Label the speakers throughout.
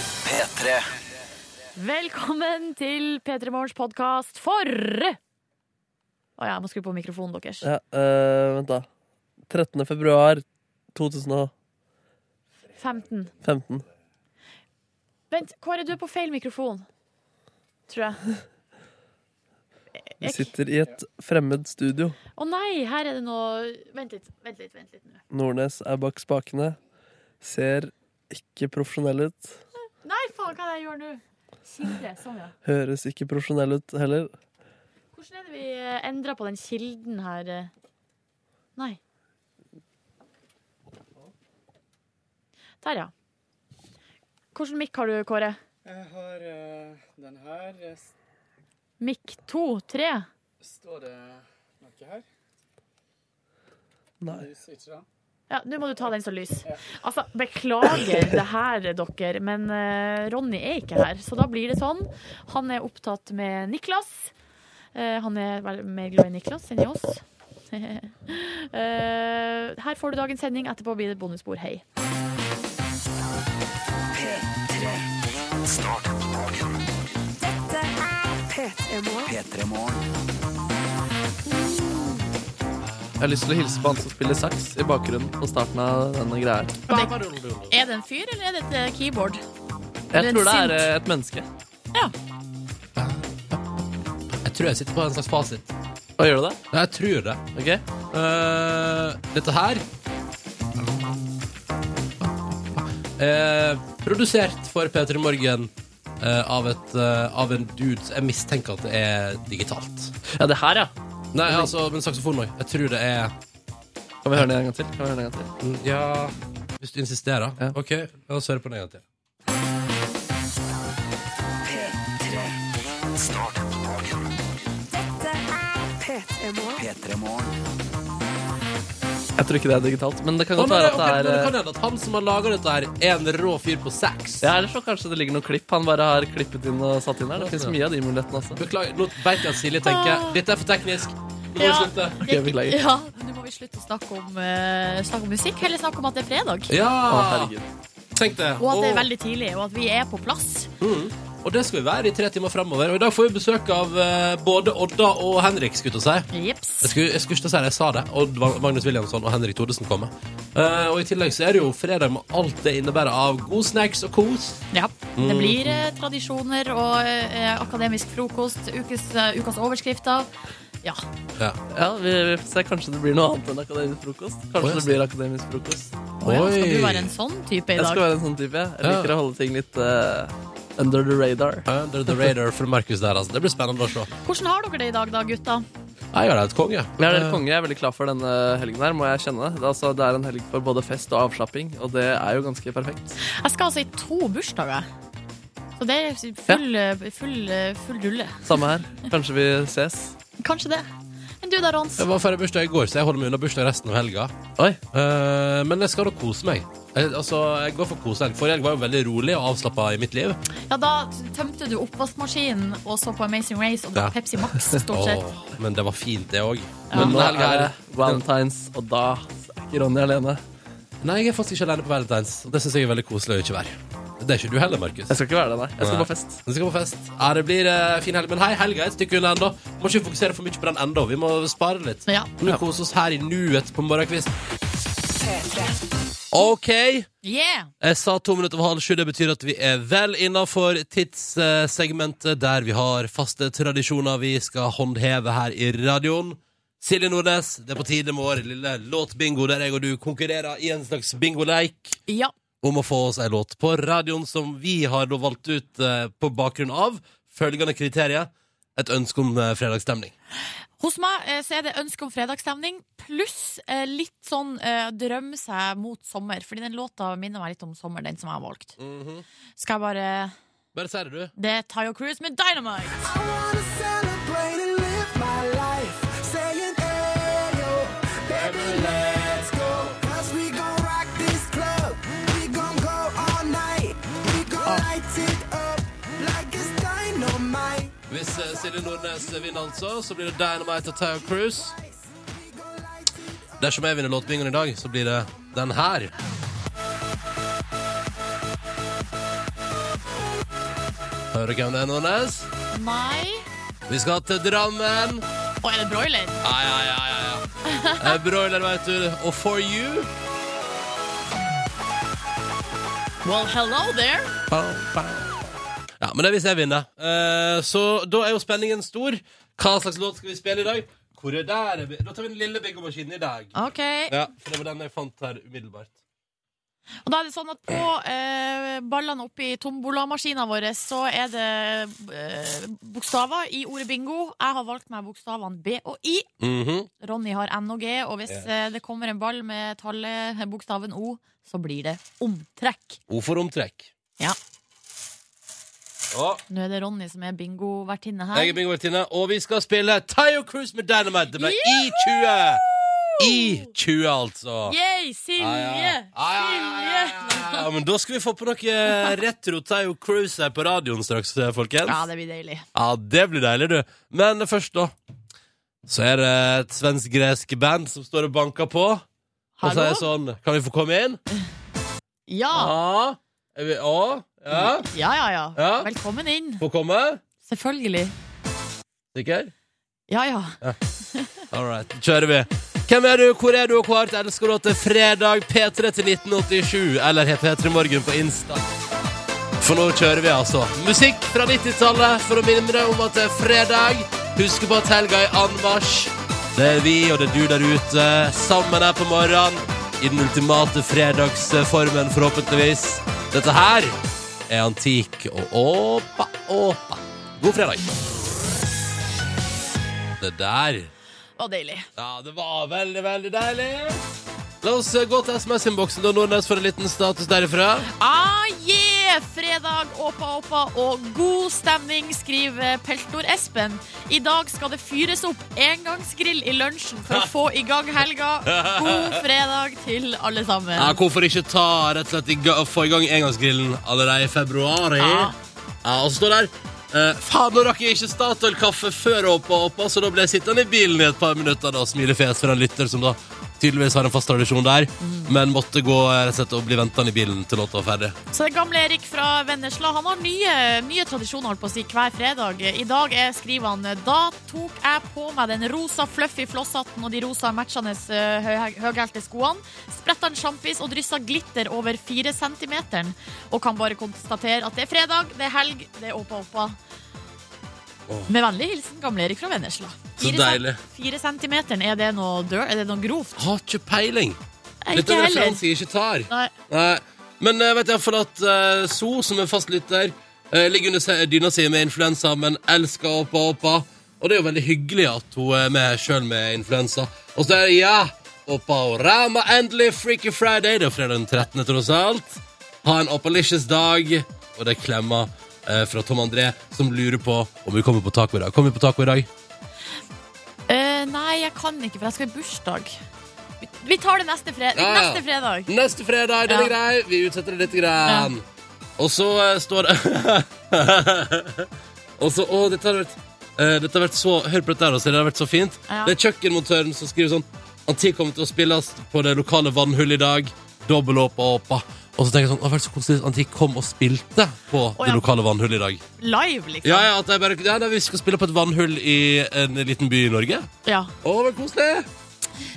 Speaker 1: P3.
Speaker 2: Velkommen til P3 Morgens podkast for Å ja, jeg må skru på mikrofonen deres.
Speaker 3: Ja, eh, vent, da. 13. februar 2015.
Speaker 2: 15. Vent, Kåre, du er på feil mikrofon. Tror jeg.
Speaker 3: Vi
Speaker 2: Jeg-
Speaker 3: sitter i et fremmed studio.
Speaker 2: Å nei, her er det noe Vent litt, vent litt. vent litt nå.
Speaker 3: Nordnes er bak spakene. Ser ikke profesjonell ut.
Speaker 2: Nei, faen, hva er det jeg gjør nå? Kilde. Sånn, ja.
Speaker 3: Høres ikke profesjonell ut heller.
Speaker 2: Hvordan er det vi eh, endrer på den kilden her? eh? Nei. Der, ja. Hvordan mikk har du, Kåre?
Speaker 4: Jeg har eh, den her. Eh, s-
Speaker 2: Mikk to? Tre?
Speaker 4: Står det noe her?
Speaker 3: Nei.
Speaker 4: Lys, ikke da?
Speaker 2: Ja, nå må du ta den som lys. Altså, beklager det her, dere, men eh, Ronny er ikke her, så da blir det sånn. Han er opptatt med Niklas. Eh, han er vel mer glad i Niklas enn i oss. Eh, her får du dagens sending. Etterpå blir det bonusbord. Hei.
Speaker 1: P3morgen.
Speaker 3: Jeg har lyst til å hilse på han som spiller saks i bakgrunnen på starten av denne greia. her.
Speaker 2: Er det en fyr, eller er det et eh, keyboard?
Speaker 3: Jeg
Speaker 2: Men
Speaker 3: tror det er
Speaker 2: sint.
Speaker 3: eh, et menneske.
Speaker 5: Jeg tror jeg sitter på en slags fasit.
Speaker 3: Hva gjør du det?
Speaker 5: Nei, jeg tror det.
Speaker 3: Ok?
Speaker 5: Eh, dette her Eh, Produsert for P3 Morgen eh, av, et, eh, av en dude Jeg mistenker at det er digitalt.
Speaker 3: Ja, det her, ja.
Speaker 5: Nei, altså, men saksofon òg. Jeg tror det er
Speaker 3: Kan vi høre den en gang til? Kan vi høre den en gang til?
Speaker 5: mm, Ja, hvis du insisterer.
Speaker 3: Ja.
Speaker 5: OK, la oss høre på den en gang til.
Speaker 1: P3morgen.
Speaker 3: Jeg tror ikke det er digitalt, men det kan
Speaker 5: Å,
Speaker 3: godt
Speaker 5: nei,
Speaker 3: være
Speaker 5: ok, men
Speaker 3: at det
Speaker 5: det
Speaker 3: er
Speaker 5: kan
Speaker 3: eh,
Speaker 5: hende at han som har laga dette, her er en rå fyr på sex.
Speaker 3: ja, Eller så kanskje det ligger noen klipp han bare har klippet inn og satt inn her. Det fins mye av de mulighetene, altså.
Speaker 5: Beklager, nå vet jeg at Silje tenker Dette er for teknisk. Nå må vi
Speaker 2: Ja.
Speaker 5: slutte.
Speaker 3: Ok, beklager.
Speaker 2: Ja, nå må vi slutte å snakke om, eh, snakke om musikk. Heller snakke om at det er fredag.
Speaker 5: Ja!
Speaker 3: Å, herregud.
Speaker 5: Tenk det.
Speaker 2: Og at det er
Speaker 5: Åh.
Speaker 2: veldig tidlig, og at vi er på plass.
Speaker 5: Og det skal vi være i tre timer fremover. Og i dag får vi besøk av eh, både Odda og Henrik, skulle jeg til å si.
Speaker 2: Jips.
Speaker 5: Jeg skulle, jeg skulle ikke til å si det, jeg sa det. Odd Wa- Magnus Williamson og Henrik Thodesen kommer. Eh, og i tillegg så er det jo fredag med alt det innebærer av god snacks og kos.
Speaker 2: Ja. Det blir eh, tradisjoner og eh, akademisk frokost, ukes, eh, ukas overskrifter. Ja.
Speaker 5: Ja.
Speaker 3: Ja, vi, vi får se. Kanskje det blir noe annet enn akademisk frokost. Kanskje
Speaker 5: Oi,
Speaker 3: det blir akademisk frokost.
Speaker 2: Å ja, skal du være en sånn type i
Speaker 3: Jeg skal
Speaker 2: dag?
Speaker 3: være en sånn type. jeg. Jeg
Speaker 5: Ja.
Speaker 3: liker å holde ting litt eh, under the radar.
Speaker 5: Under the radar fra Markus der, altså. Det blir spennende å se.
Speaker 2: Hvordan har dere det i dag da, gutta?
Speaker 5: Jeg har et konge. Eh,
Speaker 3: Jeg er helt konge. Jeg er veldig klar for denne helgen her, må jeg kjenne. Det er, altså, det er en helg for både fest og avslapping, og det er jo ganske perfekt.
Speaker 2: Jeg skal altså i to bursdager. Så det er full, eh, full, eh, full rulle.
Speaker 3: Samme her. Kanskje vi ses.
Speaker 2: Kanskje det. Men du da, Rons?
Speaker 5: Jeg var ferdig bursdag i går, så jeg holder meg unna bursdag resten av helga.
Speaker 3: Oi.
Speaker 5: Eh, men jeg skal da kose meg. Jeg, altså, jeg går for kosehelg. Forrige helg var jo veldig rolig og avslappa i mitt liv.
Speaker 2: Ja, da tømte du oppvaskmaskinen og så på Amazing Race og
Speaker 5: Ja.
Speaker 2: drakk Pepsi Max, stort sett.
Speaker 5: Åh, men det var fint, det òg.
Speaker 3: Men nå er det valentines, og da er ikke Ronny alene.
Speaker 5: Nei, jeg er faktisk ikke alene på Valentine's. og Det syns jeg er veldig koselig å ikke være. Det er ikke du heller, Markus.
Speaker 3: Jeg skal ikke være det, nei. Jeg skal på fest.
Speaker 5: Du skal på fest. Ja, det blir eh, fin helg. Men hei, helga er et stykke unna ennå. Må ikke fokusere for mye på den ennå. Vi må spare litt.
Speaker 2: Ja.
Speaker 5: Nå kose oss her i nuet på morgenkvisten. OK.
Speaker 2: Yeah!
Speaker 5: Jeg sa to minutter over halv sju. Det betyr at vi er vel innafor tidssegmentet der vi har faste tradisjoner vi skal håndheve her i radioen. Silje Nordnes, det er på tide med vår lille låtbingo der jeg og du konkurrerer i en slags bingoleik
Speaker 2: Ja.
Speaker 5: om å få oss ei låt på radioen som vi har da valgt ut eh, på bakgrunn av følgende kriterier. Et ønske om eh, fredagsstemning.
Speaker 2: Hos meg eh, så er det ønske om fredagsstemning, pluss eh, litt sånn eh, drømme seg mot sommer. Fordi den låta minner meg litt om sommer, den som jeg har valgt. Skal jeg bare
Speaker 5: Bare si det, du.
Speaker 2: Det er Tayo Cruise med Dynamite!
Speaker 5: Hvis eh, Silje Nordnes vinner, altså, så blir det Dynamite og Tayo Cruise. Dersom jeg vinner låtbingoen i dag, så blir det den her. Hører du hvem det er, Nordnes?
Speaker 2: Nei.
Speaker 5: Vi skal til Drammen.
Speaker 2: Å, er det broiler?
Speaker 5: Ja, ja, ja, ja, ja. Eh, Broiler, vet du. Og For You.
Speaker 2: Well, hello there.
Speaker 5: Ja, men det er hvis jeg vinner. Eh, så da er jo spenningen stor. Hva slags låt skal vi spille i dag? Hvor er der? er vi- Da tar vi den lille bingomaskinen i dag.
Speaker 2: OK.
Speaker 5: Ja, for det var den jeg fant her umiddelbart.
Speaker 2: Og da er det sånn at på eh, ballene oppi tombolamaskina vår, så er det eh, bokstaver i ordet bingo. Jeg har valgt meg bokstavene B og I.
Speaker 5: Mhm.
Speaker 2: Ronny har N og G, og hvis eh, det kommer en ball med tallet, bokstaven O, så blir det omtrekk.
Speaker 5: O for omtrekk.
Speaker 2: Ja.
Speaker 5: Å,
Speaker 2: Nå er det Ronny som er bingovertinne her.
Speaker 5: jeg er bingovertinne, og vi skal spille Tayo Cruise med Dynamite. Det ble I20. I20, altså.
Speaker 2: Yay, Silje!
Speaker 5: Ja, ja. Ja, ja, ja, ja, ja, ja. Ja, men da skal vi få på noe eh, retro Tayo Cruise her på radioen straks, eh, folkens.
Speaker 2: Ja, det blir deilig.
Speaker 5: Ja, det blir deilig, du. Men først, da, så er det et svensk-gresk band som står og banker på. Og
Speaker 2: Hallo?
Speaker 5: sier sånn Kan vi få komme inn?
Speaker 2: Ja.
Speaker 5: Ja. Er vi, ja. ja.
Speaker 2: Ja, ja, ja.
Speaker 5: Ja.
Speaker 2: Velkommen inn.
Speaker 5: Få komme?
Speaker 2: Selvfølgelig.
Speaker 5: Sikker?
Speaker 2: Ja, ja.
Speaker 5: All right, kjører vi. Hvem er du, hvor er du, og hvor hardt elsker du til fredag P3 til 1987? Eller het P3 Morgen på Insta? For nå kjører vi, altså. Musikk fra 90-tallet for å minne deg om at det er fredag. Husk på at helga er anmarsj. Det er vi og det er du der ute sammen her på morgenen i den ultimate fredagsformen, forhåpentligvis. Dette her er Antik og Åpa Åpa. God fredag. Det der
Speaker 2: Det var deilig.
Speaker 5: ja, det var veldig, veldig deilig. La oss eh, gå til SMS-innboksen da, Nordnes, for en liten status derifra.
Speaker 2: Ah, yeah! Fredag, åpa, åpa og god stemning, skriver Peltor Espen. I dag skal det fyres opp engangsgrill i lunsjen for å få i gang helga. God fredag til alle
Speaker 5: Ja,
Speaker 2: sammen.
Speaker 5: hvorfor ikke ta rett og slett i ga- få i gang engangsgrillen allerede i februar? eh?
Speaker 2: Ja.
Speaker 5: Ja, og så står der eh, Faen, nå rakk jeg ikke Statoil-kaffe før åpa åpa, så altså, da ble jeg sittende i bilen i et par minutter da, og smilefjes for en lytter som da tydeligvis har en fast tradisjon der,
Speaker 2: Mm.
Speaker 5: men måtte gå eh, rett og slett og bli ventende i bilen til låta var ferdig.
Speaker 2: Så det gamle Erik fra Vennesla Han har nye, nye tradisjoner holdt på å si hver fredag. I dag er, skriver han Da tok jeg på meg den rosa fluffy flosshatten og de rosa matchende eh, høy- høyhælte skoene, spretta en sjampis og dryssa glitter over fire centimeteren. Og kan bare konstatere at det er fredag, det er helg, det er åpa åpa.
Speaker 5: Åh.
Speaker 2: Med vennlig hilsen gamle Erik fra Vennesla.
Speaker 5: Så
Speaker 2: Fire
Speaker 5: deilig.
Speaker 2: cent- Fire centimeteren, er det noe, dø- er det noe grovt?
Speaker 5: Har ikke peiling. Litt
Speaker 2: Ikke
Speaker 5: av
Speaker 2: heller.
Speaker 5: referanse jeg ikke tar.
Speaker 2: Nei.
Speaker 5: Nei. Men jeg vet iallfall at eh, So, som er fast lytter, eh, ligger under se- dyna si med influensa, men elsker Åpa Åpa. Og det er jo veldig hyggelig at hun er med sjøl med influensa. Og så er det ja, Åpa og Rama, endelig Freaky Friday. Det er jo fredag den 13., tross alt. Ha en Åpalicious dag. Og det er klemmer eh, fra Tom André, som lurer på om vi kommer på taco i dag. Kommer vi på taco i dag?
Speaker 2: Eh, nei, jeg kan ikke, for jeg skal i bursdag. Vi, vi tar det neste, fre
Speaker 5: Ja, ja.
Speaker 2: neste fredag.
Speaker 5: Neste fredag, den er
Speaker 2: Ja.
Speaker 5: grei. Vi utsetter det litt. Grann. Og så eh, står det Og så Å, dette har vært eh, dette har vært så, Hør på dette her, også, det har vært så fint.
Speaker 2: Ja.
Speaker 5: Det er kjøkkenmontøren som skriver sånn Antik kommer til å spilles på det lokale vannhullet i dag. Dobbel åpa åpa. Og så tenker jeg sånn, å, det så koselig at Antik kom og spilte på det
Speaker 2: ja.
Speaker 5: lokale vannhullet i dag.
Speaker 2: Live, liksom.
Speaker 5: Ja, ja, at det er bare, ja, nei, Vi skal spille på et vannhull i en liten by i Norge.
Speaker 2: Ja.
Speaker 5: Å, det var koselig! Eh.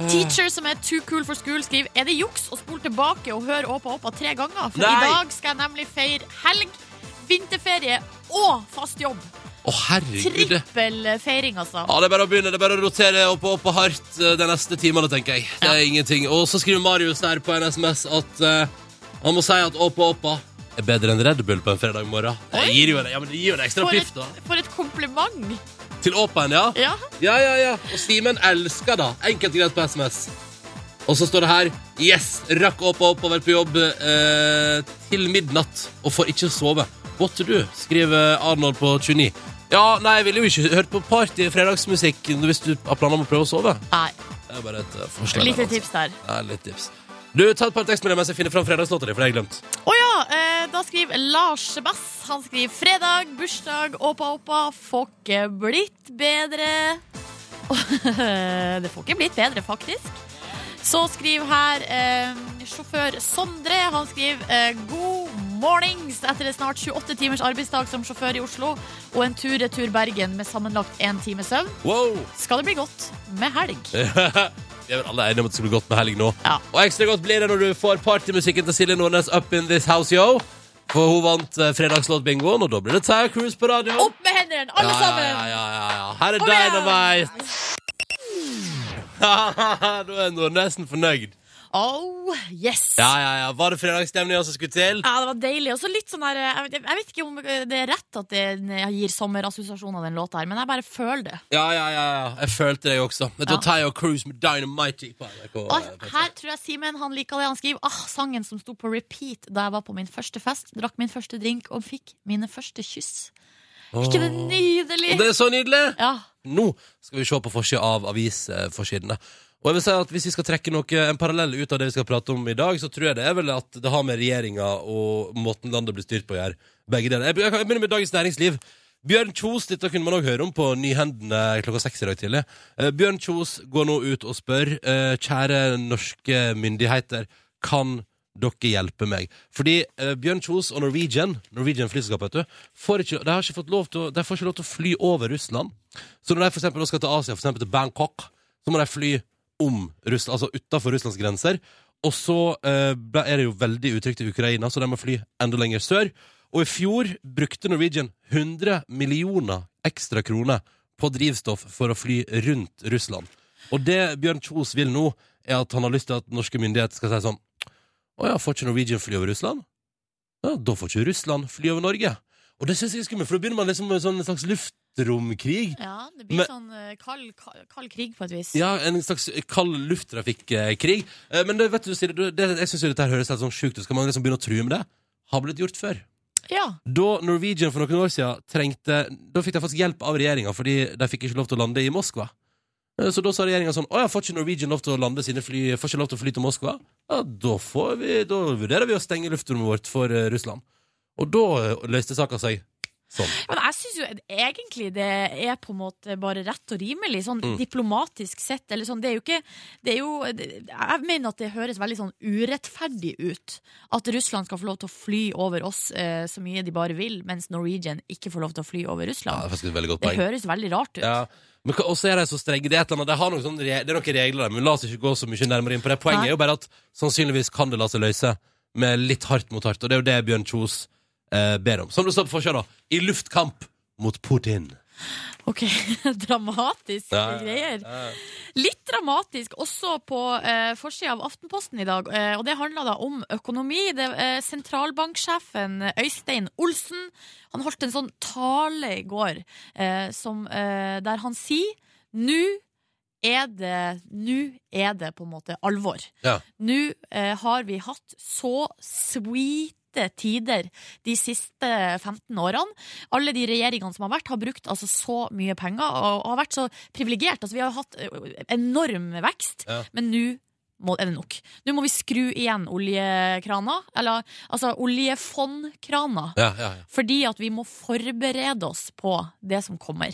Speaker 2: Teacher som er too cool for school, skriver Er det juks å spole tilbake og høre Åpa Åpa tre ganger. For
Speaker 5: Nei.
Speaker 2: i dag skal jeg nemlig feire helg, vinterferie og fast jobb.
Speaker 5: Å, herregud. det-
Speaker 2: Trippel feiring, altså.
Speaker 5: Ja, det er bare å begynne, det er bare å rotere opp og opp og hardt eh, de neste timene, tenker jeg. Det er ingenting. Og så skriver Marius der på en SMS at eh, han må si at opp og oppa er bedre enn Red Bull på en fredag morgen. Det
Speaker 2: Oi.
Speaker 5: gir jo en, ja, men det gir jo en ekstra
Speaker 2: For
Speaker 5: piff,
Speaker 2: et,
Speaker 5: da.
Speaker 2: for et kompliment.
Speaker 5: Til åpen, ja.
Speaker 2: Ja.
Speaker 5: Ja, ja, ja. Og Simen elsker da. Enkelt og greit på SMS. Og så står det her Yes! Rakk opp og oppover på jobb eh, til midnatt og får ikke sove. What to do? skriver Arnold på 29. Ja, nei, jeg ville jo ikke hørt på party fredagsmusikk hvis du har planer om å prøve å sove.
Speaker 2: Nei,
Speaker 5: Det er bare et eh, forslag.
Speaker 2: lite
Speaker 5: der, altså.
Speaker 2: tips der.
Speaker 5: Ja, litt tips. Du, ta et par tekstmeldinger mens jeg finner fram fredagslåta di, for det har jeg glemt.
Speaker 2: Å ja, eh, da skriver Lars Bass. Han skriver 'Fredag, bursdag, åpa åpa, får ikke blitt bedre'. det får ikke blitt bedre, faktisk. Så skriver her eh, sjåfør Sondre. Han skriver eh, 'God mornings etter en snart 28 timers arbeidsdag som sjåfør i Oslo og en tur-retur Bergen med sammenlagt én time søvn,
Speaker 5: Wow!
Speaker 2: skal det bli godt med helg.
Speaker 5: Vi er vel alle enige om at det skal bli godt med helg nå.
Speaker 2: Ja.
Speaker 5: Og ekstra godt blir det når du får partymusikken til Silje Nordnes up in this house, yo. For hun vant eh, fredagslåtbingoen, og da blir det Tower Cruise på radioen.
Speaker 2: Opp med hendene, alle
Speaker 5: ja,
Speaker 2: sammen!
Speaker 5: Ja, ja, ja, ja. Her er
Speaker 2: Kom igjen!
Speaker 5: Dynamite! da er Nordnesen fornøyd.
Speaker 2: Oh, yes!
Speaker 5: Ja, ja, ja. Var det fredagsstemninga som skulle til?
Speaker 2: Ja, det var deilig. Og så litt sånn der jeg vet, jeg vet ikke om det er rett at det gir sommerassosiasjoner, den låta her, men jeg bare føler det.
Speaker 5: Ja, ja, ja. ja. Jeg følte det, jeg også. Vet du,
Speaker 2: Ja.
Speaker 5: Tayo Cruise med Dynamite gikk på NRK.
Speaker 2: Og her tror jeg Simen han liker det. Han skriver ah, sangen som sto på repeat da jeg var på min første fest, drakk min første drink og fikk mine første kyss. Ikke det nydelig?
Speaker 5: Og det er så nydelig!
Speaker 2: Ja.
Speaker 5: Nå skal vi se på forsida av avisforsidene. Og jeg vil si at Hvis vi skal trekke noe, en parallell ut av det vi skal prate om i dag, så tror jeg det er vel at det har med regjeringa og måten landet blir styrt på å gjøre. Begge deler. Jeg, jeg, jeg begynner med Dagens Næringsliv. Bjørn Kjos, dette kunne man òg høre om på Nyhendene klokka seks i dag tidlig. Eh, Bjørn Kjos går nå ut og spør eh, kjære norske myndigheter, kan dere hjelpe meg? Fordi eh, Bjørn Kjos og Norwegian, Norwegian flyselskap, vet du, får ikke, de, har ikke fått lov til, å- de får ikke lov til å fly over Russland. Så når de for eksempel nå skal til Asia, for eksempel til Bangkok, så må de fly om Russland, altså utenfor Russlands grenser. Og så eh, ble- er det jo veldig utrygt i Ukraina, så de må fly enda lenger sør. Og i fjor brukte Norwegian 100 millioner ekstra kroner på drivstoff for å fly rundt Russland. Og det Bjørn Kjos vil nå, er at han har lyst til at norske myndigheter skal si sånn Å ja, får ikke Norwegian fly over Russland? Ja, da får ikke Russland fly over Norge. Og det syns jeg er skummelt, for da begynner man liksom med en sånn slags luftromkrig.
Speaker 2: ja, det blir
Speaker 5: Men-
Speaker 2: sånn eh, kald, kald, kald krig på et vis.
Speaker 5: Ja, en slags kald lufttrafikkrig. Eh, Men det, vet du, Silje, du, det, jeg syns dette her høres helt sånn sjukt ut. Skal man liksom begynne å true med det? Har blitt gjort før.
Speaker 2: Ja.
Speaker 5: Da Norwegian for noen år siden trengte Da fikk de faktisk hjelp av regjeringa, fordi de fikk ikke lov til å lande i Moskva. Eh, Så da sa regjeringa sånn Å ja, får ikke Norwegian lov til å lande sine fly Får ikke lov til å fly til Moskva? Ja, da får vi Da vurderer vi å stenge luftrommet vårt for eh, Russland. Og da eh, løste saka seg sånn.
Speaker 2: Men jeg syns jo egentlig det er på en måte bare rett og rimelig, sånn
Speaker 5: Mm.
Speaker 2: diplomatisk sett. Eller sånn, det er jo ikke det er jo, det- Jeg mener at det høres veldig sånn urettferdig ut. At Russland skal få lov til å fly over oss eh, så mye de bare vil, mens Norwegian ikke får lov til å fly over
Speaker 5: Ja, det
Speaker 2: Russland.
Speaker 5: er faktisk et veldig godt
Speaker 2: det
Speaker 5: poeng.
Speaker 2: høres veldig rart ut.
Speaker 5: Ja. Men hva- også er de så strenge. Det er, et eller annet, de har noen sånne, re- det er noen regler der, men la oss ikke gå så mye nærmere inn på det. Poenget
Speaker 2: Nei.
Speaker 5: er jo bare at sannsynligvis kan det la seg løse med litt hardt mot hardt, og det er jo det Bjørn Kjos eh, ber om. Som det står på forsida, da. I luftkamp mot Putin.
Speaker 2: Ok, Dramatiske greier.
Speaker 5: Ja, ja.
Speaker 2: Litt dramatisk også på eh, forsida av Aftenposten i dag. Eh, og Det handla da om økonomi. Det, eh, sentralbanksjefen eh, Øystein Olsen han holdt en sånn tale i går eh, som, eh, der han sier Nå er det Nå er det på en måte alvor.
Speaker 5: Ja.
Speaker 2: Nå eh, har vi hatt så sweet tider de siste 15 årene. Alle de regjeringene som har vært, har brukt altså så mye penger og har vært så privilegert. Altså, vi har hatt ø, enorm vekst,
Speaker 5: Ja.
Speaker 2: men nå må, er det nok. Nå må vi skru igjen oljekrana, eller altså oljefondkrana.
Speaker 5: Ja, ja, ja.
Speaker 2: Fordi at vi må forberede oss på det som kommer.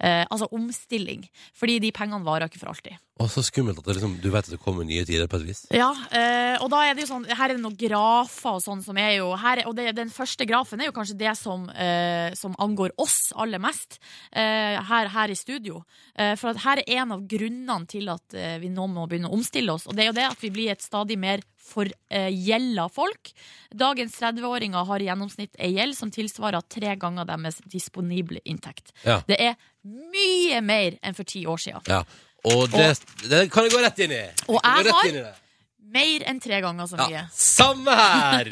Speaker 2: Eh, altså omstilling. Fordi de pengene varer ikke for alltid.
Speaker 5: Og så skummelt at det liksom, du vet at det kommer nye tider på et vis.
Speaker 2: Ja, eh, og da er det jo sånn Her er det noen grafer og sånn som er jo her, Og det, den første grafen er jo kanskje det som, eh, som angår oss aller mest eh, her, her i studio. Eh, for at her er en av grunnene til at eh, vi nå må begynne å omstille oss. Og det er jo det at vi blir et stadig mer forgjelda folk. Dagens 30-åringer har i gjennomsnitt ei gjeld som tilsvarer tre ganger deres disponible inntekt.
Speaker 5: Ja.
Speaker 2: Det er mye mer enn for ti år siden.
Speaker 5: Ja. Og det, det kan jeg gå rett inn i.
Speaker 2: Og
Speaker 5: Kan
Speaker 2: jeg
Speaker 5: gå rett
Speaker 2: har-
Speaker 5: inn i det.
Speaker 2: Mer enn tre ganger så mye.
Speaker 5: ja. Samme her!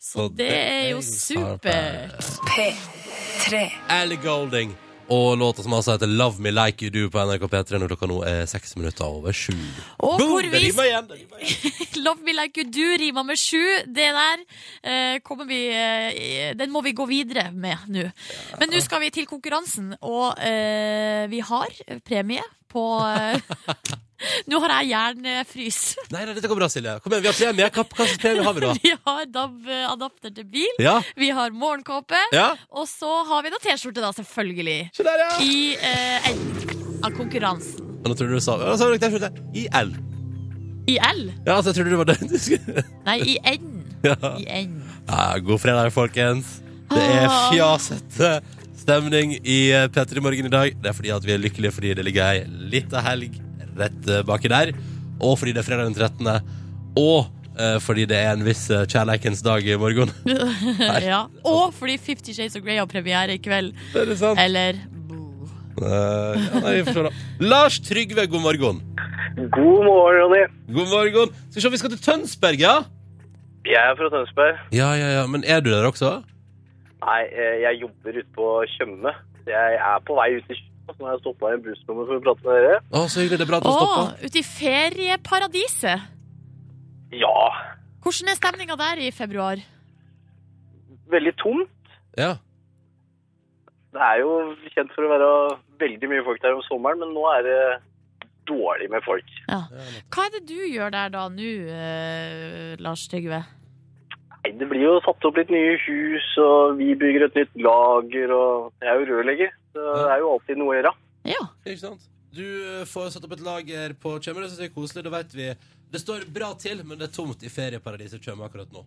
Speaker 2: Så det er jo eh, supert.
Speaker 1: P3
Speaker 5: Ellie Golding og låta som altså heter Love Me Like You Do på NRK P3 når klokka nå er seks minutter over sju.
Speaker 2: Og
Speaker 5: Boom,
Speaker 2: hvor
Speaker 5: det
Speaker 2: vi
Speaker 5: rimer igjen, det rimer igjen.
Speaker 2: Love me like you do rimer med sju. Det der eh, kommer vi eh, Den må vi gå videre med nå. Men nå skal vi til konkurransen, og eh, vi har premie på eh, Nå har jeg hjernefrys.
Speaker 5: Nei, nei, dette går bra, Silje. Kom igjen, vi har premie. Hva hva slags premie har vi da?
Speaker 2: Vi har DAB-adapter til bil.
Speaker 5: Ja?
Speaker 2: Vi har morgenkåpe.
Speaker 5: Ja?
Speaker 2: Og så har vi da T-skjorte, da, selvfølgelig.
Speaker 5: Se der, ja!
Speaker 2: I eh, enden av konkurransen.
Speaker 5: Og nå trodde du sa ja, så har dere T-skjorte. I L.
Speaker 2: I L?
Speaker 5: Ja, altså, jeg trodde det var det du skulle
Speaker 2: Nei, i enden.
Speaker 5: ja.
Speaker 2: I enden.
Speaker 5: Ja, Ah, god fredag, folkens. Det er
Speaker 2: Ah.
Speaker 5: fjasete stemning i eh, P3 Morgen i dag. Det er fordi at vi er lykkelige fordi det ligger ei lita helg rett eh, baki der. Og fordi det er fredag den 13. Og eh, fordi det er en viss eh, kjærleikens dag i morgen.
Speaker 2: ja. Og fordi Fifty Shades of Grey har premiere i kveld.
Speaker 5: Er det sant?
Speaker 2: Eller
Speaker 5: Eh, ja, nei, vi får se da. Lars Trygve, god morgen.
Speaker 6: God morgen, Ronny.
Speaker 5: God morgen. Skal vi se, vi skal til Tønsberg, ja?
Speaker 6: Jeg er fra Tønsberg.
Speaker 5: Ja, ja, ja. Men er du der også?
Speaker 6: Nei, eh, jeg jobber ute på Tjøme. Så Jeg er på vei ut i Tjøme, så nå har jeg stoppa i en bussnummer for å prate med dere.
Speaker 5: Å, så hyggelig. Det er bra at du
Speaker 2: Å,
Speaker 5: stoppa.
Speaker 2: ute i ferieparadiset.
Speaker 6: Ja,
Speaker 2: Hvordan er stemninga der i februar?
Speaker 6: veldig tomt.
Speaker 5: Ja.
Speaker 6: Det er jo kjent for å være veldig mye folk der om sommeren, men nå er det dårlig med folk.
Speaker 2: Hva er det du gjør der da nå, eh, Lars Trygve?
Speaker 6: Nei, det blir jo satt opp litt nye hus, og vi bygger et nytt lager, og jeg er jo rørlegger. Så det er jo alltid noe å gjøre.
Speaker 2: Ja.
Speaker 5: Ikke sant? Du eh, får satt opp et lager på Tjøme, det synes jeg er koselig. Da vet vi Det står bra til, men det er tomt i ferieparadiset Tjøme akkurat nå.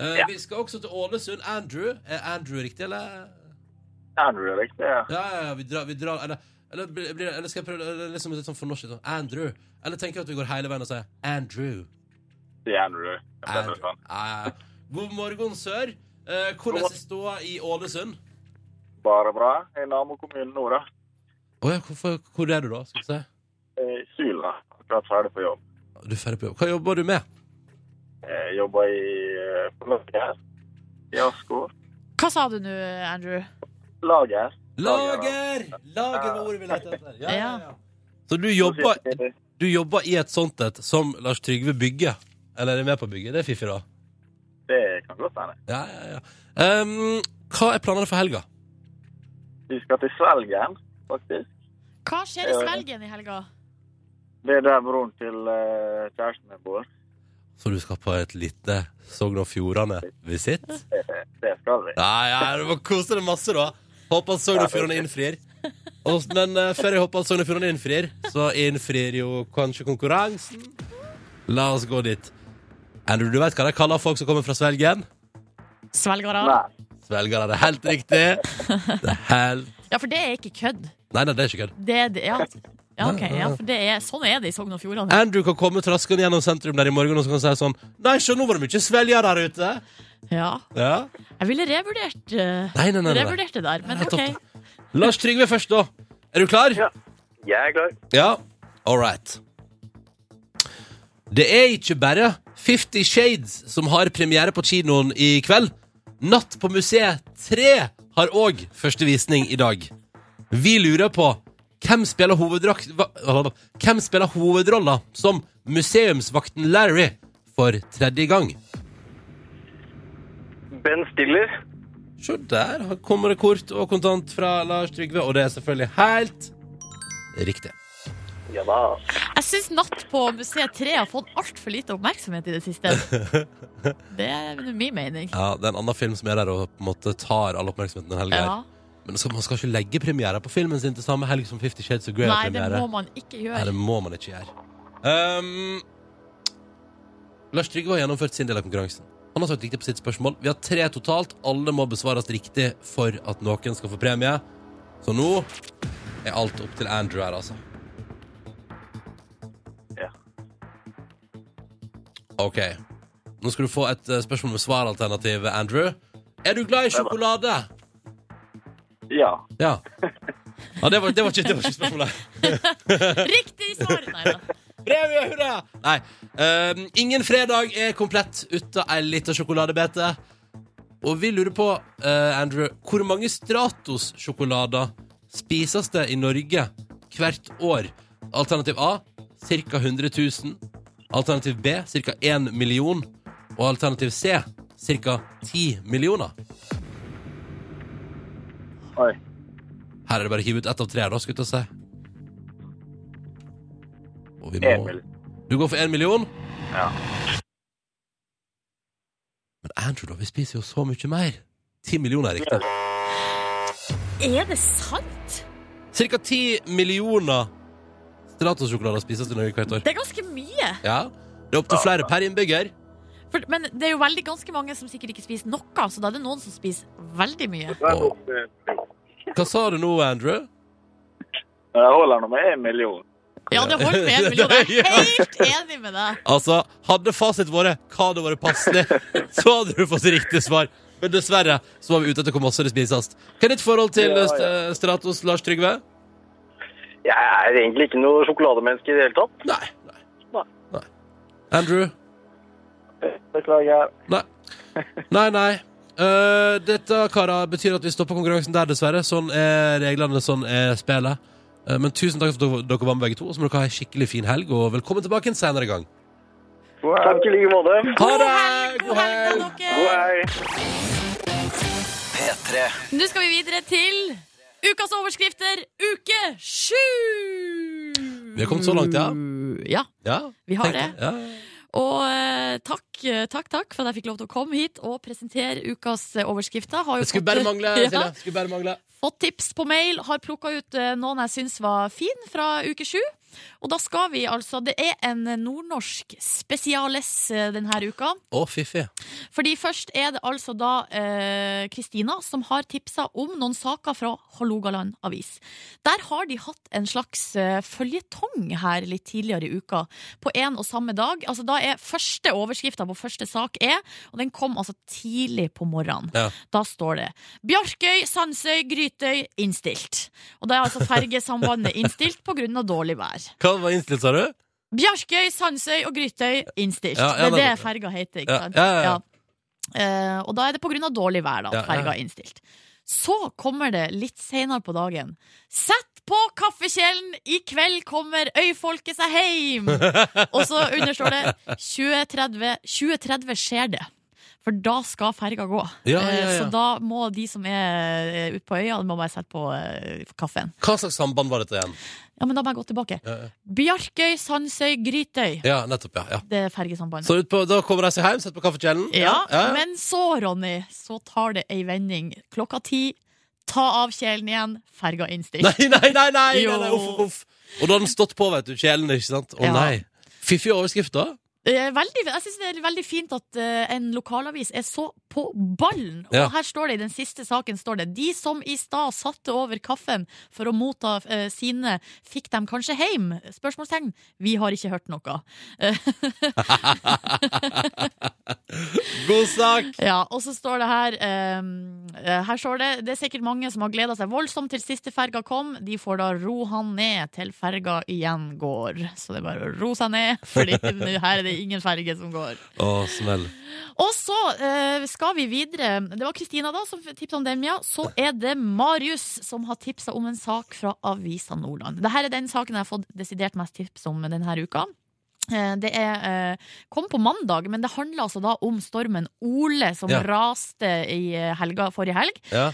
Speaker 5: Eh,
Speaker 6: Ja.
Speaker 5: Vi skal også til Ålesund. Andrew. Er Andrew riktig, eller?
Speaker 6: Det er noe rørlegger, det.
Speaker 5: Ja, ja, ja, vi drar, vi drar eller, eller, blir blir det, eller skal jeg prøve eller liksom litt sånn fornorsket? Sånn. Andrew. Eller tenker jeg at vi går hele veien og sier Andrew.
Speaker 6: Det er noe rørlegger.
Speaker 5: Andrew. Ja, ja. God morgen, sør. Eh, hvordan er ståa i Ålesund?
Speaker 6: Bare bra. Jeg er nabo kommunen Nora.
Speaker 5: Å ja, hvorfor, hvor er du da? Skal vi se.
Speaker 6: Sylna. Akkurat ferdig på jobb.
Speaker 5: Du er ferdig på jobb. Hva jobber du med?
Speaker 6: Jeg jobber i eh, på lager. Fiasko.
Speaker 2: Hva sa du nå, Andrew?
Speaker 6: Lager.
Speaker 5: Lager! Lager var ordet vi lette etter. Ja, ja,
Speaker 2: Ja.
Speaker 5: ja. Så du jobber, du jobber i et sånt et som Lars Trygve bygger? Eller er du med på å bygge? Det er fiffig, da.
Speaker 6: Det kan godt hende.
Speaker 5: Ja, ja, ja. Ehm, hva er planene for helga?
Speaker 6: Vi skal til Svelgen, faktisk.
Speaker 2: Hva skjer i Svelgen i helga?
Speaker 6: Det er der broren til eh, kjæresten min bor.
Speaker 5: Så du skal på et lite Sogn og Fjordane-visitt?
Speaker 6: Det skal vi.
Speaker 5: Nei, ja, du må kose deg masse, da. Håper at Sogn og Fjordane innfrir. Og, men eh, før jeg håper at Sogn og Fjordane innfrir, så innfrir jo kanskje konkurransen. La oss gå dit. Andrew, du vet hva de kaller folk som kommer fra Svelgen?
Speaker 2: Svelgere?
Speaker 6: Nei.
Speaker 5: Svelgere. Det er helt riktig. Det er helt
Speaker 2: Ja, for det er ikke kødd.
Speaker 5: Nei, nei, det er ikke kødd.
Speaker 2: Det, er det, ja. Ja, ok, ja, for det er, sånn er det i Sogn og Fjordane.
Speaker 5: Andrew kan komme traskende gjennom sentrum der i morgen og så kan han si sånn Nei, se, nå var det mye svelger der ute.
Speaker 2: Ja.
Speaker 5: Ja.
Speaker 2: Jeg ville revurdert, eh,
Speaker 5: Nei, nei, nei. nei, nei.
Speaker 2: revurdert det der, men
Speaker 5: Nei, topp,
Speaker 2: OK.
Speaker 5: Lars Trygve først, da. Er du klar?
Speaker 6: Ja. Jeg er klar.
Speaker 5: Ja, all right. Det er ikke bare Fifty Shades som har premiere på kinoen i kveld. Natt på museet 3 har òg første visning i dag. Vi lurer på hvem spiller, hovedrak- hva- hvem spiller hovedrolla som museumsvakten Larry for tredje gang?
Speaker 6: Ben Stiller.
Speaker 5: Se der her kommer det kort og kontant fra Lars Trygve, og det er selvfølgelig helt riktig.
Speaker 6: Ja da.
Speaker 2: Jeg syns Natt på museet 3 har fått altfor lite oppmerksomhet i det siste. Det er min mening.
Speaker 5: Ja, Det er en annen film som er der og på en måte tar all oppmerksomheten den helga. her.
Speaker 2: Ja.
Speaker 5: Men skal, man skal ikke legge premiere på filmen sin til samme helg som Fifty Shades of Grey. har
Speaker 2: Nei, det
Speaker 5: premiere.
Speaker 2: må man ikke
Speaker 5: Nei,
Speaker 2: gjøre.
Speaker 5: det må man ikke gjøre. Ehm, Lars Trygve har gjennomført sin del av konkurransen. Han har svart riktig på sitt spørsmål. Vi har tre totalt. Alle må besvares riktig for at noen skal få premie. Så nå er alt opp til Andrew her, altså.
Speaker 6: Ja.
Speaker 5: OK. Nå skal du få et eh, spørsmål med svaralternativ, Andrew. Er du glad i sjokolade?
Speaker 6: Ja.
Speaker 5: Ja. ja det, var, det, var ikke, det var ikke spørsmålet.
Speaker 2: Riktig svar! Nei da.
Speaker 5: Premie, hurra! Nei. ehm, ingen fredag er komplett uten ei lita sjokoladebete. Og vi lurer på, eh, Andrew, hvor mange Stratos-sjokolader spises det i Norge hvert år? Alternativ A ca. 100 000. Alternativ B ca. 1 million. Og alternativ C ca. 10 millioner.
Speaker 6: Oi.
Speaker 5: Her er det bare å hive ut ett av tre, da, skulle jeg til å si. Og vi må-
Speaker 6: Emil.
Speaker 5: Du går for én million?
Speaker 6: Ja.
Speaker 5: Men Andrew, da, vi spiser jo så mye mer. Ti millioner er riktig.
Speaker 2: Er det sant?
Speaker 5: Cirka ti millioner Stratos-sjokolader spises i Norge hvert år.
Speaker 2: Det er ganske mye.
Speaker 5: Ja, Det er opptil flere per innbygger.
Speaker 2: For, men det er jo veldig ganske mange som sikkert ikke spiser noe, så da er det noen som spiser veldig mye.
Speaker 6: Det er nok, eh,
Speaker 5: Hva sa du nå, Andrew?
Speaker 6: Jeg holder nå med en million.
Speaker 2: Ja, det holder med en million. Jeg er helt enig med deg.
Speaker 5: Altså, hadde fasit vært hva det vært passelig, så hadde du fått riktig svar. Men dessverre så var vi ute etter hvor masse det spises. Hva er ditt forhold til
Speaker 6: Ja, ja.
Speaker 5: eh, Stratos, Lars Trygve?
Speaker 6: Jeg er egentlig ikke noe sjokolademenneske i det hele tatt.
Speaker 5: Nei. Nei.
Speaker 6: Nei.
Speaker 5: nei. Andrew?
Speaker 6: Beklager.
Speaker 5: Nei. Nei, nei. Eh, dette karer, betyr at vi stopper konkurransen der, dessverre. Sånn er reglene, sånn er spillet. Eh, men tusen takk for at dere- dere var med, begge to. Og så må dere ha en skikkelig fin helg, og velkommen tilbake en senere gang.
Speaker 6: Takk i like måte.
Speaker 5: Ha
Speaker 2: God helg,
Speaker 5: det!
Speaker 2: god helg da, dere.
Speaker 6: God helg.
Speaker 2: Nå skal vi videre til ukas overskrifter, uke sju!
Speaker 5: Vi har kommet så langt, ja.
Speaker 2: Ja,
Speaker 5: Ja,
Speaker 2: vi har det.
Speaker 5: tenk- Ja.
Speaker 2: Og eh, takk, eh, takk, takk for at jeg fikk lov til å komme hit og presentere ukas eh, overskrifter. Har jo
Speaker 5: Det skulle
Speaker 2: fått-
Speaker 5: bare mangle,
Speaker 2: Ja.
Speaker 5: Silje. Skulle bare mangle.
Speaker 2: Fått tips på mail, har plukka ut eh, noen jeg syns var fin fra uke sju. Og da skal vi altså Det er en nordnorsk spesiales eh, denne uka.
Speaker 5: Å, fiffig.
Speaker 2: Fordi først er det altså da eh, Kristina som har tipsa om noen saker fra Hålogaland avis. Der har de hatt en slags eh, føljetong her litt tidligere i uka, på en og samme dag. Altså da er Første overskrifta på første sak er, og den kom altså tidlig på morgenen,
Speaker 5: Ja.
Speaker 2: da står det Bjarkøy, Sandsøy, Grytøy innstilt. Og da er altså fergesambandet innstilt pga. dårlig vær.
Speaker 5: Hva var innstilt, sa du?
Speaker 2: Bjarkøy, Sandsøy og Grytøy innstilt.
Speaker 5: Ja,
Speaker 2: det
Speaker 5: ja,
Speaker 2: er det
Speaker 5: nettopp.
Speaker 2: ferga heter, ikke
Speaker 5: Ja,
Speaker 2: sant?
Speaker 5: ja, ja, ja.
Speaker 2: Eh, og da er det på grunn av dårlig vær, da. at
Speaker 5: Ja, ja, ja.
Speaker 2: Ferga er innstilt. Så kommer det litt senere på dagen. Sett på kaffekjelen, i kveld kommer øyfolket seg heim! og så understår det 2030 2030 skjer det. For da skal ferga gå.
Speaker 5: Ja, ja,
Speaker 2: Eh,
Speaker 5: ja.
Speaker 2: Så da må de som er eh, ute på øya, de må bare sette på eh, kaffen.
Speaker 5: Hva slags samband var dette igjen?
Speaker 2: Ja, men da må jeg gå tilbake.
Speaker 5: Ja, ja.
Speaker 2: Bjarkøy, Sandsøy, Grytøy.
Speaker 5: Ja, nettopp, ja. ja.
Speaker 2: Det er fergesambandet.
Speaker 5: Så ut på, da kommer de seg hjem, setter på kaffekjelen?
Speaker 2: Ja, men så, Ronny, så tar det ei vending. Klokka ti, ta av kjelen igjen, ferga innstilt.
Speaker 5: Nei, nei, nei! nei, nei,
Speaker 2: Jo.
Speaker 5: nei uff, uff. Og da har den stått på, vet du. Kjelen, ikke sant? Å
Speaker 2: Ja.
Speaker 5: nei. Fiffig overskrift, da.
Speaker 2: Eh, Veldig, jeg syns det er veldig fint at eh, en lokalavis er så på ballen.
Speaker 5: Ja.
Speaker 2: Og her står det i den siste saken står det De som i stad satte over kaffen for å motta eh, sine, fikk dem kanskje heim? Spørsmålstegn. Vi har ikke hørt noe.
Speaker 5: God sak!
Speaker 2: Ja, og så står det her ehm, eh, Her står det Det er sikkert mange som har gleda seg voldsomt til siste ferga kom. De får da ro han ned til ferga igjen går. Så det er bare å ro seg ned, Fordi nå her er det ingen ferge som går.
Speaker 5: Å, smell.
Speaker 2: Og så eh, skal vi videre. Det var Kristina da som tipsa om den, ja. Så er det Marius som har tipsa om en sak fra Avisa Nordland. Dette er den saken jeg har fått desidert mest tips om denne uka. Eh, Det er, eh, kom på mandag, men det handler altså da om stormen Ole som
Speaker 5: Ja.
Speaker 2: raste i eh, helga, forrige helg.
Speaker 5: Ja.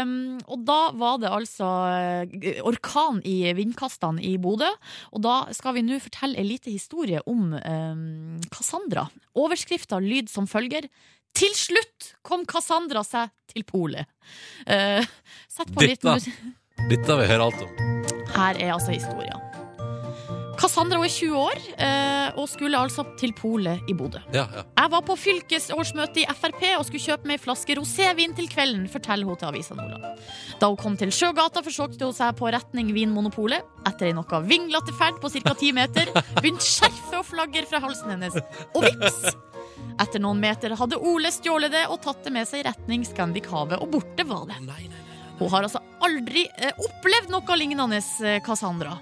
Speaker 2: Um, og da var det altså eh, g- orkan i vindkastene i Bodø. Og da skal vi nå fortelle en liten historie om um, Cassandra. Overskrifta lyd som følger. Til slutt kom Cassandra seg til polet. Eh, sett på litt
Speaker 5: Dette.
Speaker 2: musikk.
Speaker 5: Dette vil jeg høre alt om.
Speaker 2: Her er altså historien. Cassandra hun er 20 år eh, og skulle altså til polet i Bodø.
Speaker 5: Ja, ja.
Speaker 2: Jeg var på fylkesårsmøte i Frp og skulle kjøpe meg en flaske rosévin til kvelden, forteller hun til Avisa Nordland. Da hun kom til Sjøgata, forsøkte hun seg på retning Vinmonopolet. Etter en noe vinglete ferd på ca. ti meter begynte skjerfet å flagre fra halsen hennes, og vips! Etter noen meter hadde Ole stjålet det og tatt det med seg i retning Scandic Havet, og borte var det.
Speaker 5: Nei, nei.
Speaker 2: Hun har altså aldri eh, opplevd noe lignende eh, Cassandra.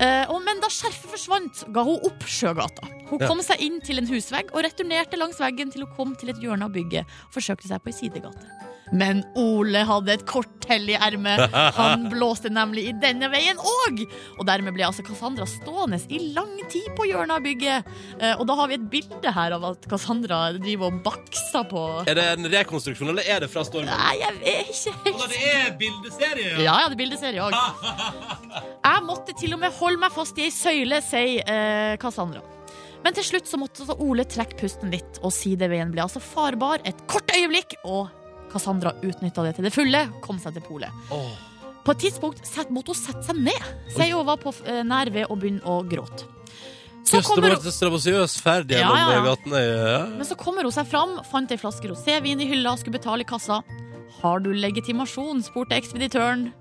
Speaker 2: Eh, og, men da skjerfet forsvant, ga hun opp Sjøgata. Hun
Speaker 5: Ja.
Speaker 2: kom seg inn til en husvegg og returnerte langs veggen til hun kom til et hjørne av bygget og forsøkte seg på ei sidegate. Men Ole hadde et korthell i ermet. Han blåste nemlig i denne veien òg! Og dermed ble altså Cassandra stående i lang tid på hjørnet av bygget. Eh, og da har vi et bilde her av at Cassandra driver og bakser på
Speaker 5: Er det en rekonstruksjon, eller er det fra stormen?
Speaker 2: Nei, jeg er ikke helt
Speaker 5: Å, Altså, Det er bildeserie!
Speaker 2: ja, jeg hadde bildeserie òg. Jeg måtte til og med holde meg fast i ei søyle, sier eh, Cassandra. Men til slutt så måtte altså Ole trekke pusten litt, og sideveien ble altså farbar et kort øyeblikk, og Cassandra utnytta det til det fulle, kom seg til polet.
Speaker 5: Åh.
Speaker 2: På et tidspunkt set, måtte hun sette seg ned, sier hun var på, f- eh, nær ved å begynne å gråte. Så
Speaker 5: Jøss, det
Speaker 2: kommer
Speaker 5: var
Speaker 2: hun
Speaker 5: et strabasiøs ferd
Speaker 2: Ja,
Speaker 5: gjennom
Speaker 2: ja, ja.
Speaker 5: gatene. Ja.
Speaker 2: Men så kommer hun seg fram, fant ei flaske rosévin i hylla, skulle betale i kassa. Har du legitimasjon? spurte ekspeditøren.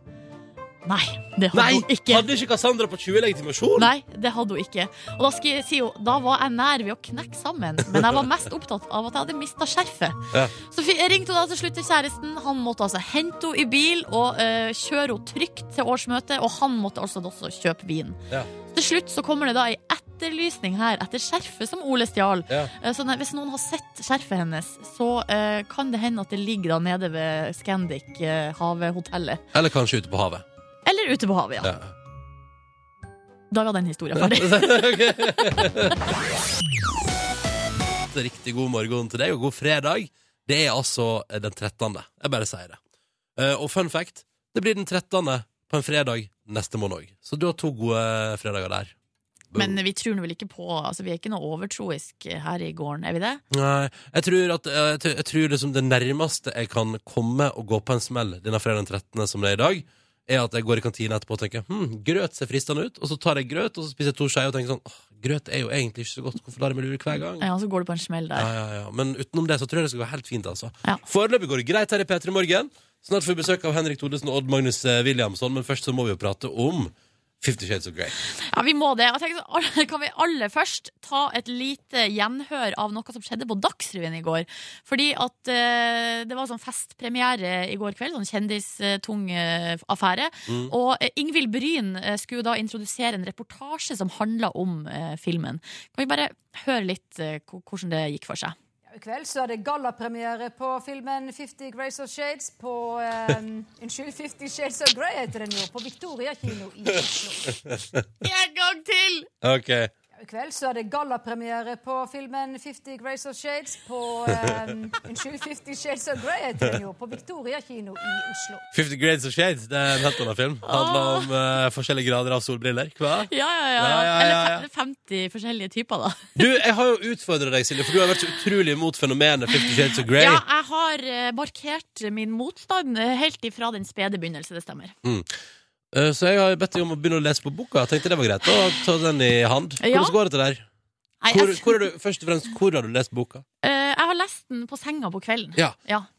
Speaker 2: Nei, det hadde
Speaker 5: Nei!
Speaker 2: hun ikke.
Speaker 5: Hadde ikke Cassandra på 20 legitimasjon?
Speaker 2: Nei, det hadde hun ikke. Og da, skal jeg si, jo, da var jeg nær ved å knekke sammen, men jeg var mest opptatt av at jeg hadde mista skjerfet.
Speaker 5: Ja.
Speaker 2: Så fi- ringte hun da til slutt til kjæresten. Han måtte altså hente henne i bil og eh, kjøre henne trygt til årsmøtet, og han måtte altså også kjøpe vin.
Speaker 5: Ja.
Speaker 2: Til slutt så kommer det da ei etterlysning her etter skjerfet som Ole stjal.
Speaker 5: Ja.
Speaker 2: Eh, Så nei, hvis noen har sett skjerfet hennes, så eh, kan det hende at det ligger da nede ved Scandic eh, Havet-hotellet.
Speaker 5: Eller kanskje ute på havet.
Speaker 2: Eller ute på havet, ja.
Speaker 5: Ja.
Speaker 2: Da var den historien ferdig.
Speaker 5: Riktig god morgen til deg, og god fredag. Det er altså den 13. Jeg bare sier det. Eh, Og fun fact, det blir den 13. på en fredag neste måned òg. Så du har to gode eh, fredager der. Boom.
Speaker 2: Men vi tror nå vel ikke på altså Vi er ikke noe overtroisk her i gården, er vi det?
Speaker 5: Nei, jeg tror, at, eh, jeg, tror- jeg tror liksom det nærmeste jeg kan komme og gå på en smell denne fredagen 13. som det er i dag, er at jeg går i kantina etterpå og tenker hm, grøt ser fristende ut, og så tar jeg grøt, og så spiser jeg to skeier og tenker sånn åh, grøt er jo egentlig ikke så godt, hvorfor lar jeg meg lure hver gang?
Speaker 2: Ja, så går du på en smell der.
Speaker 5: Ja, ja, ja. Men utenom det så tror jeg det skal gå helt fint, altså.
Speaker 2: Ja.
Speaker 5: Foreløpig går det greit her i P3 Morgen. Snart får vi besøk av Henrik Thodesen og Odd Magnus eh, Williamson, men først så må vi jo prate om Fifty Shades of Grey.
Speaker 2: Ja, vi må det. Jeg tenker, så- kan vi aller først ta et lite gjenhør av noe som skjedde på Dagsrevyen i går? Fordi at eh, det var sånn festpremiere i går kveld, sånn kjendistung eh, affære.
Speaker 5: Mm.
Speaker 2: Og eh, Ingvild Bryn eh, skulle da introdusere en reportasje som handla om eh, filmen. Kan vi bare høre litt eh, ko- hvordan det gikk for seg?
Speaker 7: I kveld så er det gallapremiere på filmen 'Fifty Grays of Shades' på eh, Unnskyld, 'Fifty Shades of Grey' heter den jo, på Victoria kino i Oslo.
Speaker 2: En gang til!
Speaker 5: Ok.
Speaker 7: I kveld så er det gallapremiere på filmen 'Fifty Grays of Shades' på eh, Unnskyld, 'Fifty Shades of Grey' heter den jo, på Victoria kino i Oslo.
Speaker 5: Fifty Grades of Shades, det er en helt annen film. Handler om eh, forskjellige grader av solbriller. Hva?
Speaker 2: Ja, ja, ja.
Speaker 5: Ja, ja, ja, ja.
Speaker 2: Eller fe- 50 forskjellige typer, da.
Speaker 5: Du, jeg har jo utfordra deg, Silje, for du har vært så utrolig imot fenomenet Fifty Shades of Grey.
Speaker 2: Ja, jeg har eh, markert min motstand eh, helt ifra den spede begynnelse, det stemmer.
Speaker 5: Eh, Så jeg har bedt deg om å begynne å lese på boka. Jeg tenkte det var greit å ta den i hand.
Speaker 2: Ja.
Speaker 5: Hvordan går det til der?
Speaker 2: Nei,
Speaker 5: Hvor,
Speaker 2: jeg,
Speaker 5: hvor er du, først og fremst, hvor har du lest boka?
Speaker 2: eh, jeg har lest den på senga på kvelden.
Speaker 5: Ja.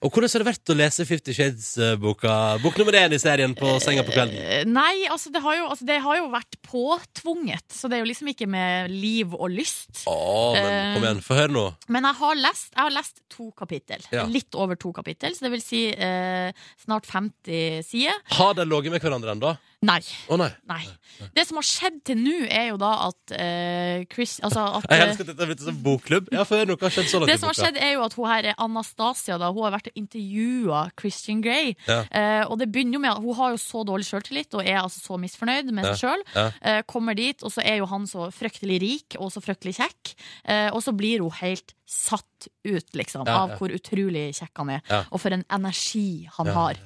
Speaker 5: Og hvordan har det vært å lese Fifty Shades-boka? Bok nummer én i serien på senga på kvelden.
Speaker 2: Eh, Nei, altså det, har jo, altså det har jo vært påtvunget, så det er jo liksom ikke med liv og lyst.
Speaker 5: Å,
Speaker 2: eh.
Speaker 5: men kom igjen, få høre nå.
Speaker 2: Men jeg har lest, jeg har lest to kapittel.
Speaker 5: Ja.
Speaker 2: Litt over to kapittel, så det vil si eh, snart 50 sider.
Speaker 5: Har de ligget med hverandre ennå? Å
Speaker 2: Nei.
Speaker 5: nei.
Speaker 2: Nei. Det som har skjedd til nå, er jo da at eh, Chris Altså at
Speaker 5: Jeg
Speaker 2: eh,
Speaker 5: elsker at dette har blitt en sånn bokklubb. Ja, få høre nå, hva har skjedd så langt?
Speaker 2: Det
Speaker 5: i
Speaker 2: som har
Speaker 5: boka?
Speaker 2: skjedd er jo at hun her, Anastasia da, hun har vært og intervjua Christian Grey.
Speaker 5: Ja.
Speaker 2: Eh, og det begynner jo med at Hun har jo så dårlig sjøltillit og er altså så misfornøyd med seg sjøl.
Speaker 5: ja.
Speaker 2: Eh, kommer dit, og så er jo han så fryktelig rik og så fryktelig kjekk. Eh, og så blir hun helt satt ut, liksom,
Speaker 5: Ja, ja.
Speaker 2: av hvor utrolig kjekk han er.
Speaker 5: Ja.
Speaker 2: Og for en energi han
Speaker 5: Ja,
Speaker 2: har.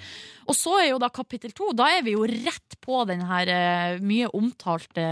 Speaker 2: Og så er jo da kapittel to. Da er vi jo rett på den her eh, mye omtalte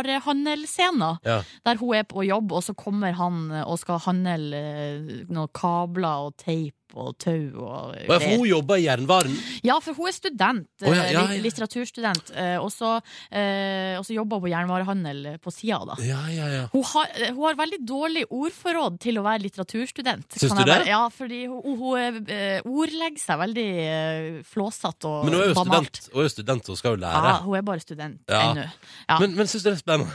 Speaker 2: jernvarehandelscena
Speaker 5: Ja.
Speaker 2: der hun er på jobb, og så kommer han og skal handle eh, noen kabler og teip og tau og
Speaker 5: Å, ja, for hun jobber i jernvaren.
Speaker 2: Ja, for hun er student.
Speaker 5: Å, ja,
Speaker 2: eh,
Speaker 5: ja,
Speaker 2: lit-
Speaker 5: ja.
Speaker 2: Litteraturstudent. eh, Og så, eh, og så jobber hun på jernvarehandel eh, på sida, da.
Speaker 5: Ja, ja, ja.
Speaker 2: Hun har, eh, hun har veldig dårlig ordforråd til å være litteraturstudent.
Speaker 5: Syns
Speaker 2: kan
Speaker 5: du
Speaker 2: jeg
Speaker 5: det?
Speaker 2: bare- Ja, fordi hun, hun eh, ordlegger seg veldig eh, flåsete og
Speaker 5: Men hun er jo
Speaker 2: banalt.
Speaker 5: student, hun er jo student og skal jo lære.
Speaker 2: Ja, hun er bare student
Speaker 5: Ja.
Speaker 2: ennå. Ah, Ja.
Speaker 5: Men, men syns du det er spennende?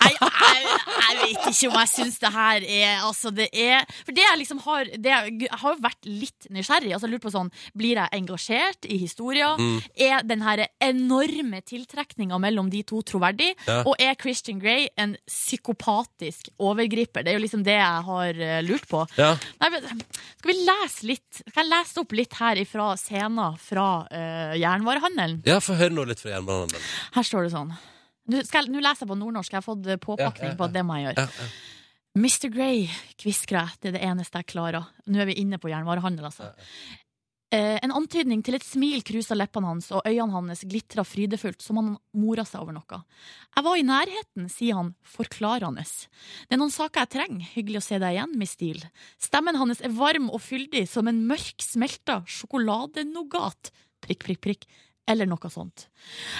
Speaker 2: Nei, jeg, jeg vet ikke om jeg syns det her er Altså, det er For det jeg liksom har det jeg, jeg har jo vært litt nysgjerrig. Altså, jeg lurer på sånn Blir jeg engasjert i historia? Er den her enorme tiltrekninga mellom de to troverdig?
Speaker 5: Ja.
Speaker 2: Og er Christian Grey en psykopatisk overgriper? Det er jo liksom det jeg har eh, lurt på.
Speaker 5: Ja.
Speaker 2: Nei, men, skal vi lese litt? Skal jeg lese opp litt her ifra scenen fra eh, jernvarehandelen?
Speaker 5: ja, få høre nå litt fra jernbanehandelen.
Speaker 2: Her står det sånn. Nå skal jeg- nå leser jeg på nordnorsk, jeg har fått eh, påpakning
Speaker 5: Ja, ja,
Speaker 2: på at det må jeg gjøre.
Speaker 5: Ja,
Speaker 2: Mr. Grey, kviskrer jeg, det er det eneste jeg klarer. Nå er vi inne på jernvarehandel, altså. Eh, en antydning til et smil krusa leppene hans, og øynene hans glitra frydefullt, som han mora seg over noe. Jeg var i nærheten, sier han, forklarende. Det er noen saker jeg trenger, hyggelig å se deg igjen, Miss Steele. Stemmen hans er varm og fyldig, som en mørk smelta sjokoladenougat. Prikk, prikk, prikk. Eller noe sånt.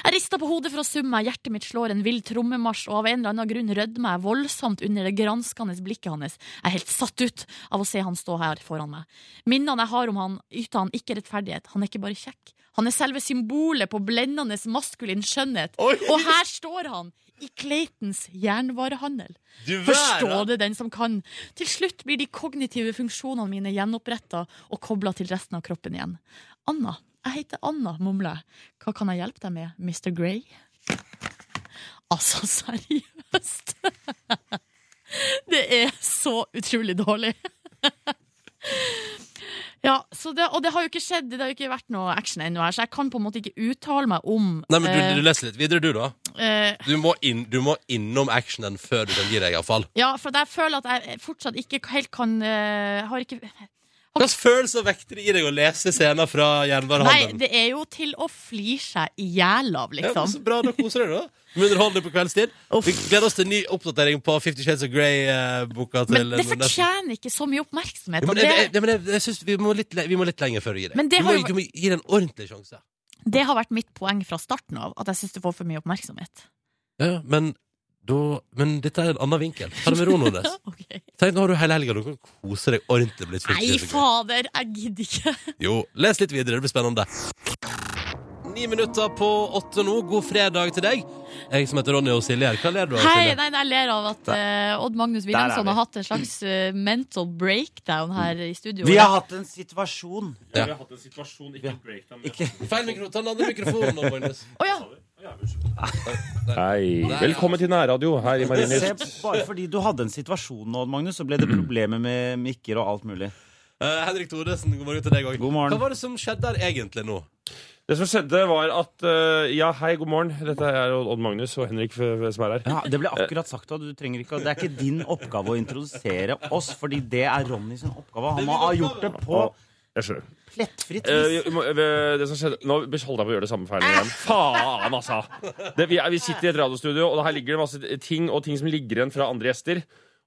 Speaker 2: Jeg rista på hodet for å summe meg, hjertet mitt slår en vill trommemarsj, og av en eller annen grunn rødmer jeg voldsomt under det granskende blikket hans. Jeg er helt satt ut av å se han stå her foran meg. Minnene jeg har om han, yter han ikke rettferdighet. Han er ikke bare kjekk. Han er selve symbolet på blendende maskulin skjønnhet. Og her står han, i Claytons jernvarehandel.
Speaker 5: Du
Speaker 2: Forstå det den som kan. Til slutt blir de kognitive funksjonene mine gjenoppretta og kobla til resten av kroppen igjen. Anna. Jeg heter Anna, mumler jeg. Hva kan jeg hjelpe deg med, Mr. Grey? Altså, seriøst! Det er så utrolig dårlig. Ja, så det, Og det har jo ikke skjedd, det har jo ikke vært noe action ennå her, så jeg kan på en måte ikke uttale meg om
Speaker 5: Nei, men
Speaker 2: eh,
Speaker 5: du, du leser litt videre, du, da.
Speaker 2: eh,
Speaker 5: Du må, inn, du må innom actionen før du kan gi deg, iallfall.
Speaker 2: Ja, for at jeg føler at jeg fortsatt ikke helt kan eh, Har ikke
Speaker 5: Hvilken følelse vekter det i deg å lese scener fra
Speaker 2: Nei,
Speaker 5: Jernvarehandelen?
Speaker 2: det er jo til å flire seg i hjel av,
Speaker 5: Ja, men så
Speaker 2: liksom.
Speaker 5: bra, da koser du deg, da. Med underholdning på kveldstid. Vi gleder oss til ny oppdatering på Fifty Shades of Grey-boka til
Speaker 2: Men det
Speaker 5: Nordnes.
Speaker 2: fortjener ikke så mye oppmerksomhet.
Speaker 5: Ja,
Speaker 2: Og
Speaker 5: men jeg, jeg,
Speaker 2: det,
Speaker 5: jeg, men jeg, jeg synes vi, må litt, le- vi må litt lenger før du gir deg.
Speaker 2: Men det
Speaker 5: du,
Speaker 2: har
Speaker 5: må,
Speaker 2: jo-
Speaker 5: du må gi det en ordentlig sjanse.
Speaker 2: det har vært mitt poeng fra starten av, at jeg syns det får for mye oppmerksomhet.
Speaker 5: Ja, ja, men, da, men dette er en annen vinkel. Ta det med ro, Nordnes.
Speaker 2: Ok.
Speaker 5: Tenk, nå har du hele helga. Du kan kose deg ordentlig. med litt Fifty
Speaker 2: Nei,
Speaker 5: Shades of Grey.
Speaker 2: fader, jeg gidder ikke.
Speaker 5: Jo, les litt videre, det blir spennende. Ni minutter på åtte nå. God fredag til deg. Jeg som heter Ronny og Silje her. Hva ler du av,
Speaker 2: Hei,
Speaker 5: Silje?
Speaker 2: nei, nei, jeg ler av at eh, Odd Magnus Wilhelmsson har hatt en slags eh, mental breakdown her i studio.
Speaker 8: Vi har hatt en situasjon. Ikke
Speaker 5: Feil mikrofon. Ta den andre mikrofonen nå, Magnus.
Speaker 2: Å ja,
Speaker 9: Hei. Velkommen til nærradio her i
Speaker 8: Se,
Speaker 9: Marienlyst.
Speaker 8: bare fordi du hadde en situasjon nå, Magnus, så ble det problemer med mikker og alt mulig.
Speaker 5: Eh, Henrik Thodesen, god morgen til deg òg.
Speaker 8: God morgen.
Speaker 5: Hva var det som skjedde her egentlig nå?
Speaker 9: Det som skjedde, var at eh, Ja, hei, god morgen. Dette er Odd Magnus og Henrik f- f- som er her. Eh,
Speaker 8: Ja, det ble akkurat sagt, og du trenger ikke, å- det er ikke din oppgave å introdusere oss, fordi det er Ronny sin oppgave. Han må ha gjort det på
Speaker 9: Jeg skjønner.
Speaker 8: plettfritt
Speaker 9: Eh,
Speaker 8: vis.
Speaker 9: vi- vi må- vi- det som skjedde Nå holdt jeg på å gjøre det samme feilen igjen. Faen, altså! Det, vi, er, vi sitter i et radiostudio, og her ligger det masse ting og ting som ligger igjen fra andre gjester.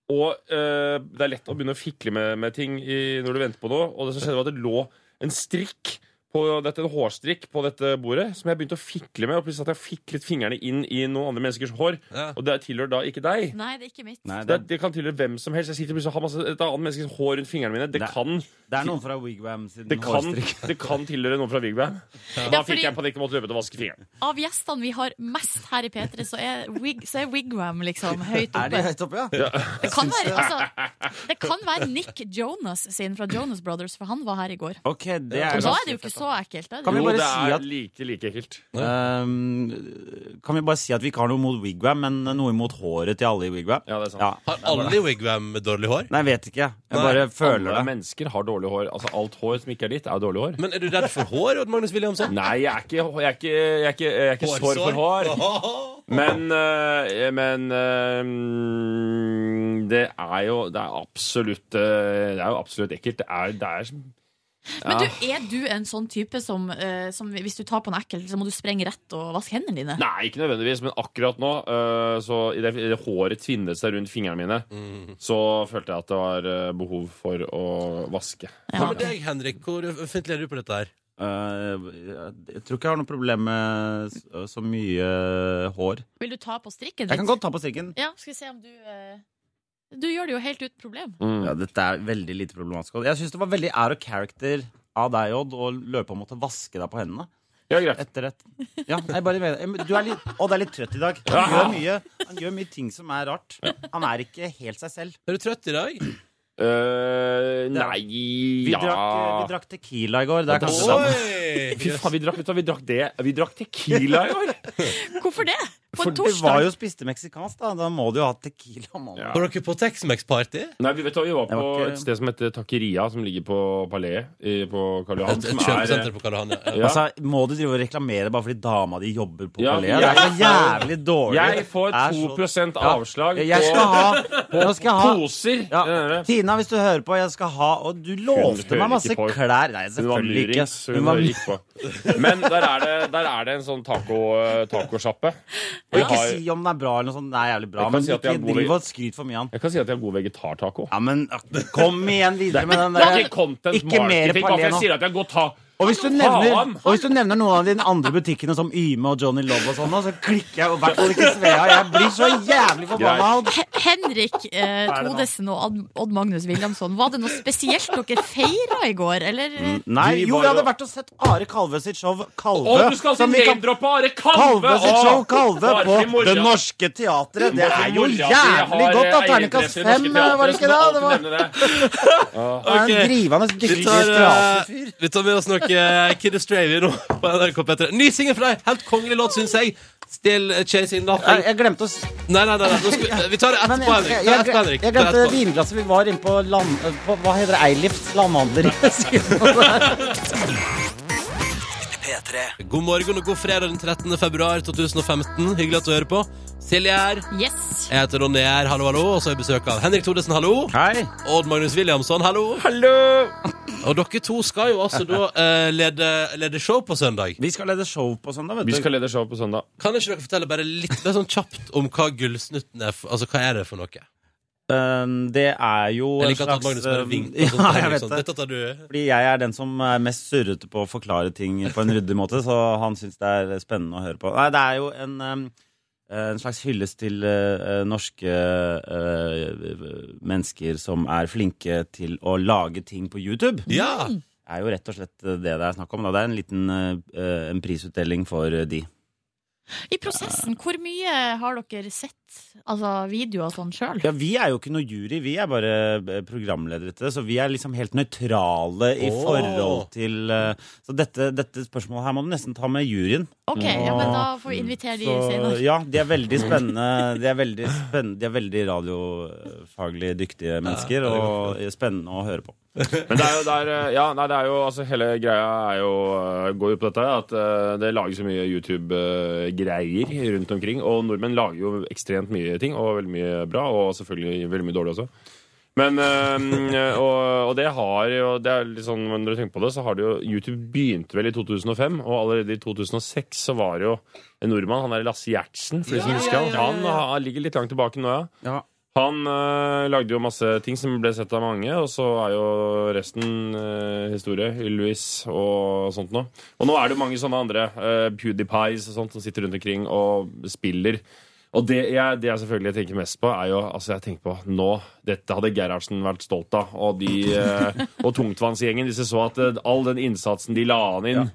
Speaker 9: Og eh, det er lett å begynne å fikle med, med ting i, når du venter på noe. Og det som skjedde, var at det lå en strikk på dette, en hårstrikk på dette bordet som jeg begynte å fikle med. Og plutselig hadde jeg fiklet fingrene inn i noen andre menneskers hår.
Speaker 5: Ja.
Speaker 9: Og det tilhører da ikke deg.
Speaker 2: nei, det er ikke mitt.
Speaker 8: Nei,
Speaker 9: Det,
Speaker 8: det,
Speaker 9: det kan tilhøre hvem som helst. Jeg sitter plutselig og har masse, et annet menneskes hår rundt fingrene mine. Det
Speaker 8: Nei.
Speaker 9: kan
Speaker 8: det er noen fra Wigwam sin
Speaker 9: det kan,
Speaker 8: hårstrikk.
Speaker 9: det kan tilhøre noen fra Vigvam. Da
Speaker 2: Ja, fordi-
Speaker 9: fikk jeg panikk og måtte løpe til å vaske fingeren.
Speaker 2: Av gjestene vi har mest her i P3, så er, wig, så er Wigwam liksom høyt
Speaker 8: Er de
Speaker 2: oppe.
Speaker 8: høyt oppe, ja?
Speaker 2: Det kan, være, altså, det kan være Nick Jonas sin fra Jonas Brothers, for han var her i går.
Speaker 8: Ok, det er
Speaker 2: Og da er det jo ikke
Speaker 8: ganske fett.
Speaker 2: så ekkelt. da.
Speaker 8: Kan vi
Speaker 9: Jo,
Speaker 8: bare
Speaker 9: det
Speaker 8: si
Speaker 9: er
Speaker 8: at-
Speaker 9: like, like ekkelt.
Speaker 8: Ehm, kan vi bare si at vi ikke har noe imot Wigwam, men noe imot håret til alle i Wigwam?
Speaker 9: Ja, det er sant.
Speaker 8: Ja.
Speaker 5: Har alle i Wigwam dårlig hår?
Speaker 8: Nei, jeg vet ikke. Jeg
Speaker 5: Nei,
Speaker 8: bare føler
Speaker 9: Alle
Speaker 8: det.
Speaker 9: mennesker har dårlig hår. Altså, alt hår som ikke er ditt, er dårlig hår.
Speaker 5: Men er du redd for hår, Odd Magnus Williamson?
Speaker 9: Nei, jeg er ikke, jeg er ikke, jeg er ikke, jeg er ikke sår for hår. Men, øh, men øh, mm, det er jo Det er absolutt øh, Det er jo absolutt ekkelt. Det er, det er
Speaker 2: Men du, er du en sånn type som, eh, som hvis du tar på en ekkel, så må du sprenge rett og vaske hendene dine?
Speaker 9: Nei, ikke nødvendigvis, men akkurat nå, øh, så i det, i det håret tvinnet seg rundt fingrene mine,
Speaker 8: Mm.
Speaker 9: så følte jeg at det var øh, behov for å vaske.
Speaker 5: Hva med deg, Henrik? Hvor offentlig er du på dette her?
Speaker 8: Eh, jeg tror ikke jeg har noe problem med s- så mye hår.
Speaker 2: Vil du ta på strikken
Speaker 8: Jeg kan
Speaker 2: din?
Speaker 8: godt ta på strikken.
Speaker 2: Ja, skal vi se om du eh, Du gjør det jo helt uten problem.
Speaker 9: Mm.
Speaker 8: Ja, dette er veldig lite problematisk. Odd. Jeg syns det var veldig out of character av deg, Odd, å løpe og måtte vaske deg på hendene
Speaker 9: Ja, greit.
Speaker 8: etter et Ja, jeg bare mener jeg- men Du er litt Odd er litt trøtt i dag. Han gjør mye, han gjør mye ting som er rart. Han er ikke helt seg selv.
Speaker 5: Er du trøtt i dag?
Speaker 9: Øh,
Speaker 8: Det er-
Speaker 9: nei
Speaker 8: Vi,
Speaker 9: ja.
Speaker 8: drakk, eh, vi drakk Tequila i går. Det er kanskje sant.
Speaker 5: Oi!
Speaker 9: Fy faen, vi drakk, vet du hva, vi drakk det Vi drakk tequila i år!
Speaker 2: Hvorfor det? På
Speaker 8: For
Speaker 2: en
Speaker 8: vi var
Speaker 2: torsdag?
Speaker 8: jo og spiste meksikansk, da. Da må du jo ha tequila. mann.
Speaker 9: Ja.
Speaker 5: Var dere på Tex-Mex-party?
Speaker 9: Nei, vi, vet du, hva, vi var
Speaker 8: Det
Speaker 9: på
Speaker 8: var ikke-
Speaker 9: et sted som heter Taqueria, som ligger på Palais i- på Karl Johan.
Speaker 5: Et,
Speaker 9: Som
Speaker 5: et
Speaker 9: er,
Speaker 5: kjøpesenter på Karl Johan. ja.
Speaker 9: ja.
Speaker 8: Altså, Må du drive og reklamere bare fordi dama di jobber på
Speaker 9: Ja,
Speaker 8: Palais?
Speaker 9: jeg-
Speaker 8: Det er så jævlig dårlig.
Speaker 9: Jeg får
Speaker 8: Det er så-
Speaker 9: 2
Speaker 8: Ja.
Speaker 9: avslag
Speaker 8: Jeg skal
Speaker 9: på
Speaker 8: ha, nå skal jeg ha
Speaker 9: poser.
Speaker 8: ja.
Speaker 9: Det er det.
Speaker 8: Tina, hvis du hører på, jeg skal ha Og du lovte
Speaker 9: hører
Speaker 8: meg masse
Speaker 9: ikke på.
Speaker 8: klær. Nei,
Speaker 9: Hun var
Speaker 8: selvfølgelig ikke.
Speaker 9: murings, så hun bare gikk på. Men der er det, der er det en sånn taco- tacosjappe.
Speaker 8: Og
Speaker 9: Vi
Speaker 8: ikke
Speaker 9: har-
Speaker 8: si om den er bra eller noe sånt. Den er jævlig bra.
Speaker 9: Jeg kan
Speaker 8: Men
Speaker 9: si at jeg
Speaker 8: ikke
Speaker 9: har god
Speaker 8: driv og skryt for mye av den.
Speaker 9: Jeg kan si at jeg har god vegetartaco.
Speaker 8: Ja, men ah, kom igjen videre med den
Speaker 9: Det er ikke
Speaker 8: der.
Speaker 9: content
Speaker 8: Ikke mer
Speaker 9: marketing. Bare
Speaker 8: Palais
Speaker 9: for jeg
Speaker 8: nå.
Speaker 9: sier at jeg har god ta
Speaker 8: Og hvis, du nevner, og hvis du nevner noen av de andre butikkene som Yme og Johnny Love og sånn, nå, så klikker jeg i hvert fall ikke Svea. Jeg blir så jævlig forbanna. og-
Speaker 2: He- Henrik eh, Todesen og Ad- Odd Magnus Williamson, var det noe spesielt dere feira i går, eller?
Speaker 8: Nei,
Speaker 9: Vi
Speaker 8: jo,
Speaker 9: var
Speaker 8: vi hadde
Speaker 9: jo-
Speaker 8: vært og sett Are Kalve sitt show
Speaker 9: Og
Speaker 8: Kalve.
Speaker 9: du skal
Speaker 8: som
Speaker 9: til
Speaker 8: vi kan-
Speaker 9: name-droppe Are Kalve!
Speaker 8: Kalve sitt
Speaker 9: Å,
Speaker 8: show Kalve
Speaker 9: bare i
Speaker 8: på
Speaker 9: morgen.
Speaker 8: Det Norske Teatret. Det er
Speaker 9: Bare
Speaker 8: jo
Speaker 9: i morgen. Vi
Speaker 8: jævlig
Speaker 9: har,
Speaker 8: godt, da.
Speaker 9: eh,
Speaker 8: Terningkast
Speaker 9: eiendreffer i norske
Speaker 8: fem, eh, var det ikke det?
Speaker 9: teatre, så
Speaker 8: Det var
Speaker 9: du må alltid nevne det.
Speaker 8: han er en
Speaker 5: Ok.
Speaker 8: drivende
Speaker 5: Vi
Speaker 8: dyktig
Speaker 5: tar, eh,
Speaker 8: teaterfyr.
Speaker 5: vi tar med oss noe eh, Kid Astravia nå på NRK P3. Ny singel fra deg! Helt kongelig låt, syns jeg. Still eh, Chasing
Speaker 8: Jeg,
Speaker 5: Nothing.
Speaker 8: jeg glemte å s-
Speaker 5: Nei, nei, nei. nei. Nå skal vi, vi tar det
Speaker 8: Men
Speaker 5: etterpå,
Speaker 8: jeg,
Speaker 5: Henrik.
Speaker 8: jeg,
Speaker 5: Det er
Speaker 8: jeg,
Speaker 5: etterpå, Henrik. Det
Speaker 8: jeg
Speaker 5: er
Speaker 8: glemte
Speaker 5: etterpå.
Speaker 8: vinglasset vi var inne på, land, på Hva heter det? Eilifs landhandler. Siden-
Speaker 5: God morgen og god fredag den 13. februar 2015. Hyggelig at du hører på. Silje er
Speaker 8: mm.
Speaker 5: her.
Speaker 2: Yes.
Speaker 5: Jeg heter Ronny her, hallo, hallo. Og så har jeg besøk av Henrik Thodesen, hallo.
Speaker 8: Hei.
Speaker 5: Odd Magnus Williamson, hallo.
Speaker 9: Hallo!
Speaker 5: Og dere to skal jo altså da eh, lede, lede show på søndag.
Speaker 8: Vi skal lede show på søndag, vet
Speaker 9: Vi
Speaker 8: du.
Speaker 9: skal lede show på søndag.
Speaker 5: Kan ikke dere fortelle bare litt mer sånn kjapt om hva Gullsnutten er? For, altså, hva er det for noe?
Speaker 8: Um, det er jo
Speaker 5: Jeg
Speaker 8: en
Speaker 5: liker at Odd Magnus bare
Speaker 9: eh,
Speaker 8: um,
Speaker 5: vinker. og sånt,
Speaker 8: ja, jeg
Speaker 5: Henrik,
Speaker 8: vet
Speaker 5: sånn,
Speaker 8: det.
Speaker 5: Dette tar du.
Speaker 8: Fordi jeg er den som er mest surrete på å forklare ting på en ryddig måte, så han syns det er spennende å høre på. Nei, det er jo en, um, en slags hyllest til uh, norske uh, mennesker som er flinke til å lage ting på YouTube.
Speaker 5: Ja!
Speaker 8: Det er jo rett og slett det det er snakk om. Da. Det er en liten uh, en prisutdeling for uh, de.
Speaker 2: I prosessen, hvor mye har dere sett? Altså videoer og sånn sjøl?
Speaker 8: Ja, Vi er jo ikke noe jury, vi er bare eh, programledere til det. Så vi er liksom helt nøytrale i
Speaker 5: Åh.
Speaker 8: forhold til eh, Så dette, dette spørsmålet her må du nesten ta med juryen.
Speaker 2: OK, ja, men da får vi
Speaker 9: Mm.
Speaker 2: invitere de
Speaker 8: Så,
Speaker 2: senere.
Speaker 8: ja, de er veldig spennende. De er veldig, spennende, de er veldig radiofaglig dyktige mennesker, og spennende å høre på.
Speaker 9: Men det er jo, det er, eh, ja, nei, det er jo altså, hele greia er jo, eh, går jo på dette at eh, det lages så mye YouTube-greier rundt omkring. Og nordmenn lager jo ekstremt mye ting, og veldig mye bra, og selvfølgelig veldig mye dårlig også. Men, eh, og, og det har jo det er litt sånn, Når du tenker på det, så har det jo YouTube begynte vel i 2005, og allerede i 2006 så var det jo en nordmann, han der Lasse Gjertsen, for de som husker han. Han, han ligger litt langt tilbake nå, ja. Han eh, lagde jo masse ting som ble sett av mange, og så er jo resten eh, historie. Ylvis og sånt noe. Og nå er det jo mange sånne andre, eh, PewDiePies og sånt, som sitter rundt omkring og spiller. Og det jeg, det jeg selvfølgelig tenker mest på, er jo altså jeg tenker på nå Dette hadde Gerhardsen vært stolt av. Og, de, eh, og tungtvannsgjengen, hvis de så at eh, all den innsatsen de la an inn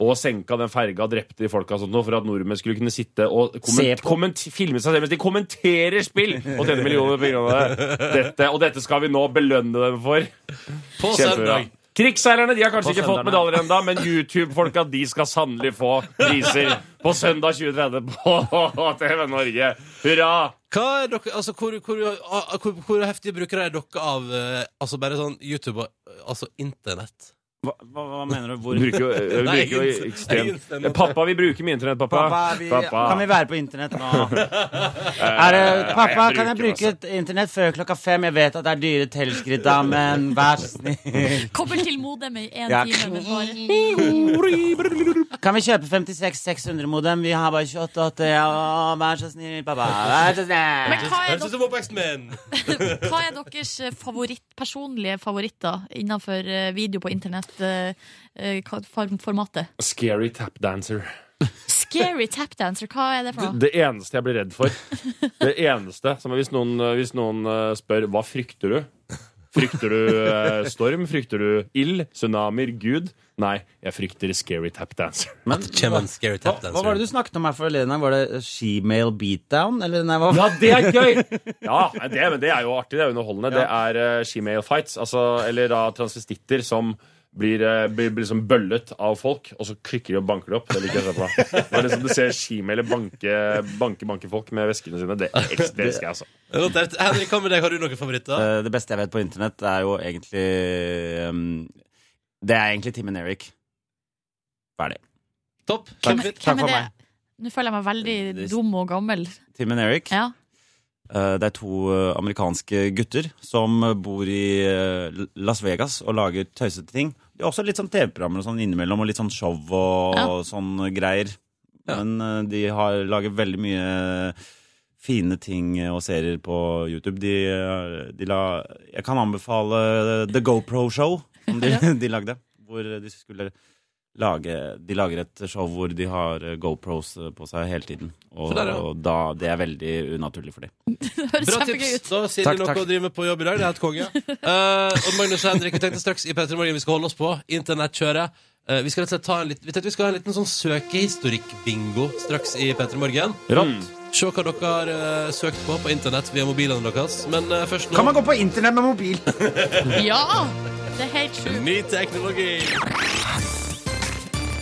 Speaker 9: Og senka den ferga, drepte de folka og sånt noe, for at nordmenn skulle kunne sitte og
Speaker 8: Se
Speaker 9: komment,
Speaker 8: på.
Speaker 9: komment, filme seg selv mens de kommenterer spill! Og tjene millioner på grunn av det. Dette, og dette skal vi nå belønne dem for.
Speaker 5: På
Speaker 9: Kjempebra.
Speaker 5: søndag.
Speaker 9: Krigsseilerne de har kanskje
Speaker 8: På
Speaker 9: ikke fått
Speaker 8: søndagene.
Speaker 9: medaljer ennå, men YouTube-folka de skal sannelig få priser på søndag 2030 på TV Norge. Hurra!
Speaker 5: Hva er dere, altså, hvor, hvor, ah, hvor, hvor heftige brukere er dere av eh, altså bare sånn YouTube og eh, altså internett?
Speaker 8: Hva, hva, hva mener du?
Speaker 9: Vi
Speaker 8: Hvor
Speaker 9: bruker jo, eh, vi
Speaker 5: Nei,
Speaker 9: bruker jo
Speaker 5: ingen- ingen
Speaker 9: ekstremt
Speaker 5: stemmer.
Speaker 9: Pappa, vi bruker mye internett, pappa.
Speaker 8: Pappa, er vi, kan vi være på internett nå? Er det, pappa,
Speaker 9: jeg
Speaker 8: kan jeg
Speaker 9: bruker
Speaker 8: bruke et internett før klokka fem? Jeg vet at det er dyre telskritt, da, men vær så snill.
Speaker 2: Kommer til modemet i én
Speaker 8: Ja.
Speaker 2: time. Men bare.
Speaker 8: Kan vi kjøpe 56-600-modem? Vi har bare 28. Ja, vær så snill, pappa. Vær så snill.
Speaker 2: Men hva er,
Speaker 5: Høres ut som oppvekstmenn!
Speaker 2: dok- hva er deres eh, favoritt, personlige favoritter innenfor eh, video på eh, internett-formatet?
Speaker 9: Scary tap dancer.
Speaker 2: Scary tapdancer, hva er det for noe?
Speaker 9: Det eneste jeg blir redd for Det eneste som er hvis noen, hvis noen eh, spør hva frykter du? Frykter du eh, storm? Frykter du ild? Tsunamier? Gud? Nei, jeg frykter scary tap dancer.
Speaker 5: Kjem en scary
Speaker 8: Hva,
Speaker 5: tap
Speaker 8: hva var
Speaker 5: dancer.
Speaker 8: det du snakket om her forleden? Var det shemale beatdown? Eller nei, hva?
Speaker 9: Ja, det er gøy! Ja, nei, det, men det er jo artig. Det er underholdende. Det er uh, shemale fights, altså, eller da transvestitter som blir, eh, blir, blir liksom bøllet av folk, og så klikker de og banker de opp. Det liker jeg å se på. Det er liksom Du ser shemale banke, banke, banke folk med veskene sine. Det, det elsker jeg, altså.
Speaker 5: Notert. Henrik, hva med deg? Har du noen favoritter?
Speaker 8: Eh, Det beste jeg vet på internett, er jo egentlig ehm, Det er egentlig Tim and Eric. Ferdig.
Speaker 5: Topp.
Speaker 2: Hvem,
Speaker 5: Kjempefint.
Speaker 8: Takk
Speaker 2: hvem
Speaker 8: for
Speaker 2: er det?
Speaker 8: meg.
Speaker 2: Nå føler jeg meg veldig
Speaker 8: Det-
Speaker 2: dum og gammel.
Speaker 8: Tim and Eric.
Speaker 2: Ja.
Speaker 8: Eh, Det er to eh, amerikanske gutter som eh, bor i eh, L- Las Vegas og lager tøysete ting. De har også litt sånn TV-programmer og sånn innimellom, og litt sånn show og,
Speaker 2: Ja.
Speaker 8: og sånn greier.
Speaker 5: Ja.
Speaker 8: Men eh, de har lager veldig mye fine ting og serier på YouTube. De, eh, de la Jeg kan anbefale The GoPro Show, som de, de lagde. Hvor de skulle lage De lager et show hvor de har eh, GoPros på seg hele tiden. Og,
Speaker 5: Så der, ja.
Speaker 8: og da, det er veldig unaturlig for dem.
Speaker 2: Det høres
Speaker 5: Bra
Speaker 2: kjempegøy
Speaker 5: tips.
Speaker 2: ut.
Speaker 5: Da sier
Speaker 8: Takk,
Speaker 5: de noe
Speaker 8: takk.
Speaker 5: å drive med på jobb i dag. Det er helt konge. Eh, og Magnus og Henrik, vi tenkte straks i Petter Morgen vi skal holde oss på. Internettkjøret. Eh, vi skal rett og slett ta en litt, vi tenkte vi skal ha en liten sånn søkehistorikk-bingo straks i Petter Morgen. Mm.
Speaker 8: Rått.
Speaker 5: Se hva dere har eh, søkt på på internett via mobilene deres. Men eh, først nå
Speaker 10: Kan man gå på internett med mobil?
Speaker 2: Ja! Det er helt sjukt.
Speaker 5: Ny teknologi!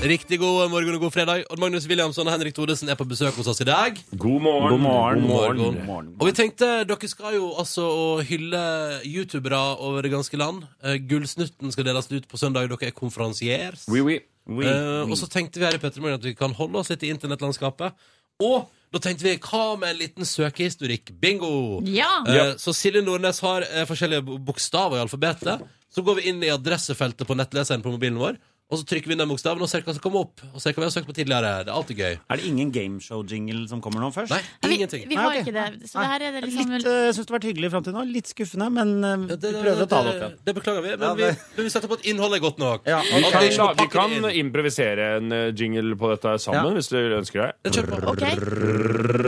Speaker 5: Riktig god morgen og god fredag. Odd Magnus Williamson og Henrik Thodesen er på besøk hos oss i dag.
Speaker 9: God morgen.
Speaker 8: God morgen.
Speaker 5: God morgen.
Speaker 8: God morgen.
Speaker 5: Og vi tenkte, dere skal jo altså å hylle youtubere over det ganske land. Eh, Gullsnutten skal deles ut på søndag. Dere er konferansiers.
Speaker 9: Oui, oui.
Speaker 8: Oui. Mm.
Speaker 5: Eh, og så tenkte vi her i Petremorgen at vi kan holde oss litt i internettlandskapet. Og da tenkte vi, hva med en liten søkehistorikk? Bingo!
Speaker 2: Ja.
Speaker 5: Eh, Så Silje Nordnes har eh, forskjellige bo- bokstaver i alfabetet. Så går vi inn i adressefeltet på nettleseren på mobilen vår, og så trykker vi inn den bokstaven og ser hva som kommer opp. Og ser hva vi har søkt på tidligere. Det er alltid gøy.
Speaker 8: Er det ingen gameshow-jingle som kommer nå først?
Speaker 5: Nei,
Speaker 2: Vi,
Speaker 5: ingenting.
Speaker 2: vi har
Speaker 8: Nei, ok.
Speaker 2: ikke det. Så det her er det liksom
Speaker 8: Litt, eh, jeg syns det har vært hyggelig fram til nå. Litt skuffende, men eh,
Speaker 5: Ja,
Speaker 8: vi prøver å ta det opp igjen.
Speaker 5: det beklager vi, men
Speaker 10: Ja,
Speaker 5: vi,
Speaker 10: det-
Speaker 5: men vi setter på at innholdet er godt nok.
Speaker 10: Ja,
Speaker 9: Vi
Speaker 5: At
Speaker 9: kan,
Speaker 5: det ikke må
Speaker 9: la- vi
Speaker 5: pakke
Speaker 9: kan
Speaker 5: det inn.
Speaker 9: improvisere en eh, jingle på dette sammen,
Speaker 8: Ja.
Speaker 9: hvis du ønsker deg.
Speaker 5: Kjør på.
Speaker 2: OK.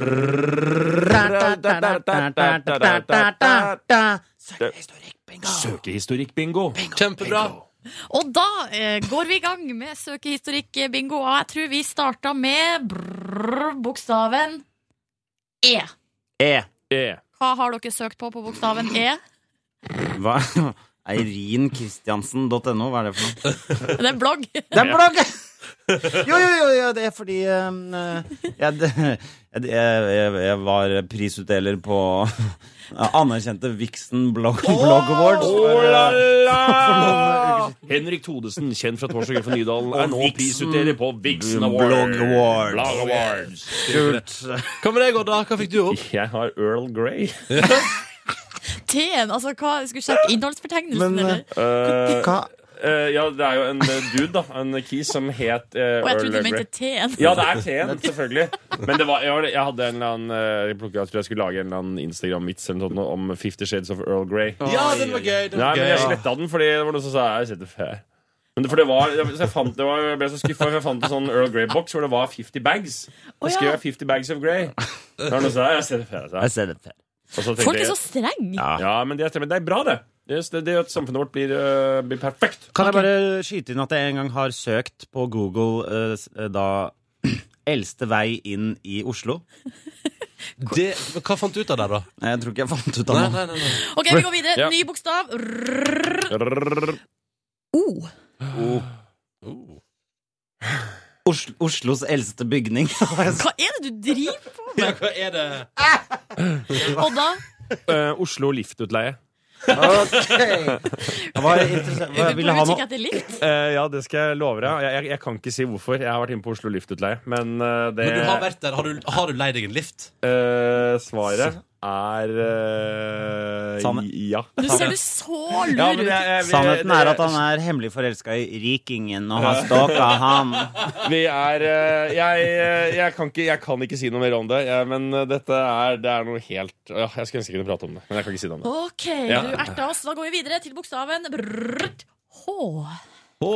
Speaker 9: Søkehistorikk-bingo.
Speaker 5: Kjempebra.
Speaker 2: Og da eh, går vi i gang med søkehistorikk-bingo. Og jeg tror vi starta med brrr, bokstaven E.
Speaker 8: E.
Speaker 9: E.
Speaker 2: Hva har dere søkt på på bokstaven E?
Speaker 8: Hva? Eirinchristiansen.no, hva er det for noe?
Speaker 2: Det er en blogg.
Speaker 8: Det er blogg! Jo, jo, jo, jo, det er fordi um, eh, jeg, det- jeg, jeg, jeg var prisutdeler på anerkjente Vixen Blog, blog Awards.
Speaker 9: Oh
Speaker 8: for,
Speaker 9: la
Speaker 8: eh,
Speaker 9: la! Henrik Thodesen, kjent fra Torsdager for Nydalen, er nå
Speaker 8: Og Vixen-
Speaker 9: prisutdeler på Vixen Award.
Speaker 8: Blog Awards.
Speaker 9: Blog Awards.
Speaker 8: kult.
Speaker 5: Hva med deg, Odda? Hva fikk du opp?
Speaker 9: Jeg har Earl Grey.
Speaker 2: T-en, altså hva, Skulle du sjekke innholdsfortegnelsen,
Speaker 10: Men, eh,
Speaker 2: eller?
Speaker 9: Eh,
Speaker 10: Hva?
Speaker 9: eh, ja, det er jo en eh, dude, da. En kis som het eh,
Speaker 2: Og jeg
Speaker 9: Earl
Speaker 2: trodde du
Speaker 9: Grey.
Speaker 2: mente T-en.
Speaker 9: Ja, det er teen, selvfølgelig. Men det var, jeg, var- jeg hadde en eller annen eh, Jeg, plukket, jeg tror jeg skulle lage en eller annen Instagram-vits eller noe sånt om Fifty Shades of Earl Grey.
Speaker 5: Ja, den var gøy. Den
Speaker 9: Nei,
Speaker 5: var
Speaker 9: men jeg
Speaker 5: gøy.
Speaker 9: sletta den fordi det var noen som sa Jeg setter fæ. Men det, for det var, jeg, så jeg, fant, det var, jeg ble så skuffa, for jeg fant en sånn Earl Grey-boks hvor det var 50 bags.
Speaker 2: Å,
Speaker 9: Da
Speaker 2: ja.
Speaker 9: skrev jeg 50 bags of Grey. Da var det noen som sa, jeg setter fæ, sa jeg.
Speaker 8: Jeg ser dette.
Speaker 9: Og så
Speaker 2: Folk
Speaker 9: tenkte
Speaker 2: er så
Speaker 9: jeg
Speaker 2: streng
Speaker 9: Ja, men det, er- men det er bra, det. Det er- det gjør at samfunnet vårt blir, eh, blir perfekt.
Speaker 8: Kan jeg bare skyte inn at jeg en gang har søkt på Google eh, s- eh, da Eldste vei inn i Oslo.
Speaker 5: Det, men hva fant du ut av der, da?
Speaker 8: Nei, Jeg tror ikke jeg fant ut av
Speaker 5: Nei,
Speaker 8: noe.
Speaker 5: nei, nei, nei.
Speaker 2: OK, vi går videre.
Speaker 9: Ja.
Speaker 2: Ny bokstav. Rrrr. O.
Speaker 8: Oslo, Oslos eldste bygning.
Speaker 2: Hva er det du driver
Speaker 5: Ja, hva er det?
Speaker 2: med, Odda?
Speaker 9: Eh, Oslo Liftutleie.
Speaker 8: Jeg var interessert-
Speaker 2: Du
Speaker 8: jeg
Speaker 2: er på
Speaker 8: ville ha
Speaker 2: utkikk
Speaker 8: noe
Speaker 2: etter lift?
Speaker 9: Eh, ja, det skal jeg love deg. Jeg, jeg, jeg kan ikke si hvorfor. Jeg har vært inne på Oslo Liftutleie. Men eh, det
Speaker 5: Men du har vært der. Har du, har du leid deg en lift?
Speaker 9: eh, svaret er eh,
Speaker 8: Sanne.
Speaker 9: Ja.
Speaker 2: Nå ser du så lur
Speaker 9: ja
Speaker 2: ut.
Speaker 9: men jeg,
Speaker 8: Eh,
Speaker 9: jeg, vi-
Speaker 8: Sannheten er at han er hemmelig forelska i rikingen og har stalka han.
Speaker 9: Vi er eh, jeg, eh, jeg, kan ikke, jeg kan ikke si noe mer om det. Jeg, men eh, dette er, det er noe helt ja, Jeg skulle ønske jeg kunne prate om det, men jeg kan ikke si det om det.
Speaker 2: OK,
Speaker 9: Ja.
Speaker 2: du erta oss. Da går vi videre til bokstaven brrrt. H.
Speaker 5: Å.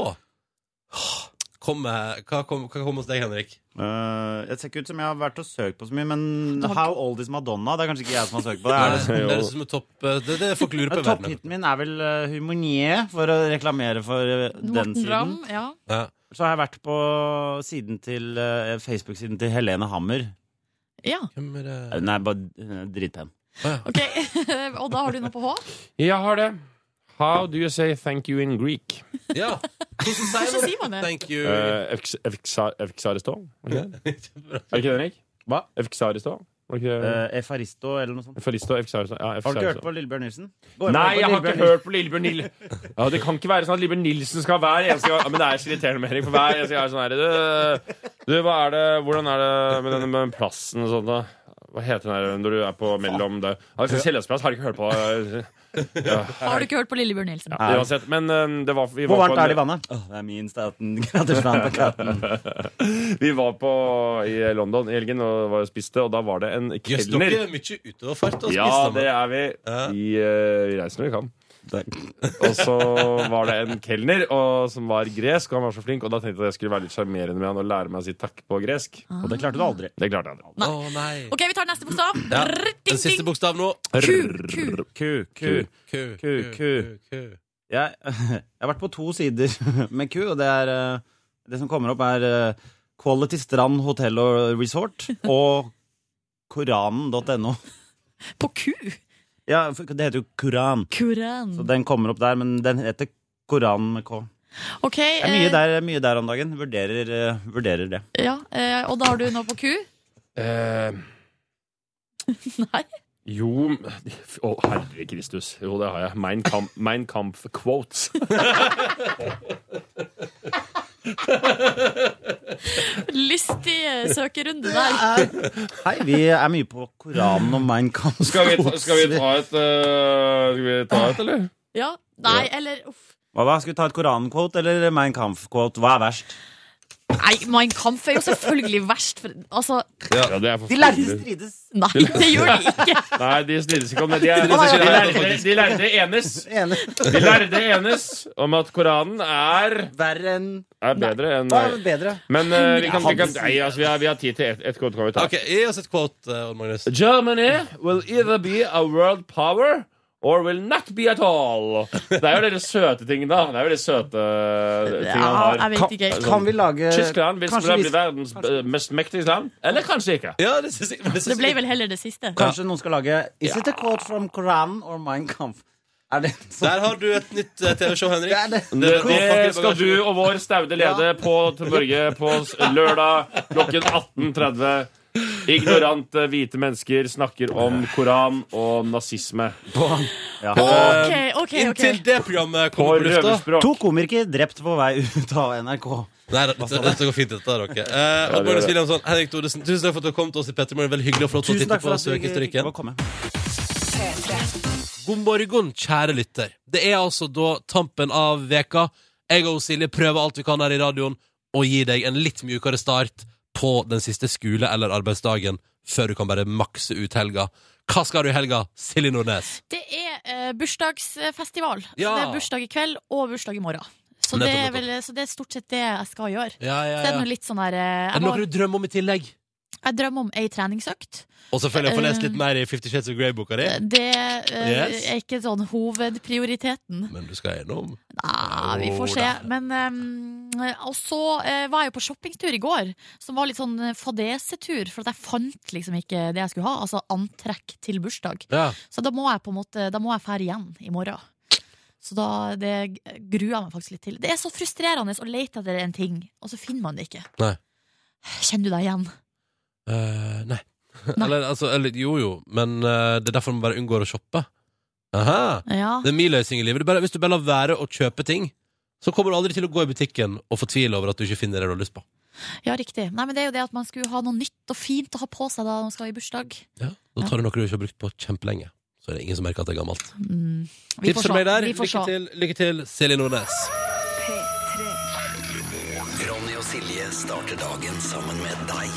Speaker 5: Kom med, hva, kom, hva kom hos deg, Henrik?
Speaker 8: Eh, jeg ser ikke ut som jeg har vært og søkt på så mye, men How Old Is Madonna? Det er kanskje ikke jeg som har søkt på det. Er det?
Speaker 5: Det er det som er topp eh, Det, det folk lurer på i verden.
Speaker 8: Topphiten min er vel uh, Humonier, for å reklamere for eh, den
Speaker 2: Morten
Speaker 8: siden.
Speaker 2: Ramm. Ja.
Speaker 5: Ja.
Speaker 8: Så har jeg vært på siden til eh, Facebook-siden til Helene Hammer.
Speaker 2: ja.
Speaker 5: Hvem er det?
Speaker 8: Hun er bare eh, dritpen.
Speaker 2: OK. Og da har du noe på H?
Speaker 9: Jeg har det. How do you say thank you in Greek?
Speaker 5: Ja. Hvordan sier
Speaker 2: Hvordan
Speaker 5: man det?
Speaker 2: sier man det?
Speaker 5: Thank you.
Speaker 8: Eh,
Speaker 9: Uh, Evksaristå? Er det ikke det, Henrik?
Speaker 8: Hva?
Speaker 9: Evksaristå? Var det ikke det?
Speaker 8: Eh, Efaristo eller noe sånt.
Speaker 9: Faristo, Evksaristå? Ja,
Speaker 8: Har du ikke hørt
Speaker 9: Evksaristå.
Speaker 8: på Lillebjørn Nilsen? Gå inn
Speaker 9: Nei,
Speaker 8: på
Speaker 9: jeg har ikke
Speaker 8: Lillebjørn
Speaker 9: hørt på Lillebjørn Nil. Ja, det kan ikke være sånn at Lillebjørn Nilsen skal være eneste gang. Ja, Men det er så irriterende med Erik, for hver eneste gang er det sånn her du, du, hva er det Hvordan er det med denne med plassen og sånn, da? Hva heter den her når du er på mellom det Ja, Kjellersplass, har jeg ikke hørt på. Ja,
Speaker 2: Har du ikke hørt på Lillebjørn Nilsen?
Speaker 9: ja, uansett. Men eh, det var vi
Speaker 8: Nilsen. Hvor
Speaker 9: var på
Speaker 8: varmt er det i
Speaker 9: en-
Speaker 8: vannet?
Speaker 6: Oh,
Speaker 8: Åh, det er minst 18 grader varmt på katten.
Speaker 9: Vi var på i London i helgen og var og spiste, og da var det en
Speaker 5: Jøss,
Speaker 9: kelner.
Speaker 5: dere er mye ute og fart og
Speaker 9: Ja,
Speaker 5: spiser.
Speaker 9: det er vi.
Speaker 5: Ja.
Speaker 9: Vi, eh, vi reiser når vi kan. Og så var det en kelner og, som var gresk, og han var så flink. Og da tenkte jeg at jeg skulle være litt sjarmerende med han og lære meg å si takk på gresk.
Speaker 8: Og det klarte du aldri.
Speaker 9: Det klarte jeg aldri.
Speaker 5: Å nei.
Speaker 2: OK, vi tar neste bokstav.
Speaker 5: Ja.
Speaker 2: Rrr,
Speaker 5: Den
Speaker 2: ding,
Speaker 5: siste
Speaker 2: ding.
Speaker 5: bokstaven nå.
Speaker 2: Ku, ku.
Speaker 8: Ku, ku.
Speaker 5: Ku,
Speaker 8: Ku, ku. Jeg, jeg har vært på to sider med ku, og det er eh, Det som kommer opp, er eh, Quality Strand Hotel og Resort og koranen.no.
Speaker 2: På ku.
Speaker 8: Ja, for det heter jo Koran.
Speaker 2: Kuran.
Speaker 8: Så den kommer opp der, men den heter Koranen med K.
Speaker 2: OK.
Speaker 8: Det er mye
Speaker 2: eh,
Speaker 8: der, mye der om dagen. Vurderer, eh, vurderer det.
Speaker 2: ja, eh, og da har du noe på ku?
Speaker 9: Eh,
Speaker 2: Nei?
Speaker 9: jo Å, herre Kristus. Jo, det har jeg. Mein Kampf, mein Kampf quotes.
Speaker 2: Lystig eh, søkerunde der.
Speaker 8: Hei, vi er mye på Koranen og Mein Kampf.
Speaker 9: Skal vi, ta- skal vi ta et, eh, skal vi ta et eller?
Speaker 2: Ja. Nei, eller uff.
Speaker 8: Hva da? Skal vi ta et Koran-quote eller Mein Kampf-quote? Hva er verst?
Speaker 2: Nei, Mein Kampf er jo selvfølgelig verst. For, altså,
Speaker 9: Ja, det er for
Speaker 8: De lærde strides.
Speaker 2: nei, det gjør de ikke.
Speaker 9: Nei, de strides ikke om det. De, er, de,
Speaker 8: ikke, nei,
Speaker 9: lærde, de lærde enes.
Speaker 8: Enig.
Speaker 9: De lærde enes om at Koranen er,
Speaker 8: Verre enn
Speaker 9: er bedre enn
Speaker 8: Hva er bedre?
Speaker 9: Men eh, vi, kan, vi, kan, nei, altså, vi, har, vi har tid til ett et kort. Kan vi ta.
Speaker 5: Ok, gi oss et quote, eh, Odd Magnus.
Speaker 9: Germany will either be a world power or will not be at all. Det er jo dere søte ting, da. Det er jo de søte eh, ting
Speaker 2: Ja,
Speaker 9: han
Speaker 2: jeg
Speaker 9: har.
Speaker 2: vet ikke.
Speaker 8: Kan vi lage
Speaker 9: Tyskland vil
Speaker 8: Kanskje,
Speaker 9: skulle
Speaker 8: vi,
Speaker 9: bli verdens eh, mest mektige land. Eller kanskje ikke.
Speaker 5: Ja, det synes jeg, det synes
Speaker 2: Det ble
Speaker 5: jeg.
Speaker 2: vel heller det siste.
Speaker 8: kanskje noen skal lage Is it a quote from Koran or Mein Kampf? Er det så,
Speaker 5: Der har du et nytt eh, TV-show, Henrik.
Speaker 8: det er det.
Speaker 9: Det, det skal du og vår staude leder på til Norge på s- lørdag klokken 18.30. Ignorante eh, hvite mennesker snakker om Koran og nazisme.
Speaker 8: Ja.
Speaker 2: OK, OK. ok
Speaker 5: Inntil det programmet
Speaker 9: På
Speaker 5: kommer på lufta.
Speaker 9: røverspråk.
Speaker 8: To komikere drept på vei ut av NRK.
Speaker 5: Nei, det- dette, dette går fint, dette her, dere. Eh, Odd Magnus Williamson, Henrik Thodesen, tusen takk for at du kom til oss i Pettermorgen. Veldig hyggelig og flott å
Speaker 8: Tusen
Speaker 5: titte
Speaker 8: takk
Speaker 5: på
Speaker 8: for at vi
Speaker 5: søkehistorikken.
Speaker 8: fikk komme.
Speaker 5: God morgen, kjære lytter. Det er altså da tampen av veka. Jeg og Silje prøver alt vi kan her i radioen og gir deg en litt mjukere start på den siste skole- eller arbeidsdagen før du kan bare makse ut helga. Hva skal du i helga, Silje Nordnes?
Speaker 2: Det er eh, bursdagsfestival.
Speaker 5: Ja.
Speaker 2: Så det er bursdag i kveld og bursdag i morgen. Så,
Speaker 5: Nettopp,
Speaker 2: det er,
Speaker 5: nettopp.
Speaker 2: vel, så det er stort sett det jeg skal gjøre.
Speaker 5: Ja, ja,
Speaker 2: Så det er noe litt sånn her eh,
Speaker 5: Er
Speaker 2: jeg,
Speaker 5: det
Speaker 2: må,
Speaker 5: noe du drømmer om i tillegg?
Speaker 2: jeg drømmer om ei treningsøkt.
Speaker 5: Og selvfølgelig å få
Speaker 2: Eh,
Speaker 5: lest litt mer i Fifty Shades of Grey-boka di.
Speaker 2: Det eh,
Speaker 5: Yes.
Speaker 2: er ikke sånn hovedprioriteten.
Speaker 5: Men du skal gjennom.
Speaker 2: Nei, vi får
Speaker 5: Jo
Speaker 2: se.
Speaker 5: da.
Speaker 2: Men eh, Og så eh, var jeg jo på shoppingtur i går, som var litt sånn eh, fadesetur, for at jeg fant liksom ikke det jeg skulle ha. Altså antrekk til bursdag.
Speaker 5: Ja.
Speaker 2: Så da må jeg på en måte Da må jeg fære igjen i morgen Så da det gruer jeg meg faktisk litt til Det er så frustrerende å lete etter en ting Og så finner man det ikke
Speaker 5: Nei.
Speaker 2: Kjenner du deg igjen?
Speaker 5: Eh, nei.
Speaker 2: Nei.
Speaker 5: Eller, altså, eller jo jo, men eh, det er derfor man bare unngår å shoppe. Aha.
Speaker 2: Ja,
Speaker 5: Det er min løsning i livet. Du bare, hvis du bare lar være å kjøpe ting, så kommer du aldri til å gå i butikken og fortvile over at du ikke finner det du har lyst på.
Speaker 2: ja riktig Nei, men det er jo det at man skulle ha noe nytt og fint Å ha på seg da man skal i bursdag
Speaker 5: Ja. Da tar du noe du ikke har brukt på kjempelenge. Så er det ingen som merker at det er gammelt.
Speaker 2: mm. Vi
Speaker 5: Tips
Speaker 2: får
Speaker 5: fra
Speaker 2: se.
Speaker 5: meg der.
Speaker 2: Vi får
Speaker 5: Lykke
Speaker 2: se.
Speaker 5: til, lykke til, Silje Nordnes.
Speaker 1: P3.
Speaker 10: Ronny og Silje starter dagen sammen med deg.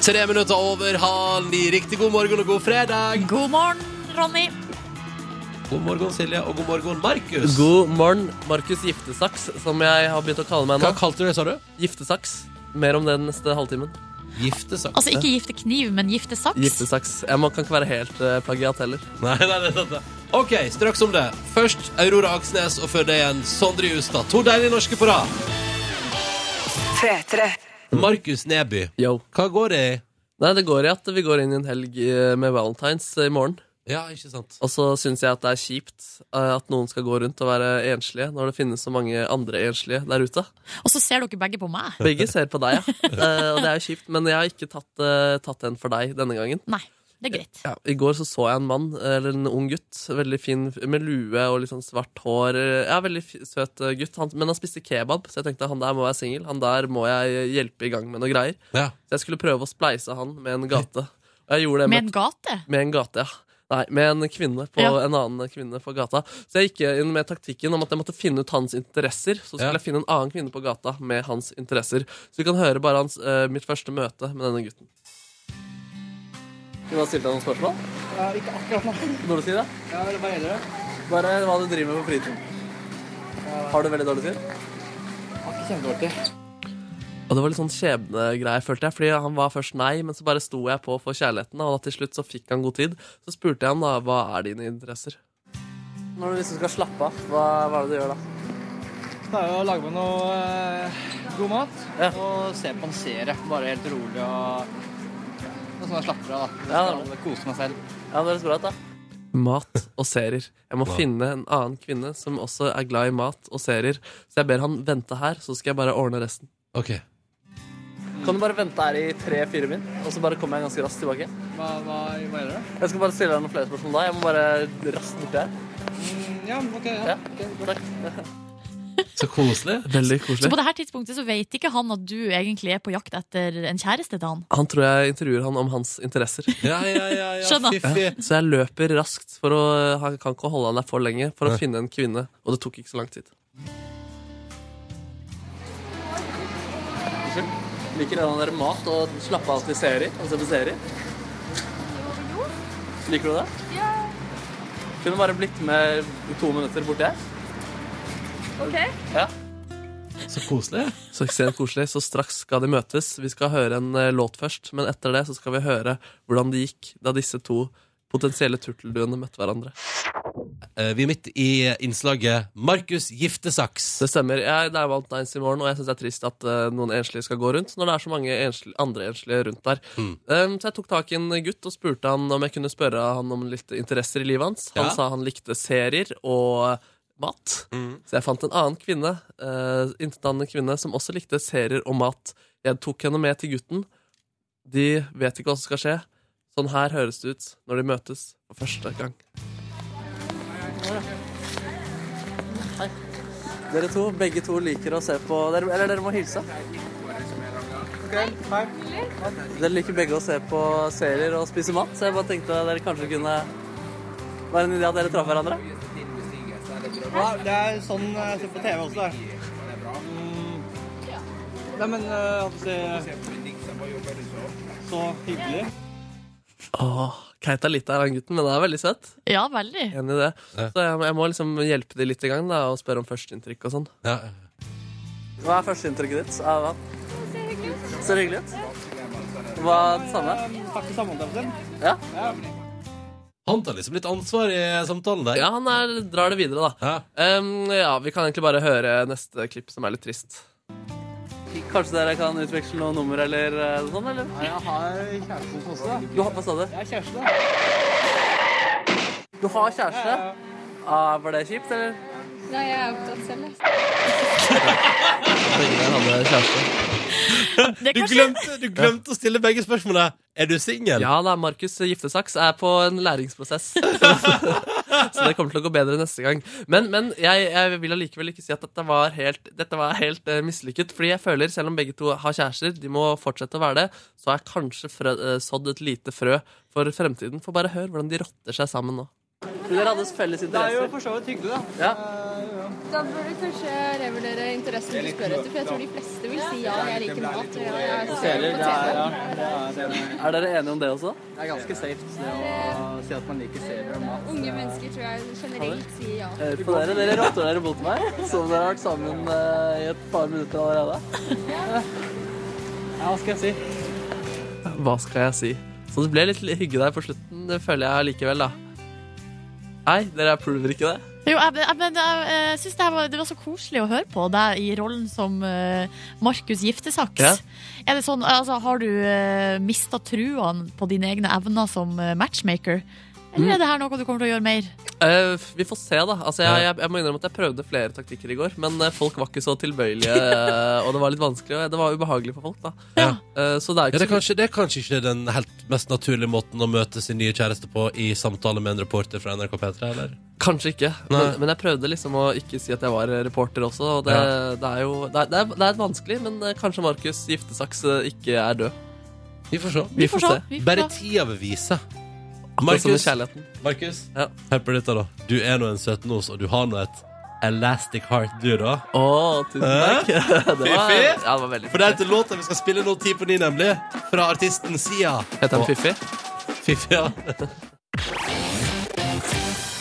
Speaker 5: Tre minutter over halv ni. Riktig god morgen og god fredag.
Speaker 2: God morgen, Ronny
Speaker 5: God morgen, Silje, og god morgen, Markus.
Speaker 3: God morgen, Markus Giftesaks, som jeg har begynt å kalle meg
Speaker 5: Hva
Speaker 3: nå.
Speaker 5: kalte du det, sa du?
Speaker 3: Giftesaks. Mer om det den neste halvtimen.
Speaker 5: Giftesakte.
Speaker 2: Altså ikke gifte kniv, men gifte saks
Speaker 3: Giftesaks. Jeg må, kan ikke være helt eh, plagiat heller.
Speaker 5: Nei, nei, det er sant det. Ok, straks om det. Først Aurora Aksnes, og før det igjen Sondre Justad. To deilige norske på rad.
Speaker 1: P3.
Speaker 5: Markus Neby,
Speaker 3: Yo.
Speaker 5: hva går det i?
Speaker 3: Nei, det går i at vi går inn i en helg eh, med valentines eh, i morgen.
Speaker 5: Ja, ikke sant?
Speaker 3: Og så syns jeg at det er kjipt eh, at noen skal gå rundt og være enslige, når det finnes så mange andre enslige der ute.
Speaker 2: Og så ser dere begge på meg
Speaker 3: Begge ser på deg, ja. Eh, og det er jo kjipt, men jeg har ikke tatt, eh, tatt en for deg denne gangen.
Speaker 2: Nei, det er greit
Speaker 3: I går så, så jeg en mann, eller en ung gutt, veldig fin med lue og litt sånn svart hår. eh, Ja, veldig fi- søt eh, gutt, han, men han spiste kebab, så jeg tenkte han der må være singel. Han der må jeg hjelpe i gang med noe greier.
Speaker 5: Ja.
Speaker 3: Så jeg skulle prøve å spleise han med en gate. Og jeg gjorde det
Speaker 2: Med
Speaker 3: med,
Speaker 2: en gate
Speaker 3: med en gate, ja. Nei, med en kvinne på
Speaker 2: Ja.
Speaker 3: en annen kvinne på gata. Så jeg gikk inn med taktikken om at jeg måtte finne ut hans interesser. Så skulle
Speaker 5: Ja.
Speaker 3: jeg finne en annen kvinne på gata med hans interesser. Så vi kan høre bare hans, eh, mitt første møte med denne gutten. Kunne ha stilt deg noen spørsmål?
Speaker 4: ikke akkurat nå.
Speaker 3: Når du sier det?
Speaker 4: Ja, hva gjelder det?
Speaker 3: Hva, er, hva du driver med på fritiden? Har du veldig dårlig tid?
Speaker 4: Kjempedårlig.
Speaker 3: Og det var litt sånn skjebnegreie, følte jeg. Fordi han var først nei, men så bare sto jeg på for kjærligheten. Og da til slutt så fikk han god tid. Så spurte jeg han da hva er dine interesser. Når du liksom skal slappe av, hva, hva er det du gjør da?
Speaker 4: Det er jo å lage meg noe eh, god mat og se på en serie. Bare helt rolig og ja, noe sånn jeg slapper av. da.
Speaker 3: Ja, det er
Speaker 4: Kose meg selv.
Speaker 3: Ja, det høres bra ut, da. Mat og serier. Jeg må
Speaker 4: Wow.
Speaker 3: finne en annen kvinne som også er glad i mat og serier. Så jeg ber han vente her, så skal jeg bare ordne resten.
Speaker 5: Ok
Speaker 3: Kan du bare vente her i tre-fire min, og så bare kommer jeg ganske raskt tilbake?
Speaker 4: Hva, hva, hva gjør du?
Speaker 3: Jeg skal bare stille deg noen flere spørsmål da. Jeg må bare raskt borti her.
Speaker 4: Ja, men ok. Ja. ok, takk.
Speaker 5: Så koselig.
Speaker 3: Veldig
Speaker 2: Så på
Speaker 3: koselig.
Speaker 2: det her tidspunktet så vet ikke han at du egentlig er på jakt etter en kjæreste til han.
Speaker 3: Han tror jeg intervjuer han om hans interesser.
Speaker 5: Ja, ja, ja, ja.
Speaker 2: Skjønner.
Speaker 5: Fiffig.
Speaker 3: Så jeg løper raskt, for å, han kan ikke holde han der for lenge, for å finne en kvinne. Og det tok ikke så lang tid. Liker dere der mat og slappe av til serier? Og se på serier? Liker du det?
Speaker 11: Ja,
Speaker 3: Kunne bare blitt med to minutter borti her.
Speaker 11: ok.
Speaker 3: Ja.
Speaker 5: Så koselig.
Speaker 3: Så ekstremt koselig. Så straks skal de møtes. Vi skal høre en eh, låt først, men etter det så skal vi høre hvordan det gikk da disse to potensielle turtelduene møtte hverandre.
Speaker 5: Eh, Vi er midt i innslaget Markus giftesaks.
Speaker 3: Det stemmer. Jeg, det er Valentine's i morgen, og jeg syns det er trist at eh, noen enslige skal gå rundt når det er så mange ensli- andre enslige rundt der. Um, så jeg tok tak i en gutt og spurte han om jeg kunne spørre han om litt interesser i livet hans. Han
Speaker 5: Ja.
Speaker 3: sa han likte serier og mat. Så jeg fant en annen kvinne, eh, inntildannet kvinne, som også likte serier og mat. Jeg tok henne med til gutten. De vet ikke hva som skal skje. Sånn her høres det ut når de møtes for første gang. Dere to, begge to liker å se på Eller dere må hilse. Dere liker begge å se på serier og spise mat, så jeg bare tenkte at dere kanskje kunne Var en idé at dere traff hverandre?
Speaker 4: Ja, det er sånn jeg ser på TV også. Mm. Nei, men eh, jeg holdt på å si Så hyggelig.
Speaker 3: Åh, Keita Lita er han gutten, men han er veldig søt.
Speaker 2: Ja, veldig.
Speaker 3: Enig i det. Så jeg, må- jeg må liksom hjelpe de litt i gang da, og spørre om førsteinntrykk og sånn. Hva er førsteinntrykket ditt av han? Ser hyggelig ut. Hva det samme?
Speaker 4: Takk for samarbeidet.
Speaker 3: Ja.
Speaker 5: Han tar liksom litt ansvar i samtalen der.
Speaker 3: Ja, han er, drar det videre, da. Ehm, ja, Vi kan egentlig bare høre neste klipp, som er litt trist. Kanskje dere kan utveksle noen nummer eller eh, sånn, eller?
Speaker 4: Jeg har kjæresten også.
Speaker 3: Du har, hva sa du?
Speaker 4: Jeg er kjæreste.
Speaker 3: Du har kjæreste? Ah, var det kjipt, eller?
Speaker 11: Nei, jeg er opptatt selv.
Speaker 3: Begge der hadde kjæreste.
Speaker 2: Det
Speaker 5: Du glemte, du glemte å stille begge spørsmålene. Er du singel?
Speaker 3: Ja da, Markus Giftesaks er på en læringsprosess. Så, så det kommer til å gå bedre neste gang. Men, men jeg, jeg vil allikevel ikke si at dette var helt, dette var helt eh, mislykket. Fordi jeg føler, selv om begge to har kjærester, de må fortsette å være det, så er kanskje frø, eh, sådd et lite frø for fremtiden. For bare hør hvordan de rotter seg sammen nå. Dere hadde felles
Speaker 4: Det er jo for så vidt hyggelig, da.
Speaker 3: Ja.
Speaker 11: Da burde du kanskje revurdere interessen du spør etter, for jeg tror de fleste vil si ja, jeg liker mat. og jeg er
Speaker 4: Serier, det er, ja,
Speaker 11: på TV.
Speaker 4: det er, det er,
Speaker 3: Er dere enige om det også?
Speaker 4: det er ganske safe det å si at man liker serier og mat.
Speaker 11: Unge mennesker tror jeg generelt sier ja.
Speaker 3: Hør på Eh, dere, dere rotter dere mot meg. Som om dere har vært sammen eh, i et par minutter allerede.
Speaker 4: Ja, hva skal jeg si?
Speaker 3: Hva skal jeg si? Så det ble litt hygge der på slutten, det føler jeg likevel, da. Nei, dere approver ikke det?
Speaker 2: Jo, jeg, jeg, men jeg, eh, synes det, her var, det var så koselig å høre på deg i rollen som eh, Markus Giftesaks.
Speaker 3: Ja.
Speaker 2: Er det sånn, altså, har du uh, mista truene på dine egne evner som eh, matchmaker? Eller
Speaker 3: Mm.
Speaker 2: er det her noe du kommer til å gjøre mer?
Speaker 3: Eh, vi får se, da. Altså, jeg, jeg, jeg må innrømme at jeg prøvde flere taktikker i går, men eh, folk var ikke så tilbøyelige, eh, og det var litt vanskelig, og det var ubehagelig for folk, da.
Speaker 5: Ja.
Speaker 3: Eh, så det er
Speaker 5: Ja,
Speaker 3: jo
Speaker 5: det,
Speaker 3: ikke
Speaker 5: er
Speaker 3: så
Speaker 5: kanskje, det er kanskje ikke den helt mest naturlige måten å møte sin nye kjæreste på i samtale med en reporter fra NRK P3, eller?
Speaker 3: Kanskje ikke,
Speaker 5: Nei.
Speaker 3: men, men jeg prøvde liksom å ikke si at jeg var reporter også, og det, det er jo det er, det er, det er vanskelig, men eh, kanskje Markus Giftesaks eh, ikke er død.
Speaker 5: Vi får se.
Speaker 3: Vi får se.
Speaker 2: Vi får
Speaker 5: Bare
Speaker 2: se.
Speaker 5: tida vil vise.
Speaker 3: Akkurat Sånn som med
Speaker 5: Markus,
Speaker 3: kjærligheten.
Speaker 5: Markus
Speaker 3: Ja.
Speaker 5: hør på dette, da. Du er nå en søten os, og du har nå et elastic heart, du, da.
Speaker 3: Å, tusen takk. Det var,
Speaker 5: Fiffi?
Speaker 3: ja, det var veldig
Speaker 5: For det er til låta vi skal spille nå ti på ni, nemlig. Fra artisten Sia.
Speaker 3: Heter han
Speaker 5: Og-
Speaker 3: Fiffi?
Speaker 5: Fiffi, ja.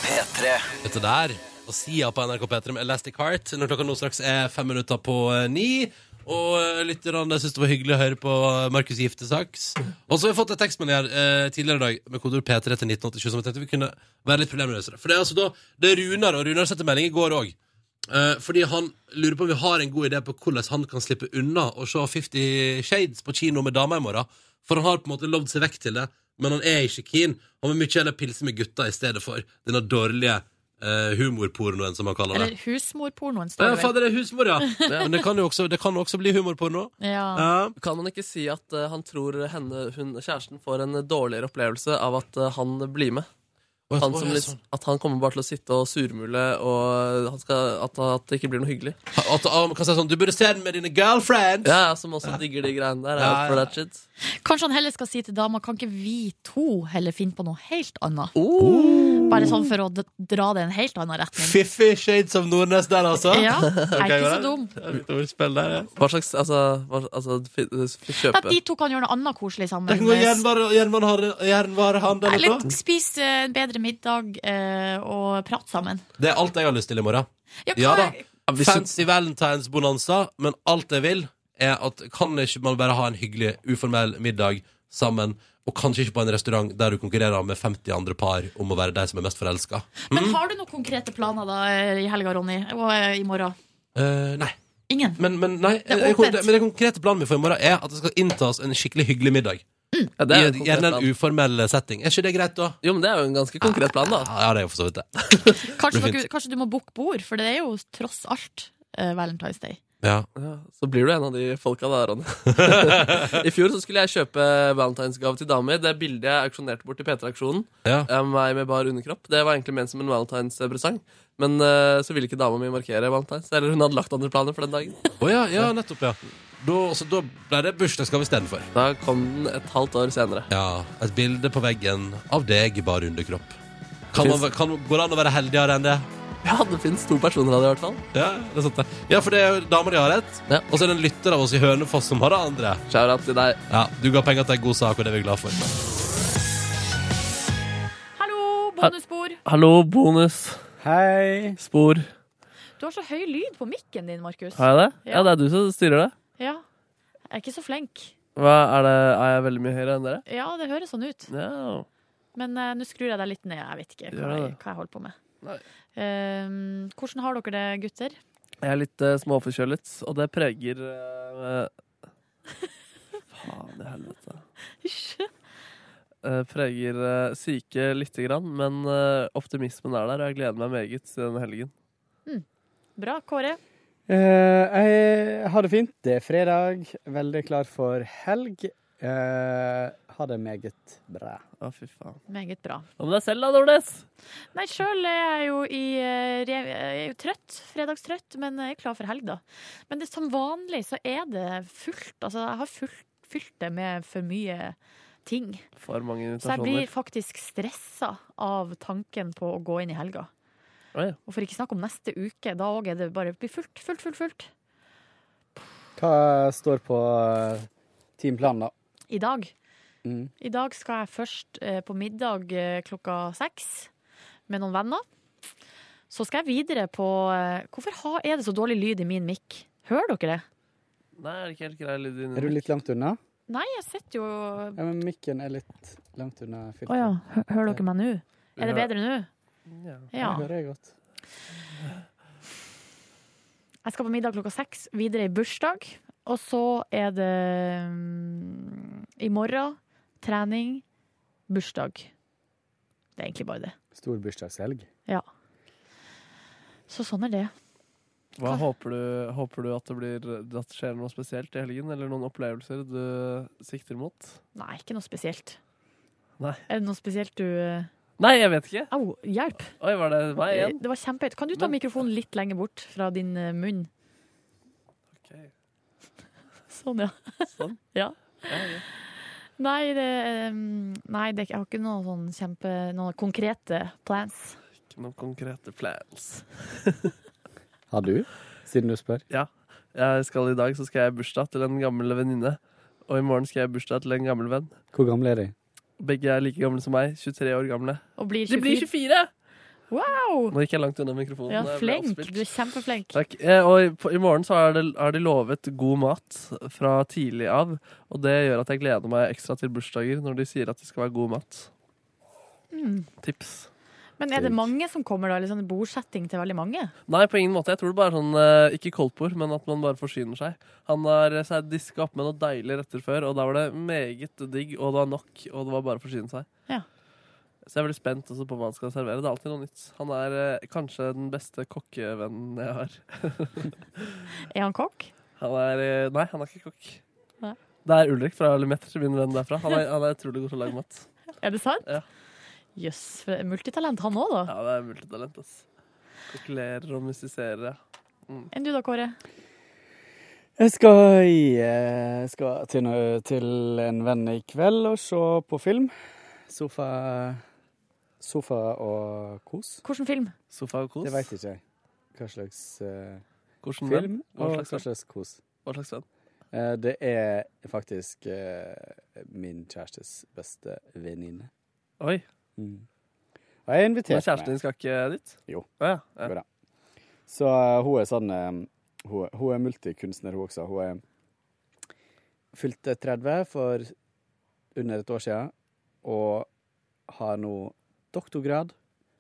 Speaker 10: P3
Speaker 5: Dette der og Sia på NRK P3 med Elastic Heart når klokka nå straks er fem minutter på eh, ni. Og eh, lytterne syns det var hyggelig å høre på eh, Markus Giftesaks. Og så har vi fått en tekstmelding her eh, tidligere i dag med kodord P3 til 1987 som jeg tenkte vi kunne være litt problemløsere. For det er altså da det er Runar, og Runar sendte melding i går òg. Eh, fordi han lurer på om vi har en god idé på hvordan han kan slippe unna å se Fifty Shades på kino med dama i morgen. For han har på en måte lovd seg vekk til det, men han er ikke keen. Han vil mye heller pilse med gutta i stedet for denne dårlige eh, humorpornoen, som han kaller det.
Speaker 2: Eller husmorpornoen,
Speaker 5: Ja,
Speaker 2: står det
Speaker 5: fader, det er humor, ja. Men det kan jo også, det kan jo også bli humorporno.
Speaker 2: Ja.
Speaker 5: Ja.
Speaker 3: Kan man ikke si at eh, han tror henne, hun, kjæresten får en dårligere opplevelse av at eh, han blir med?
Speaker 5: Å, ja,
Speaker 3: Han
Speaker 5: å,
Speaker 3: som
Speaker 5: ja,
Speaker 3: litt,
Speaker 5: sånn.
Speaker 3: at han kommer bare til å sitte og surmule, og han skal, at, at det ikke blir noe hyggelig.
Speaker 5: At ah, man kan si sånn Du burde se den med dine girlfriends!
Speaker 3: Ja, ja, som også digger de greiene der.
Speaker 5: Ja,
Speaker 3: Ja, for
Speaker 5: ja.
Speaker 3: that shit.
Speaker 2: Kanskje han heller skal si til dama Kan ikke vi to heller finne på noe helt annet?
Speaker 3: Oh.
Speaker 5: Oh.
Speaker 2: Bare sånn for å d- dra det i en helt annen retning.
Speaker 5: Fifty Shades of Nordnes der, altså.
Speaker 2: Ja, er
Speaker 5: Ok,
Speaker 2: ikke
Speaker 5: går
Speaker 2: så
Speaker 5: det?
Speaker 2: dum.
Speaker 5: Det er Litt ordspill der, ja.
Speaker 3: Hva slags Altså, hva, altså fi- fi-
Speaker 2: At
Speaker 3: kjøpe
Speaker 2: de to kan gjøre noe annet koselig sammen.
Speaker 5: Det kan gå jernvare- jernvare- jernvarehandel og
Speaker 2: Eller
Speaker 5: sånn.
Speaker 2: spise eh, en bedre middag eh, og prate sammen.
Speaker 5: Det er alt jeg har lyst til i morgen.
Speaker 2: Ja, hva
Speaker 5: Ja da.
Speaker 2: er-
Speaker 5: Fancy valentinsbonanza, men alt jeg vil, er at kan ikke man bare ha en hyggelig, uformell middag sammen, og kanskje ikke på en restaurant der du konkurrerer med 50 andre par om å være de som er mest forelska?
Speaker 2: Men har du noen konkrete planer da eh, i helga, Ronny? Og eh, i morgen?
Speaker 5: Eh, nei.
Speaker 2: Ingen?
Speaker 5: Men, men, nei Eh,
Speaker 2: Det er
Speaker 5: jeg- jeg-
Speaker 2: åpent.
Speaker 5: men det konkrete planen min for i morgen er at det skal inntas en skikkelig hyggelig middag.
Speaker 3: ja, det er jo en
Speaker 5: I,
Speaker 3: konkret
Speaker 5: gjerne en
Speaker 3: plan.
Speaker 5: uformell setting. Er ikke det greit, da? Ah,
Speaker 3: Jo, men det er jo en ganske konkret plan, da.
Speaker 5: Ja, det er jo for så vidt det.
Speaker 2: Kanskje,
Speaker 5: Det blir
Speaker 2: dere, kanskje du må booke bord, for det er jo tross alt eh, Valentine's Day.
Speaker 5: Ja.
Speaker 3: Ja, så blir du en av de folka da, Ronny. I fjor så skulle jeg kjøpe valentinsgave til dama mi. Det bildet jeg auksjonerte bort i P3-aksjonen,
Speaker 5: Ja.
Speaker 3: eh, meg med bar underkropp, det var egentlig ment som en valentinspresang. Men eh, så ville ikke dama mi markere valentines. Eller hun hadde lagt andre planer for den dagen.
Speaker 5: Å ja, ja, nettopp, ja. Da, altså, da ble det bursdagsgave istedenfor.
Speaker 3: Da kom den et halvt år senere.
Speaker 5: Ja, et bilde på veggen av deg i bar underkropp. Kan man, kan, går det an å være heldigere enn det?
Speaker 3: Ja, det fins to personer av det, i hvert fall.
Speaker 5: Ja, det er sant det. Ja, for det er jo damer de har rett.
Speaker 3: Ja.
Speaker 5: Og så er det en lytter av oss i Hønefoss som har det andre.
Speaker 3: Shout-out til deg.
Speaker 5: Ja, Du ga penger til en god sak, og det er vi glad for.
Speaker 2: Hallo, bonusbord!
Speaker 3: Hallo, bonus.
Speaker 4: Hei.
Speaker 3: Spor.
Speaker 2: Du har så høy lyd på mikken din, Markus.
Speaker 3: Har jeg det?
Speaker 2: Ja. Ja,
Speaker 3: det er du som styrer det.
Speaker 2: Ja. Jeg er ikke så flink.
Speaker 3: Hva er det? Er jeg veldig mye høyere enn dere?
Speaker 2: Ja, det høres sånn ut.
Speaker 3: Ja.
Speaker 2: Men eh, nå skrur jeg deg litt ned. Jeg vet ikke hva,
Speaker 3: Gjør
Speaker 2: jeg,
Speaker 3: det.
Speaker 2: hva jeg holder på med.
Speaker 3: Nei.
Speaker 2: Ehm, hvordan har dere det, gutter?
Speaker 3: Jeg er litt eh, småforkjølet, og det preger eh, Faen i helvete.
Speaker 2: Hysj.
Speaker 3: Eh, preger eh, syke lite grann, men eh, optimismen er der, og jeg gleder meg meget til denne helgen.
Speaker 2: Bra, Kåre.
Speaker 4: Eh, jeg har det fint. Det er fredag. Veldig klar for helg. Eh, ha det meget bra.
Speaker 3: Å, fy faen.
Speaker 2: Meget bra.
Speaker 3: Hva med deg selv, da, Nordnes?
Speaker 2: Nei, sjøl er jeg jo i eh, rev- Jeg er jo trøtt. Fredagstrøtt, men jeg er klar for helg, da. Men det, som vanlig så er det fullt. Altså, jeg har fulgt, fylt det med for mye ting.
Speaker 3: For mange
Speaker 2: Så jeg blir
Speaker 3: invitasjoner.
Speaker 2: faktisk stressa av tanken på å gå inn i helga.
Speaker 3: Oi.
Speaker 2: Og for ikke snakk om neste uke. Da òg er det bare blir fullt, fullt, fullt. fullt.
Speaker 4: Hva står på eh, timeplanen, da?
Speaker 2: I dag.
Speaker 4: Mm.
Speaker 2: I dag skal jeg først eh, på middag eh, klokka seks med noen venner. Så skal jeg videre på eh, Hvorfor ha- er det så dårlig lyd i min mikk? Hører dere det?
Speaker 3: Nei, er det ikke helt grei lyd inni
Speaker 4: Er du
Speaker 3: meg?
Speaker 4: litt langt unna?
Speaker 2: Nei, jeg sitter jo Å
Speaker 4: Ja, men Mikken er litt langt unna filteret.
Speaker 2: ja. hø- Hører dere meg nå? Er det bedre nå?
Speaker 3: Ja.
Speaker 2: Ja.
Speaker 4: Det hører jeg godt.
Speaker 2: Jeg skal på middag klokka seks, videre i bursdag. Og så er det mm, i morgen trening, bursdag. Det er egentlig bare det.
Speaker 4: Stor bursdagshelg.
Speaker 2: Så sånn er det.
Speaker 3: Hva håper du, håper du at det blir eh, at det skjer noe spesielt i helgen, eller noen opplevelser du sikter mot?
Speaker 2: Nei, ikke noe spesielt.
Speaker 3: Nei.
Speaker 2: Er det noe spesielt du eh,
Speaker 3: Nei, jeg vet ikke.
Speaker 2: Au, hjelp!
Speaker 3: Oi, var det meg igjen?
Speaker 2: Det var kjempehøyt. Kan du ta
Speaker 3: Men-
Speaker 2: mikrofonen litt lenger bort fra din eh, munn?
Speaker 3: Ok.
Speaker 2: Sånn, ja.
Speaker 3: Sånn?
Speaker 2: Ja.
Speaker 3: Ja, ja.
Speaker 2: Nei, det, eh, nei det, er ikke- jeg har ikke noen sånn kjempe... Noen konkrete plans.
Speaker 3: Ikke noen konkrete plans.
Speaker 4: Har du? Siden du spør.
Speaker 3: Jeg skal I dag så skal jeg i bursdag til en gammel venninne. Og i morgen skal jeg i bursdag til en gammel venn.
Speaker 4: Hvor gammel er de?
Speaker 3: Begge er like gamle som meg. 23 år gamle.
Speaker 2: Og blir
Speaker 3: De blir
Speaker 2: 24.
Speaker 3: 24!
Speaker 2: Wow!
Speaker 3: Nå gikk jeg langt unna mikrofonen.
Speaker 2: Ja,
Speaker 3: Jeg ble
Speaker 2: flink.
Speaker 3: oppspilt.
Speaker 2: Du er kjempeflink.
Speaker 3: Takk. Eh, Og i- på- i morgen så er, det, er de lovet god mat fra tidlig av. Og det gjør at jeg gleder meg ekstra til bursdager når de sier at det skal være god mat.
Speaker 2: Mm.
Speaker 3: Tips.
Speaker 2: Men er det mange som kommer, da? Litt sånn bordsetting til veldig mange?
Speaker 3: Nei, på ingen måte. Jeg tror det bare er sånn eh, Ikke koldtbord, men at man bare forsyner seg. Han har eh, seg diska opp med noen deilige retter før, og da var det meget digg, og det var nok, og det var bare å forsyne seg.
Speaker 2: Ja.
Speaker 3: Så jeg er veldig spent også på hva han skal servere. Det er alltid noe nytt. Han er eh, kanskje den beste kokkevennen jeg har.
Speaker 2: Er han kokk?
Speaker 3: Han er eh, Nei, han er ikke kokk.
Speaker 2: Nei.
Speaker 3: Det er Ulrik fra Limetter, min venn derfra. Han er, han er utrolig god til å lage mat.
Speaker 2: Er det sant?
Speaker 3: Ja.
Speaker 2: Jøss, for- multitalent han òg, da.
Speaker 3: Ja, det er multitalent, ass. Kokkelerer og musiserer. Mm.
Speaker 2: Enn du da, Kåre?
Speaker 12: Jeg skal, jeg skal til, nø- til en venn i kveld og se på film. Sofa, sofa og kos.
Speaker 2: Hvilken film?
Speaker 3: Sofa og kos?
Speaker 12: Det veit ikke jeg. Hva slags eh,
Speaker 3: Hvordan venn?
Speaker 12: film
Speaker 3: Hva
Speaker 12: og
Speaker 3: slags
Speaker 12: hva
Speaker 3: venn?
Speaker 12: slags kos.
Speaker 3: Hva slags venn?
Speaker 12: Eh, det er faktisk eh, min kjærestes beste venninne.
Speaker 3: Oi.
Speaker 12: Mm. Og jeg er invitert
Speaker 3: Men kjæresten din skal ikke dit?
Speaker 12: Jo.
Speaker 3: Ja,
Speaker 12: Jo da. Så eh, hun er sånn eh, hun, er- hun er multikunstner, hun også. Hun er fylte 30 for under et år siden, og har nå doktorgrad.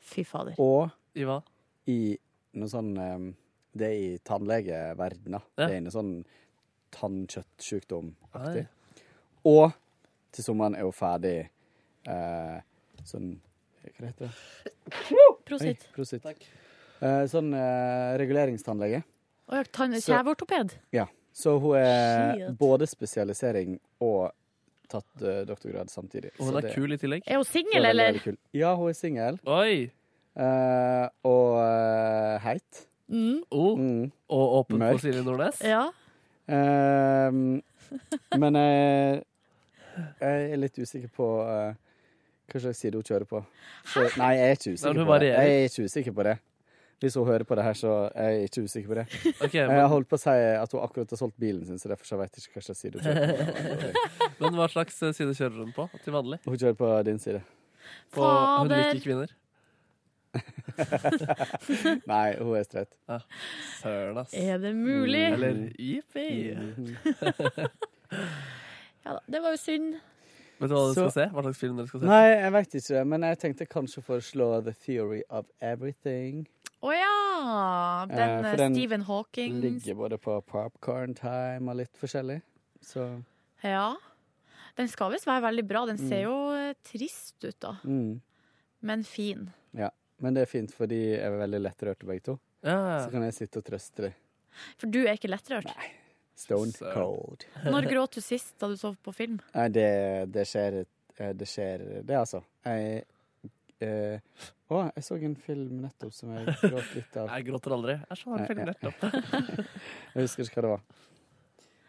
Speaker 2: Fy fader.
Speaker 12: Og
Speaker 3: I hva?
Speaker 12: I noe sånn eh, Det er i tannlegeverdena.
Speaker 3: Ja.
Speaker 12: Det er noe sånn tannkjøttsjukdom-aktig.
Speaker 3: Oi.
Speaker 12: Og til sommeren er hun ferdig eh, sånn Hva heter det?
Speaker 2: Prosit.
Speaker 12: Oi, prosit. Eh, sånn eh, reguleringstannlege.
Speaker 2: Å ja, tann-
Speaker 12: Så-
Speaker 2: kjeveortoped.
Speaker 12: Ja. Så hun er
Speaker 2: Shit.
Speaker 12: både spesialisering og tatt eh, doktorgrad samtidig.
Speaker 3: Og hun
Speaker 12: Så
Speaker 3: er kul i tillegg.
Speaker 2: Er hun singel,
Speaker 12: Det er veldig,
Speaker 2: eller?
Speaker 12: veldig kul. Ja, hun er singel.
Speaker 3: Oi!
Speaker 12: og eh, heit.
Speaker 2: Mm.
Speaker 12: Mm.
Speaker 3: Og åpen
Speaker 12: Mørk.
Speaker 3: for Silje Nordnes?
Speaker 2: Ja.
Speaker 12: Eh, men jeg, jeg er litt usikker på eh, hva slags side hun kjører på. Så, nei, jeg er ikke
Speaker 3: Nei,
Speaker 12: usikker
Speaker 3: men hun
Speaker 12: på det.
Speaker 3: varierer.
Speaker 12: Jeg er ikke usikker på det. Hvis hun hører på det her, så er jeg ikke usikker på det.
Speaker 3: Ok,
Speaker 12: Jeg
Speaker 3: men,
Speaker 12: holdt på å si at hun akkurat har solgt bilen sin, så derfor så vet jeg ikke hva slags side hun kjører på.
Speaker 3: men hva slags eh, side kjører hun på til vanlig?
Speaker 12: Hun kjører på din side.
Speaker 3: På Hun
Speaker 2: Fader.
Speaker 3: liker kvinner?
Speaker 12: Nei, hun er streit.
Speaker 3: Ja. Søren, ass.
Speaker 2: Er det mulig?
Speaker 12: Mm,
Speaker 3: Eller jippi.
Speaker 12: Mhm.
Speaker 2: Ja da, det var jo synd.
Speaker 3: Vet du hva dere
Speaker 12: Så-
Speaker 3: skal se? Hva slags film dere skal se?
Speaker 12: Nei, jeg veit ikke det, men jeg tenkte kanskje å foreslå The Theory of Everything.
Speaker 2: Å ja! Den,
Speaker 12: Eh,
Speaker 2: eh,
Speaker 12: for den
Speaker 2: Stephen Hawking
Speaker 12: Ligger både på Popcorn Time og litt forskjellig. Så
Speaker 2: Ja. Den skal visst være veldig bra. Den
Speaker 12: Mm.
Speaker 2: ser jo eh, trist ut, da.
Speaker 12: mm.
Speaker 2: Men fin.
Speaker 12: Ja, men det er fint, for de er veldig lettrørte begge to. Så kan jeg sitte og trøste dem.
Speaker 2: For du er ikke lettrørt.
Speaker 12: Stone
Speaker 3: Søren.
Speaker 12: cold.
Speaker 2: Når gråt du sist da du sov på film?
Speaker 12: Nei, det, det skjer eh, Det skjer, det, altså. Jeg eh, Å, jeg så en film nettopp som jeg gråt litt av.
Speaker 3: Jeg gråter aldri. Jeg så en
Speaker 12: Nei,
Speaker 3: film
Speaker 12: ja.
Speaker 3: nettopp.
Speaker 12: Jeg husker ikke hva det var.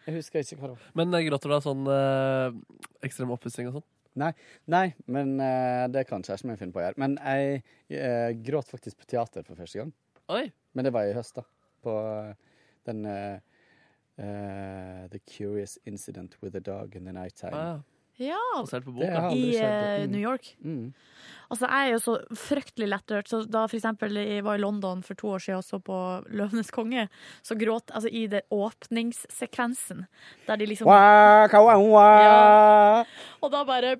Speaker 12: Jeg husker ikke hva det var.
Speaker 3: Men eh, gråter du av sånn eh, ekstrem oppussing og sånn?
Speaker 12: Nei, nei men eh, det kan kjæresten min finne på å gjøre. Men jeg eh, gråt faktisk på teater for første gang.
Speaker 3: Oi!
Speaker 12: Men det var i høst, da. På den eh, eh, The Curious Incident with the Dog in the Nighttime.
Speaker 3: Ah,
Speaker 2: Ja,
Speaker 3: Basert på
Speaker 12: Det har
Speaker 3: boka.
Speaker 12: jeg aldri
Speaker 2: i
Speaker 12: skjedd.
Speaker 2: eh, New York.
Speaker 12: Mm.
Speaker 2: Altså, jeg er jo så fryktelig lettrørt. Så da for eksempel jeg var i London for to år siden og så på Løvenes konge, så gråt altså i det åpningssekvensen, der de liksom
Speaker 12: Waka, wa, wa.
Speaker 2: Ja. Og da bare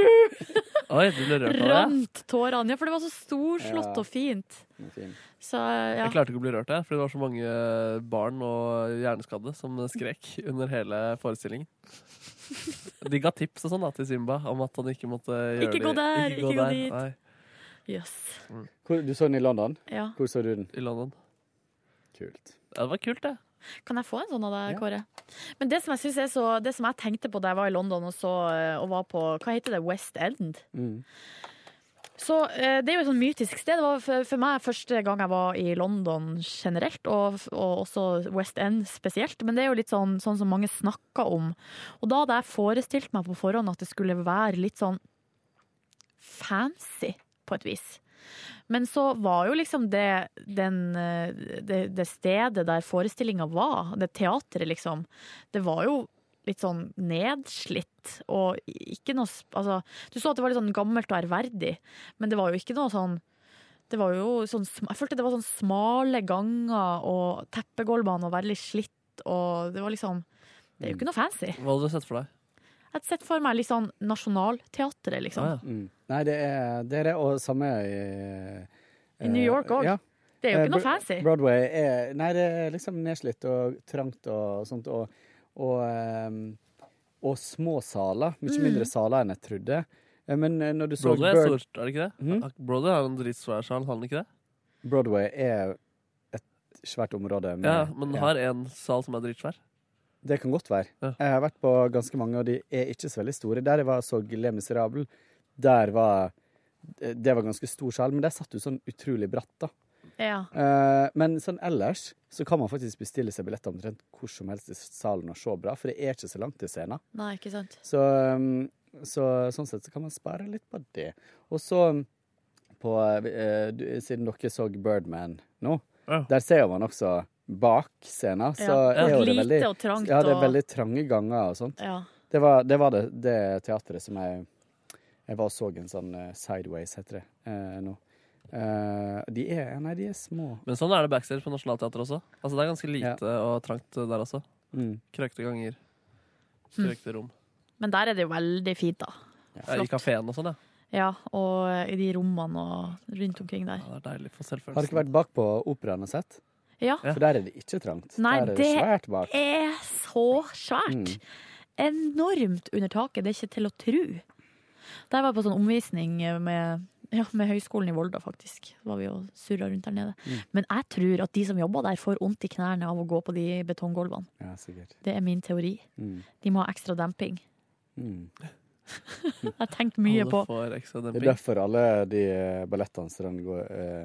Speaker 3: Oi, du ble rørt av det?
Speaker 2: rømt tårene. Ja, for det var så storslått
Speaker 3: Ja.
Speaker 2: og fint.
Speaker 12: Den er fin.
Speaker 2: Så ja.
Speaker 3: Jeg klarte ikke å bli rørt der, fordi det var så mange eh, barn og hjerneskadde som skrek under hele forestillingen. De ga tips og sånn da til Simba om at han ikke måtte gjøre
Speaker 2: Ikke gå
Speaker 3: det.
Speaker 2: der, ikke gå dit.
Speaker 3: Nei,
Speaker 2: Jøss.
Speaker 12: Hvor, du så den i London?
Speaker 2: Ja.
Speaker 12: Hvor så du den?
Speaker 3: I London.
Speaker 12: Kult.
Speaker 3: Ja, det var kult, det.
Speaker 2: Kan jeg få en sånn av deg,
Speaker 12: Ja.
Speaker 2: Kåre? Men det som jeg synes er så Det som jeg tenkte på da jeg var i London og, så, eh, og var på Hva heter det? West End?
Speaker 12: Mm.
Speaker 2: Så eh, Det er jo et sånn mytisk sted. Det var for, for meg første gang jeg var i London generelt, og, og også West End spesielt. Men det er jo litt sånn, sånn som mange snakker om. Og da hadde jeg forestilt meg på forhånd at det skulle være litt sånn fancy, på et vis. Men så var jo liksom det, den, eh, det, det stedet der forestillinga var, det teatret liksom, det var jo litt sånn nedslitt og ikke noe sp- Altså, du så at det var litt sånn gammelt og ærverdig, men det var jo ikke noe sånn Det var jo sånn, sm- jeg følte det var sånn smale ganger og teppegulvene og veldig slitt, og det var liksom Det er jo ikke noe fancy.
Speaker 3: Hva hadde du sett for deg?
Speaker 2: Jeg hadde sett for meg litt sånn Nationaltheatret,
Speaker 3: Ah,
Speaker 2: liksom.
Speaker 12: Mm. Nei, det er det, er det og samme i,
Speaker 2: I New York òg.
Speaker 12: Ja.
Speaker 2: Det er jo
Speaker 12: Eh,
Speaker 2: ikke noe
Speaker 12: Bro-
Speaker 2: fancy.
Speaker 12: Broadway er Nei, det er liksom nedslitt og trangt og sånt. Og, og, ehm, og små saler. Mye
Speaker 3: Mm.
Speaker 12: mindre saler enn jeg trodde. Eh, Men eh, når du så
Speaker 3: Broadway er
Speaker 12: Bird-
Speaker 3: stort, er det ikke det? Broadway har en dritsvær sal, har den ikke det?
Speaker 12: Broadway er et svært område. med-
Speaker 3: Ja, men den har en sal som er dritsvær.
Speaker 12: Det kan godt være. Jeg har vært på ganske mange, og de er ikke så veldig store. Der jeg var og så Le Miserable, der var eh, Det var ganske stor sal, men der satt du sånn utrolig bratt, da.
Speaker 2: Ja.
Speaker 12: Eh, Men sånn ellers så kan man faktisk bestille seg billetter omtrent hvor som helst i salen og se bra, for det er ikke så langt til scenen.
Speaker 2: Nei, ikke sant.
Speaker 12: Så, um, så sånn sett så kan man spare litt på det. Og så um, på, eh, du- siden dere så Birdman nå, der ser man også bak scenen, så
Speaker 2: Ja.
Speaker 12: er jo det
Speaker 2: Lite
Speaker 12: veldig
Speaker 2: og trangt
Speaker 12: Ja, det er
Speaker 2: og-
Speaker 12: veldig trange ganger og sånt.
Speaker 2: Ja.
Speaker 12: Det var det, var det, det teatret som jeg Jeg var og så en sånn eh, Sideways, heter det eh, nå. Eh, de er Nei, de er små.
Speaker 3: Men sånn er det backstage på Nationaltheatret også. Altså Det er ganske lite og trangt der også.
Speaker 12: Mm.
Speaker 3: Krøkte ganger.
Speaker 2: Mm.
Speaker 3: Krøkte rom.
Speaker 2: Men der er det jo veldig fint, da.
Speaker 3: Ja, I kafeen og sånn, ja.
Speaker 2: Ja, og eh, i de rommene og rundt omkring der.
Speaker 3: Det er deilig for selvfølelsen.
Speaker 12: Har dere vært bak på operaen og sett?
Speaker 2: Ja.
Speaker 12: For der er det ikke trangt.
Speaker 2: Nei,
Speaker 12: der er det
Speaker 2: det
Speaker 12: svært bak.
Speaker 2: er så svært.
Speaker 12: Mm.
Speaker 2: Enormt under taket. Det er ikke til å tro. Der var jeg på sånn omvisning med, ja, med Høgskolen i Volda, faktisk. Da var vi og surra rundt der nede.
Speaker 12: Mm.
Speaker 2: Men jeg tror at de som jobber der, får vondt i knærne av å gå på de betonggulvene.
Speaker 12: Ja, sikkert.
Speaker 2: Det er min teori.
Speaker 12: Mm.
Speaker 2: De må ha ekstra demping.
Speaker 12: Mm.
Speaker 2: Jeg har tenkt mye
Speaker 3: Alle
Speaker 2: på
Speaker 3: får ekstra
Speaker 12: Det er
Speaker 3: demping.
Speaker 12: derfor alle de eh, ballettdanserne går, eh,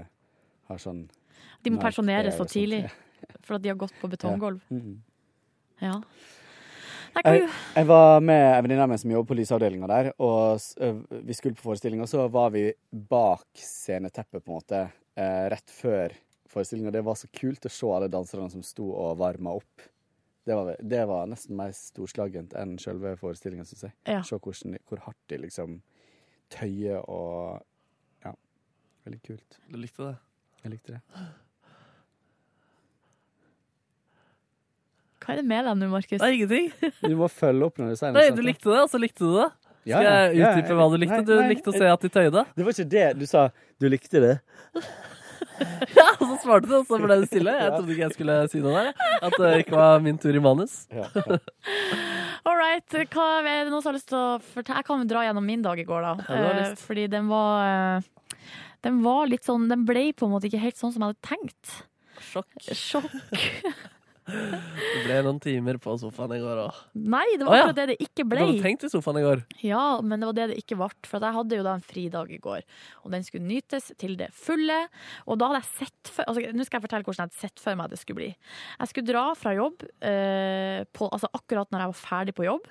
Speaker 12: har sånn
Speaker 2: De må
Speaker 12: Nei, det
Speaker 2: pensjoneres
Speaker 12: er
Speaker 2: for
Speaker 12: jo
Speaker 2: tidlig,
Speaker 12: sant,
Speaker 2: for at de har gått på betonggulv.
Speaker 12: Ja. Mm.
Speaker 2: Ja. Nei, hva
Speaker 12: Jeg,
Speaker 2: gjør-
Speaker 12: jeg var med en venninne av meg som jobber på lysavdelinga der, og s- ø, vi skulle på forestilling, og så var vi bak sceneteppet, på en måte, eh, rett før forestillinga. Det var så kult å se alle danserne som sto og varma opp. Det var, det var nesten mer storslagent enn selve forestillinga, syns jeg.
Speaker 2: Ja.
Speaker 12: Se hvordan, de- hvor hardt de liksom tøyer og Ja. Veldig kult.
Speaker 3: Du likte det?
Speaker 12: Jeg likte det.
Speaker 2: hva er det med deg nå, Markus?
Speaker 3: Nei, ingenting.
Speaker 12: Du må følge opp når du sier noe
Speaker 3: Nei,
Speaker 12: sånt,
Speaker 3: du
Speaker 12: da.
Speaker 3: likte det, og så likte du det.
Speaker 12: Ja,
Speaker 3: Skal jeg
Speaker 12: ja.
Speaker 3: utdype
Speaker 12: Ja,
Speaker 3: hva du likte?
Speaker 12: nei,
Speaker 3: du
Speaker 12: nei,
Speaker 3: likte å se at de tøyde.
Speaker 12: Det var ikke det du sa. Du likte det.
Speaker 3: Ja, og så svarte du, og så ble det stille. Jeg trodde ikke jeg skulle si noe der. jeg. At det ikke var min tur i manus.
Speaker 2: All right. Hva, er det noen som har lyst til å fortelle? Jeg kan jo dra gjennom min dag i går, da.
Speaker 3: Ja, du har
Speaker 2: Eh,
Speaker 3: lyst.
Speaker 2: Fordi den var eh, Den var litt sånn Den ble på en måte ikke helt sånn som jeg hadde tenkt.
Speaker 3: Sjokk.
Speaker 2: Sjokk.
Speaker 3: Det ble noen timer på sofaen i går òg.
Speaker 2: Nei, det var akkurat det det ikke ble.
Speaker 3: Du hadde tenkt i sofaen i går.
Speaker 2: Ja, men det var det det ikke ble. For at jeg hadde jo da en fridag i går, og den skulle nytes til det fulle. Og da hadde jeg sett for altså, Nå skal jeg fortelle hvordan jeg hadde sett for meg at det skulle bli. Jeg skulle dra fra jobb eh, på, altså akkurat når jeg var ferdig på jobb.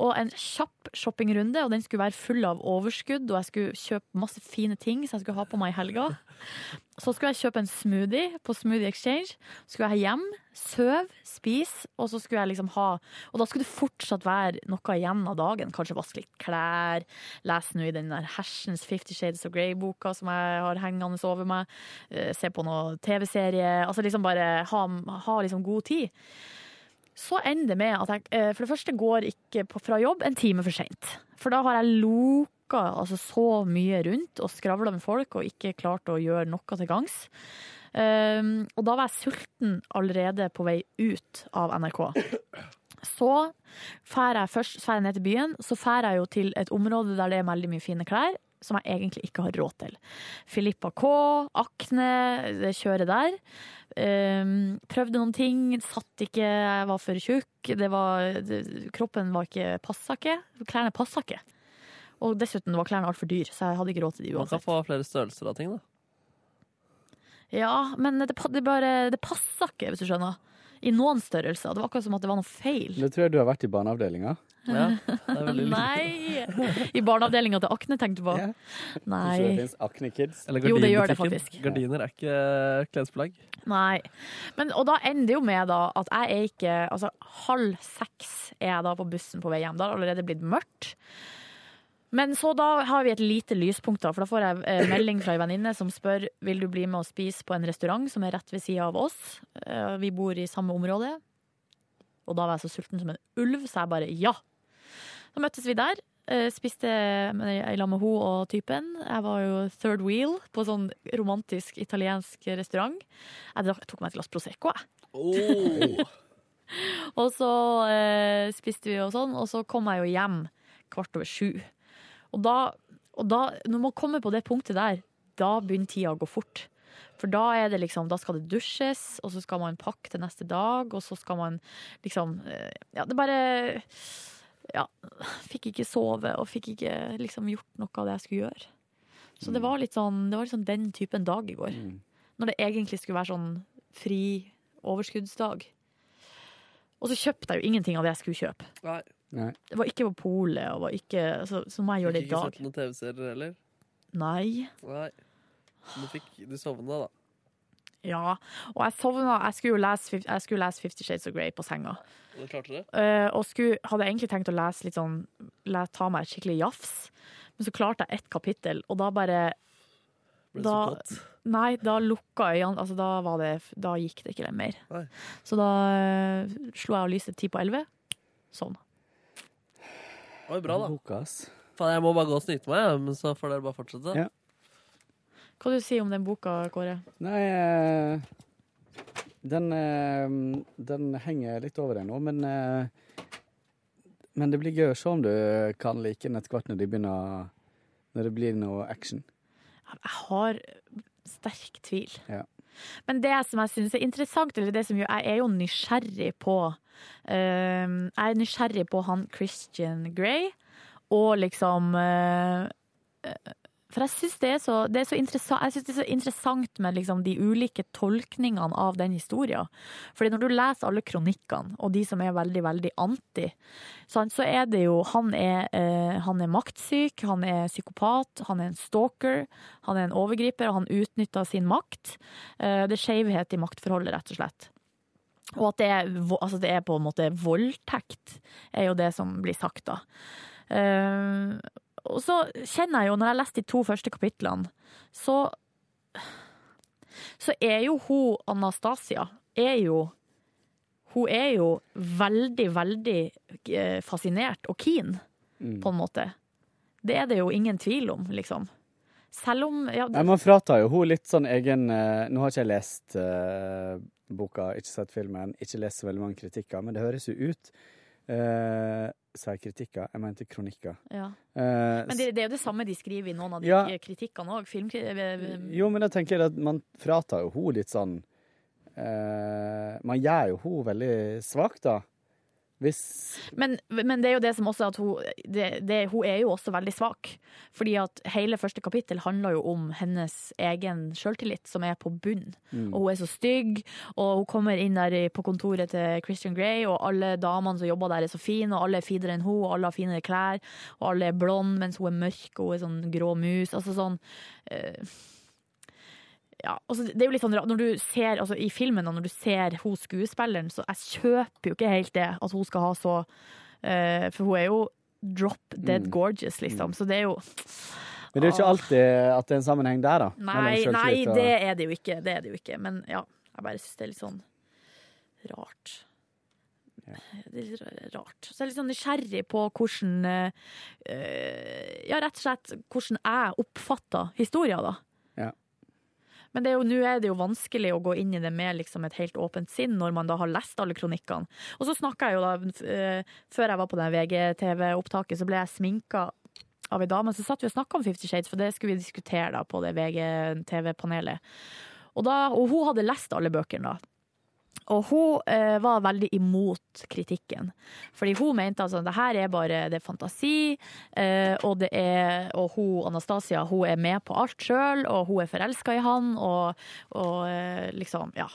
Speaker 2: Og en kjapp shoppingrunde, og den skulle være full av overskudd. Og jeg skulle kjøpe masse fine ting som jeg skulle ha på meg i helga. Så skulle jeg kjøpe en smoothie på Smoothie Exchange. Så skulle jeg hjem, søve, spise, og så skulle jeg liksom ha Og da skulle det fortsatt være noe igjen av dagen. Kanskje vaske litt klær, lese nå i den der hersens Fifty Shades of Grey-boka som jeg har hengende over meg, eh, se på noe TV-serie. Altså liksom bare ha, ha liksom god tid. Så ender det med at jeg eh, for det første går ikke på, fra jobb en time for seint. For da har jeg loka altså, så mye rundt og skravla med folk og ikke klart å gjøre noe til gangs. Um, og da var jeg sulten allerede på vei ut av NRK. Så fær jeg først fær jeg ned til byen, så fær jeg jo til et område der det er veldig mye fine klær. Som jeg egentlig ikke har råd til. Filippa K, Akne, det kjøret der. Um, prøvde noen ting, satt ikke, jeg var for tjukk. Det var, det, kroppen var ikke, passa ikke. Klærne passa ikke. Og dessuten var klærne altfor dyr, så jeg hadde ikke råd til de
Speaker 3: Man
Speaker 2: uansett.
Speaker 3: kan få flere størrelser av ting, da.
Speaker 2: Ja, men det, pa- det, bare, det passer ikke, hvis du skjønner. I noen størrelser. Det var akkurat som at det var noe feil.
Speaker 12: Nå tror jeg du har vært i barneavdelinga.
Speaker 2: Nei! I barneavdelinga til Akne tenkte du på.
Speaker 12: Kanskje det
Speaker 2: Nei.
Speaker 12: finnes Acne Kids?
Speaker 3: Eller
Speaker 2: Jo, det gjør det
Speaker 3: gardinbutikken.
Speaker 2: faktisk.
Speaker 3: Gardiner er ikke eh, klesplagg.
Speaker 2: Nei. Men, og da ender det jo med da, at jeg er ikke Altså halv seks er jeg da på bussen på vei hjem. Da har det allerede blitt mørkt. Men så da har vi et lite lyspunkt, da, for da får jeg eh, melding fra ei venninne som spør vil du bli med og spise på en restaurant som er rett ved sida av oss. Eh, Vi bor i samme område. Og da var jeg så sulten som en ulv, så jeg bare ja. Da møttes vi der. eh, Spiste i lag med hun og typen. Jeg var jo third wheel på sånn romantisk italiensk restaurant. Jeg drakk- tok meg et glass Prosecco, jeg. Og så eh, spiste vi og sånn, og så kom jeg jo hjem kvart over sju. Og da, og da, når man kommer på det punktet der, da begynner tida å gå fort. For da er det liksom, da skal det dusjes, og så skal man pakke til neste dag, og så skal man liksom eh, Ja, det bare Ja. Fikk ikke sove, og fikk ikke liksom gjort noe av det jeg skulle gjøre. Så det var litt sånn, det var liksom den typen dag i går. Når det egentlig skulle være sånn fri overskuddsdag. Og så kjøpte jeg jo ingenting av det jeg skulle kjøpe.
Speaker 12: Nei.
Speaker 2: Det var ikke på polet, og var ikke, så, så må jeg gjøre det i
Speaker 3: Ikke
Speaker 2: dag.
Speaker 3: sett noen TV-serier heller?
Speaker 2: Nei.
Speaker 3: Nei. Du, fikk, du sovna, da.
Speaker 2: Ja. Og jeg sovna. Jeg skulle jo lese, fif- jeg skulle lese Fifty Shades of Grey på senga.
Speaker 3: Og du klarte det?
Speaker 2: Eh, og skulle, hadde egentlig tenkt å lese litt sånn le, Ta meg et skikkelig jafs. Men så klarte jeg ett kapittel, og da bare
Speaker 3: Ble det så kåt?
Speaker 2: Nei, da lukka øynene altså da, var det, da gikk det ikke mer. Så da eh, slo jeg av lyset ti på elleve. Sånn.
Speaker 3: Oi, bra, da. Faen, jeg må bare gå og snyte meg, jeg, men så får dere bare fortsette.
Speaker 12: Ja.
Speaker 2: Hva du sier om den boka, Kåre?
Speaker 12: Nei eh, den, eh, den henger litt over deg nå, men eh, Men det blir gøy å se om du kan like den etter hvert når, de begynner, når det blir noe action.
Speaker 2: Jeg har eh, sterk tvil.
Speaker 12: Ja.
Speaker 2: Men det som jeg synes er interessant, eller det som jo, jeg er jo nysgjerrig på ehm, Jeg er nysgjerrig på han Christian Grey, og liksom eh, eh, For jeg syns det, er så- det, er så interessa- jeg synes det er så interessant med liksom de ulike tolkningene av den historien. Fordi når du leser alle kronikkene, og de som er veldig, veldig anti, sant, så er det jo Han er, eh, han er maktsyk, han er psykopat, han er en stalker, han er en overgriper, og han utnytter sin makt. Eh, Det er skjevhet i maktforholdet, rett og slett. Og at det er, vo- altså det er på en måte voldtekt, er jo det som blir sagt da. Eh, og så kjenner jeg jo, når jeg har lest de to første kapitlene, så, så er jo hun, Anastasia, er jo hun er jo veldig, veldig eh, fascinert og keen,
Speaker 12: Mm.
Speaker 2: på en måte. Det er det jo ingen tvil om, liksom. Selv om ja,
Speaker 12: Nei, Man fratar jo hun litt sånn egen eh, Nå har ikke jeg lest eh, boka, ikke sett filmen, ikke lest så veldig mange kritikker, men det høres jo ut eh, Sa jeg kritikker? Jeg mente kronikker.
Speaker 2: Ja.
Speaker 12: Eh,
Speaker 2: Men det, det er jo det samme de skriver i noen av de
Speaker 12: Ja.
Speaker 2: kritikkene eh, òg. Filmkritikk
Speaker 12: Jo, men da tenker jeg at man fratar jo hun litt sånn eh, Man gjør jo hun veldig svak, da. Hvis
Speaker 2: men, men det er jo det som også at hun det, det, Hun er jo også veldig svak. Fordi at hele første kapittel handler jo om hennes egen sjøltillit, som er på bunn.
Speaker 13: Mm.
Speaker 2: Og hun er så stygg, og hun kommer inn der i- på kontoret til Christian Grey, og alle damene som jobber der, er så fine, og alle er finere enn hun, og alle har finere klær, og alle er blonde, mens hun er mørk, og hun er sånn grå mus. Altså sånn eh, ja, altså det er jo litt sånn rart når du ser, altså I filmen, da, når du ser hun skuespilleren, så jeg kjøper jo ikke helt det at hun skal ha så eh, For hun er jo drop dead
Speaker 12: Mm.
Speaker 2: gorgeous, liksom. Så det er jo
Speaker 12: Men det er jo ikke alltid at det er en sammenheng der, da.
Speaker 2: Nei,
Speaker 12: mellom
Speaker 2: nei
Speaker 12: selvtillit og-
Speaker 2: det er det jo ikke. Det er det jo ikke. Men ja, jeg bare syns det er litt sånn rart. Det er litt ra- rart. Så jeg er litt sånn nysgjerrig på hvordan eh, eh, Ja, rett og slett hvordan jeg oppfatter historien, da.
Speaker 12: Ja.
Speaker 2: Men det er jo, nå er det jo vanskelig å gå inn i det med liksom et helt åpent sinn, når man da har lest alle kronikkene. Og så snakka jeg jo da, eh, før jeg var på det VGTV-opptaket, så ble jeg sminka av ei dame. Så satt vi og snakka om Fifty Shades, for det skulle vi diskutere da på det VGTV-panelet. Og, da- og hun hadde lest alle bøkene, da. Og hun eh, var veldig imot kritikken. Fordi hun mente altså at det her er bare det er fantasi, eh, og, det er, og hun, Anastasia hun er med på alt sjøl, og hun er forelska i han, og, og eh, liksom Ja.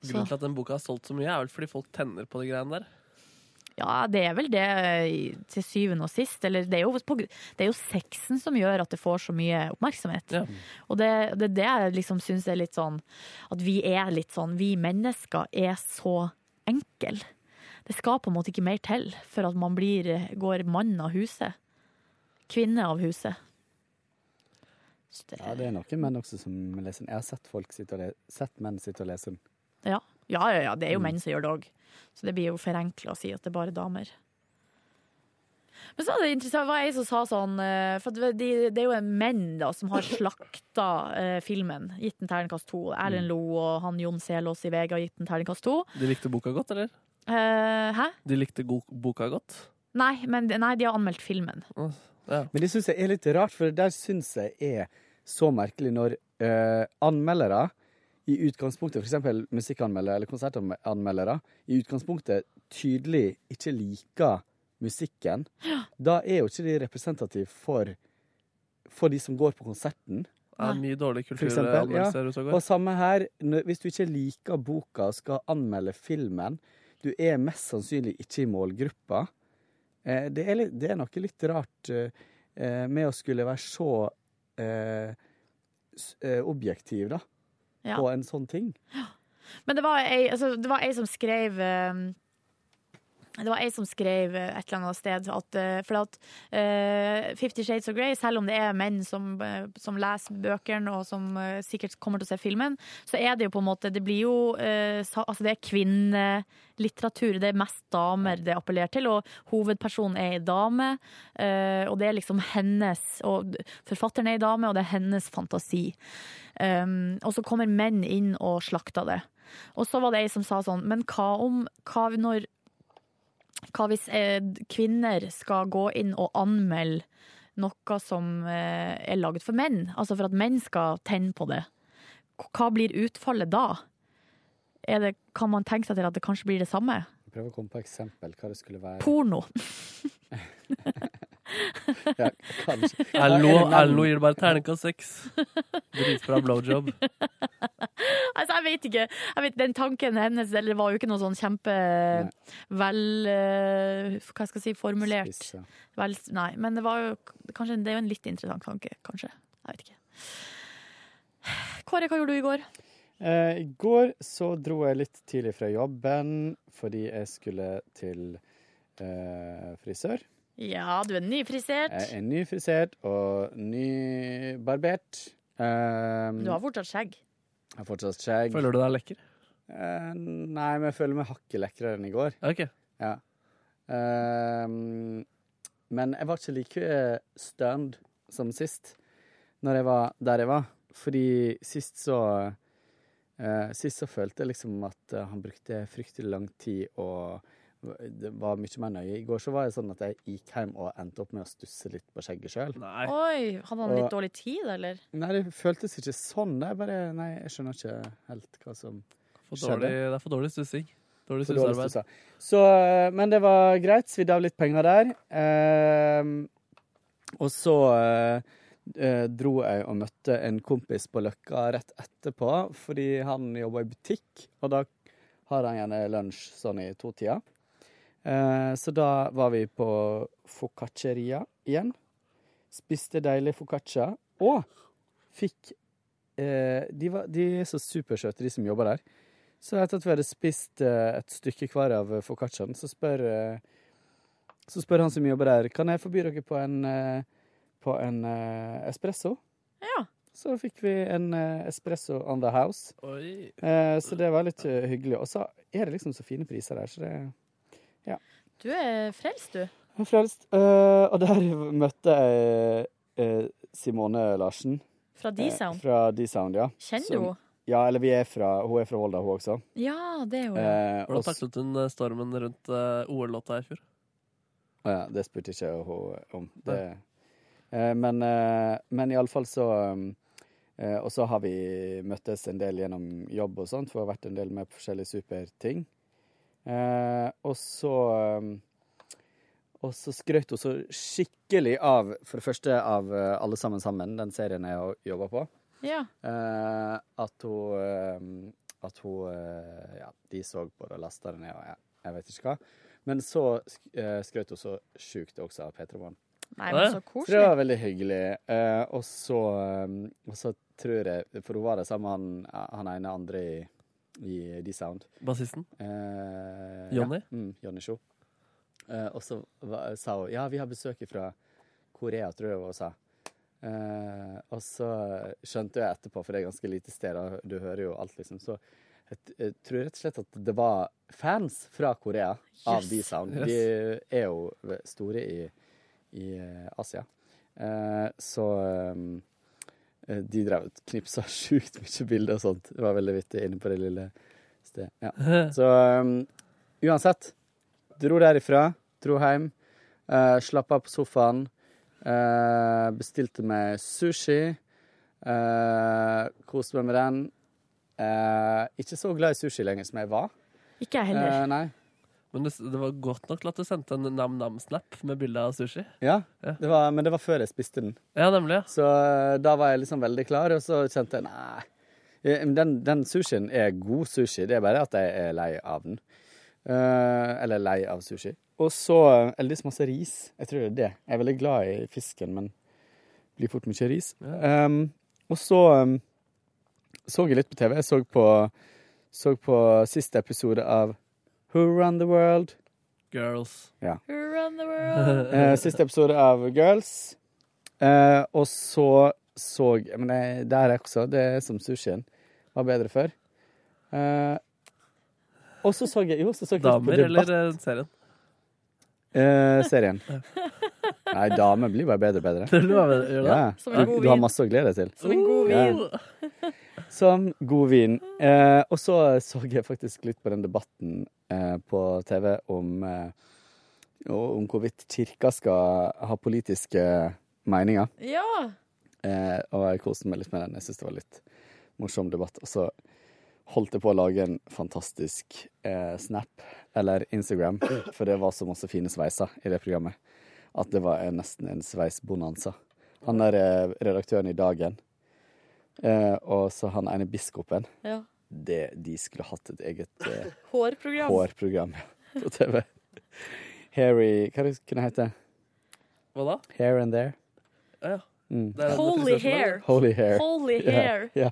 Speaker 2: Så-
Speaker 3: Grunnen til at den boka har solgt så mye, er vel fordi folk tenner på de greiene der.
Speaker 2: Ja, det er vel det eh, i- til syvende og sist. Eller det er jo, på, gr- det er jo sexen som gjør at det får så mye oppmerksomhet. Og det det er det jeg liksom syns er litt sånn At vi er litt sånn Vi mennesker er så enkle. Det skal på en måte ikke mer til for at man blir, går mann av huset. kvinne av huset.
Speaker 12: Ja, det er noen menn også som leser den. Jeg har sett, folk sitte og le sett menn sitte og lese den.
Speaker 2: Ja, ja, ja, ja det er jo
Speaker 12: Mm.
Speaker 2: menn som gjør det òg. Så det blir jo forenkla å si at det er bare damer. Men så er det interessant, det var ei som sa sånn eh, For at de, det er jo en menn da som har slakta eh, filmen. Gitt den terningkast to. Erlend Lo og han Jon Selås i VG har gitt den terningkast to.
Speaker 3: De likte boka godt, eller?
Speaker 2: Eh, hæ?
Speaker 3: De likte go boka godt.
Speaker 2: Nei, men, nei, de har anmeldt filmen.
Speaker 12: Men det syns jeg er litt rart, for det der syns jeg er så merkelig når eh, anmeldere i utgangspunktet, f.eks. musikkanmeldere eller konsertanmeldere, i utgangspunktet tydelig ikke liker musikken, da er jo ikke de representative for, for de som går på konserten.
Speaker 3: Det er mye dårlige
Speaker 12: For eksempel, ja.
Speaker 3: kulturanmeldelser ute og
Speaker 12: Og
Speaker 3: går.
Speaker 12: samme her, n- hvis du ikke liker boka og skal anmelde filmen, du er mest sannsynlig ikke i målgruppa. Eh, Det er, litt, det er noe litt rart eh, eh, med å skulle være så eh, s- eh, objektiv, da,
Speaker 2: Ja.
Speaker 12: på en sånn ting.
Speaker 2: Men det var ei, altså, det var ei som skrev eh, det var ei som skrev eh, et eller annet sted at eh, For at eh, Fifty Shades of Grey, selv om det er menn som, eh, som leser bøkene og som eh, sikkert kommer til å se filmen, så er det jo på en måte Det blir jo eh, sa, Altså, det er kvinnelitteratur. Det er mest damer det appellerer til, og hovedpersonen er ei dame. eh, og det er liksom hennes Og forfatteren er ei dame, og det er hennes fantasi. Um, og så kommer menn inn og slakter det. Og så var det ei som sa sånn, men hva om Hva når hva hvis eh, kvinner skal gå inn og anmelde noe som eh, er laget for menn? Altså for at menn skal tenne på det. K- Hva blir utfallet da? Er det, kan man tenke seg til at det kanskje blir det samme?
Speaker 12: Jeg prøver å komme på eksempel hva det skulle være.
Speaker 2: Porno.
Speaker 12: Ja, kanskje.
Speaker 3: Erlo,
Speaker 12: Ja, er det menn?
Speaker 3: Erlo gir det bare terningkast seks. Dritbra blowjob.
Speaker 2: Altså, jeg vet ikke. Jeg vet, den tanken hennes eller det var jo ikke noe sånn kjempe vel eh, Hva skal jeg si, formulert. Vel, nei, men det var jo kanskje, det er jo en litt interessant tanke, kanskje. Jeg vet ikke. Kåre, hva gjorde du i går?
Speaker 12: Eh, I går så dro jeg litt tidlig fra jobben fordi jeg skulle til eh, frisør.
Speaker 2: Ja, du er nyfrisert.
Speaker 12: Jeg er nyfrisert og nybarbert. Um,
Speaker 2: Du har fortsatt skjegg.
Speaker 12: Jeg har fortsatt skjegg.
Speaker 3: Føler du deg lekker?
Speaker 12: Eh, nei, men jeg føler meg hakket lekrere enn i går.
Speaker 3: Ok.
Speaker 12: Ja. Ehm, men jeg var ikke like stønd som sist, når jeg var der jeg var. Fordi sist så eh, Sist så følte jeg liksom at eh, han brukte fryktelig lang tid og det var mye mer nøye. I går så var det sånn at jeg gikk hjem og endte opp med å stusse litt på skjegget sjøl.
Speaker 2: Oi, hadde han litt
Speaker 12: Og-
Speaker 2: dårlig tid, eller?
Speaker 12: Nei, det føltes ikke sånn. Det er bare Nei, jeg skjønner ikke helt hva som
Speaker 3: For
Speaker 12: skjedde.
Speaker 3: dårlig, det er for dårlig stussing. Dårlig
Speaker 12: For dårlig
Speaker 3: stussearbeid.
Speaker 12: stussa. Så, eh, men det var greit. Svidde av litt penger der. Ehm, og så eh, eh, dro jeg og møtte en kompis på Løkka rett etterpå, fordi han jobber i butikk, og da har han gjerne lunsj sånn i totida. Eh, så da var vi på foccacceria igjen. Spiste deilig foccaccia, og fikk eh, de, var, de er så supersøte, de som jobber der. Så etter at vi hadde spist eh, et stykke hver av eh, foccacciaen, så spør, eh, så spør han som jobber der, kan jeg forby dere på en, eh, på en eh, espresso?
Speaker 2: Ja.
Speaker 12: Så fikk vi en eh, espresso on the house.
Speaker 3: Oi.
Speaker 12: Eh, så det var litt eh, hyggelig. Og så er det liksom så fine priser der, så det Ja.
Speaker 2: Du er frelst, du.
Speaker 12: Jeg er frelst. Eh, og der møtte jeg eh, Simone Larsen.
Speaker 2: Fra
Speaker 12: Eh,
Speaker 2: D-Sound.
Speaker 12: fra D-Sound, ja.
Speaker 2: Kjenner du
Speaker 12: Som-
Speaker 2: henne?
Speaker 12: Ja, eller vi er fra, hun er fra Volda, hun også.
Speaker 2: Ja, det er jo
Speaker 12: Eh, og
Speaker 3: Hvordan taklet hun eh, stormen rundt eh, OL-låta i fjor?
Speaker 12: Å ja, det spurte ikke hun om. Det, eh, men eh, men iallfall så um, eh, Og så har vi møttes en del gjennom jobb og sånt, for hun har vært en del med på forskjellige superting. Eh, og så um, og så skrøt hun så skikkelig av, for det første av eh, Alle sammen sammen, den serien jeg jobber på.
Speaker 2: Ja.
Speaker 12: Eh, at hun eh, At hun eh, Ja, de så på det og lasta det ned, og jeg, jeg vet ikke hva. Men så sk eh, skrøt hun så sjukt også av P3 Morgen.
Speaker 2: Nei, men så koselig.
Speaker 12: det var veldig hyggelig. Eh, og så eh, Og så tror jeg For hun var der sammen med han, han ene andre i, i D-Sound.
Speaker 3: Bassisten?
Speaker 12: Eh,
Speaker 3: Johnny?
Speaker 12: Ja. Mm, Johnny Sjo. Eh, og så va- sa hun ja, vi har besøk fra Korea, tror jeg det var hun sa. Eh, og så skjønte jeg etterpå, for det er ganske lite steder, du hører jo alt, liksom. Så jeg, t- jeg tror rett og slett at det var fans fra Korea av
Speaker 13: Yes.
Speaker 12: D-Sound.
Speaker 13: Yes.
Speaker 12: De er jo ve- store i, i eh, Asia. Eh, så eh, de drev og knipsa sjukt mye bilder og sånt. Det var veldig vittig inne på det lille stedet. Ja. Så eh, uansett, dro derifra, dro hjem, uh, slappa av på sofaen, eh, bestilte meg sushi, uh, koste meg med den. Eh, ikke så glad i sushi lenger som jeg var.
Speaker 2: Ikke jeg
Speaker 12: Eh,
Speaker 2: heller.
Speaker 12: nei.
Speaker 3: Men det, det var godt nok til at du sendte en nam-nam-snap med bilde av sushi.
Speaker 12: Ja, det var, men det var før jeg spiste den.
Speaker 3: Ja, nemlig.
Speaker 12: Så eh, da var jeg liksom veldig klar, og så kjente jeg nei. eh, men Den, den sushien er god sushi, det er bare at jeg er lei av den. Eh, eller lei av sushi. Og så eh, Jeg liker så masse ris. Jeg tror det er det. Jeg er veldig glad i fisken, men blir fort mye ris. Ehm, og så ehm, så jeg litt på TV. Jeg så på, så på siste episode av Who Run The World?
Speaker 3: Girls.
Speaker 12: Ja.
Speaker 2: Who run the world?
Speaker 12: Eh, siste episode av Girls. Eh, og så så Men det, det er også det er som sushien var bedre før. Eh, og så så jeg Jo, så så jeg litt på
Speaker 3: Damer
Speaker 12: Debatt.
Speaker 3: eller eh, serien?
Speaker 12: Eh, serien. Nei, damer blir bare bedre og bedre.
Speaker 3: Det blir bare bedre, gjør det?
Speaker 12: Ja.
Speaker 3: Som en
Speaker 12: Du,
Speaker 3: god
Speaker 12: du har
Speaker 3: vin.
Speaker 12: masse å glede deg til.
Speaker 3: Som en god
Speaker 12: Ja.
Speaker 3: vin.
Speaker 12: Som god vin. Eh, og så så jeg faktisk litt på den debatten eh, på TV om, eh, om hvorvidt kirka skal ha politiske meninger.
Speaker 2: Ja.
Speaker 12: Eh, og jeg koste meg litt med den. Jeg syns det var litt morsom debatt. Og så holdt jeg på å lage en fantastisk eh, Snap eller Instagram, for det var så masse fine sveiser i det programmet at det var eh, nesten en sveisbonanza. Han er eh, redaktøren i Dagen, eh, og så han ene biskopen.
Speaker 2: Ja.
Speaker 12: Det, de skulle hatt et eget eh,
Speaker 2: Hårprogram.
Speaker 12: hårprogram på TV. Hairy Hva er det det kunne hete?
Speaker 3: Hva da?
Speaker 12: Hair and there.
Speaker 3: Ja, ja.
Speaker 12: Mm.
Speaker 3: Det er den
Speaker 2: Holy
Speaker 3: frisøren,
Speaker 2: hair.
Speaker 3: eller?
Speaker 12: Holy hair.
Speaker 2: Holy
Speaker 12: Ja,
Speaker 2: hair.
Speaker 12: Ja.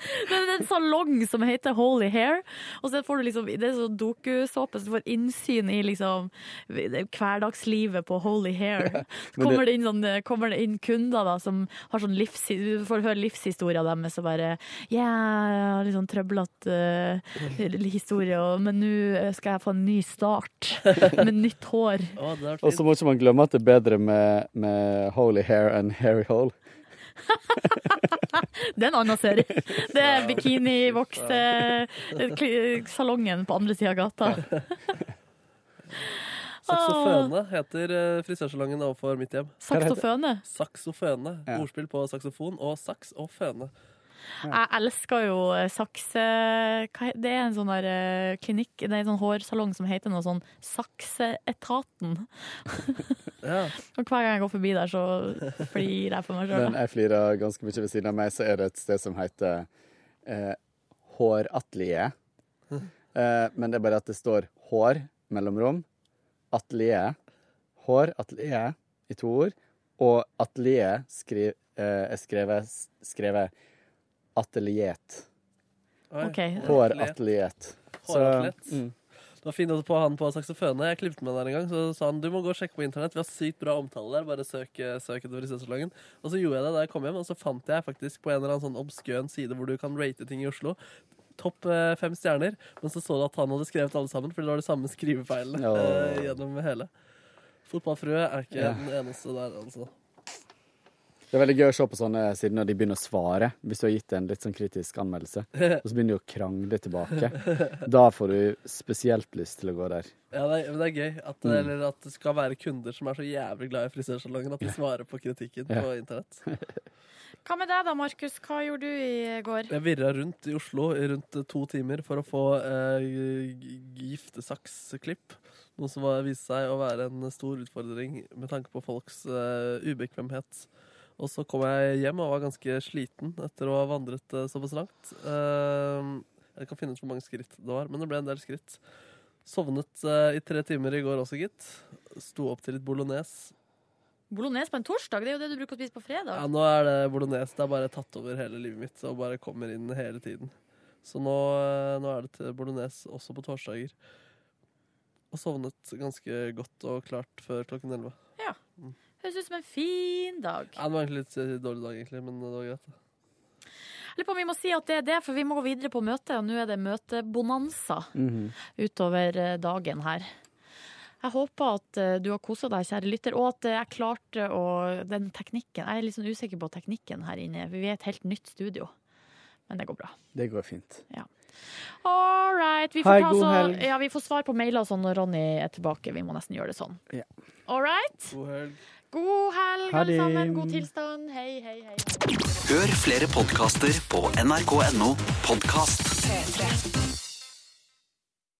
Speaker 2: Det er en salong som heter Holy Hair. Og så får du liksom, Det er sånn dokusåpe, så du får innsyn i liksom det- hverdagslivet på Holy Hair. Så
Speaker 12: men
Speaker 2: kommer
Speaker 12: det-
Speaker 2: det inn, sånn, kommer det inn kunder da, som har sånn livs, Du får høre livshistoria deres og bare Ja, litt sånn trøblete eh, historie, og, men nå skal jeg få en ny start med nytt hår.
Speaker 12: Og så må ikke man glemme at det er bedre med, med holy hair enn hairy hole.
Speaker 2: Det er en annen serie. Det er bikinivoks-salongen på andre sida av gata. Ah.
Speaker 3: Saksoføne heter eh, frisørsalongen overfor mitt hjem.
Speaker 2: Saksoføne?
Speaker 3: Saksoføne. Ordspill på saksofon og saks og føne.
Speaker 2: Jeg elsker jo eh, saks... eh, hva he- Det er en sånn der eh, klinikk, det er en sånn hårsalong som heter noe sånn Sakseetaten. Og hver gang jeg går forbi der, så flirer jeg for meg
Speaker 12: Men eh,
Speaker 2: sjøl.
Speaker 12: jeg flirer ganske mye ved siden av meg, så er det et sted som heter eh, Håratelier. Eh, men det er bare at det står hår mellomrom, atelier, hår, atelier i to ord, og atelier skri, eh, er skrevet, skrevet ateliet.
Speaker 2: Ok.
Speaker 12: Hårateliet. Så-
Speaker 3: Håratlet.
Speaker 12: mm.
Speaker 3: Det var fint på han på saksoføne. Jeg klippet med han der en gang, så sa han du må gå og sjekke på internett. Vi har sykt bra omtale der. Bare søk, eh, søk etter frisørsalongen. Og så gjorde jeg det da jeg kom hjem, og så fant jeg faktisk på en eller annen sånn obskøn side hvor du kan rate ting i Oslo. Topp eh, fem stjerner. Men så så du at han hadde skrevet alle sammen, for det var de samme skrivefeilene
Speaker 12: Ja.
Speaker 3: eh, gjennom hele. Fotballfrue er ikke
Speaker 12: Ja.
Speaker 3: den eneste der, altså.
Speaker 12: Det er veldig gøy å se på sånne siden når de begynner å svare, hvis du har gitt en litt sånn kritisk anmeldelse. Og så begynner de å krangle tilbake. Da får du spesielt lyst til å gå der.
Speaker 3: Ja, det, er- men det er gøy at,
Speaker 12: Mm.
Speaker 3: eller at det skal være kunder som er så jævlig glad i frisørsalongen at de svarer på kritikken
Speaker 12: Ja.
Speaker 3: på internett.
Speaker 2: Hva med deg da, Markus? Hva gjorde du i går?
Speaker 3: Jeg virra rundt i Oslo i rundt eh, to timer for å få eh, g- g- giftesaksklipp. Noe som var, viste seg å være en stor utfordring med tanke på folks eh, ubekvemhet. Og så kom jeg hjem og var ganske sliten etter å ha vandret eh, såpass langt. Eh, jeg kan finne ut hvor mange skritt det var, men det ble en del skritt. Sovnet eh, i tre timer i går også, gitt. Sto opp til litt bolognese.
Speaker 2: Bolognese på en torsdag? Det er jo det du bruker å spise på fredag.
Speaker 3: Ja, nå er det bolognese. Det er bare tatt over hele livet mitt og bare kommer inn hele tiden. Så nå, eh, nå er det til bolognese også på torsdager. Og sovnet ganske godt og klart før klokken elleve.
Speaker 2: Høres ut som en fin dag.
Speaker 3: Ja, det var egentlig litt eh, dårlig dag, egentlig, men det var greit.
Speaker 2: Jeg lurer på om vi må si at det er det, for vi må gå videre på møtet, og nå er det møtebonanza
Speaker 12: Mhm.
Speaker 2: utover eh, dagen her. Jeg håper at eh, du har kosa deg, kjære lytter, og at eh, jeg klarte å Den teknikken Jeg er litt sånn usikker på teknikken her inne. Vi er et helt nytt studio. Men det går bra.
Speaker 12: Det går fint.
Speaker 2: All right. Vi
Speaker 12: Ha
Speaker 2: får,
Speaker 12: en
Speaker 2: ta
Speaker 12: god
Speaker 2: så,
Speaker 12: helg.
Speaker 2: ja, vi får svar på mailer og sånn når Ronny er tilbake. Vi må nesten gjøre det sånn.
Speaker 12: Ja.
Speaker 2: All right?
Speaker 3: God helg.
Speaker 2: God helg,
Speaker 10: Ha
Speaker 2: alle
Speaker 10: det.
Speaker 2: sammen. God tilstand. Hei, hei, hei.
Speaker 10: Hør flere podkaster på nrk.no podkast.
Speaker 1: P3.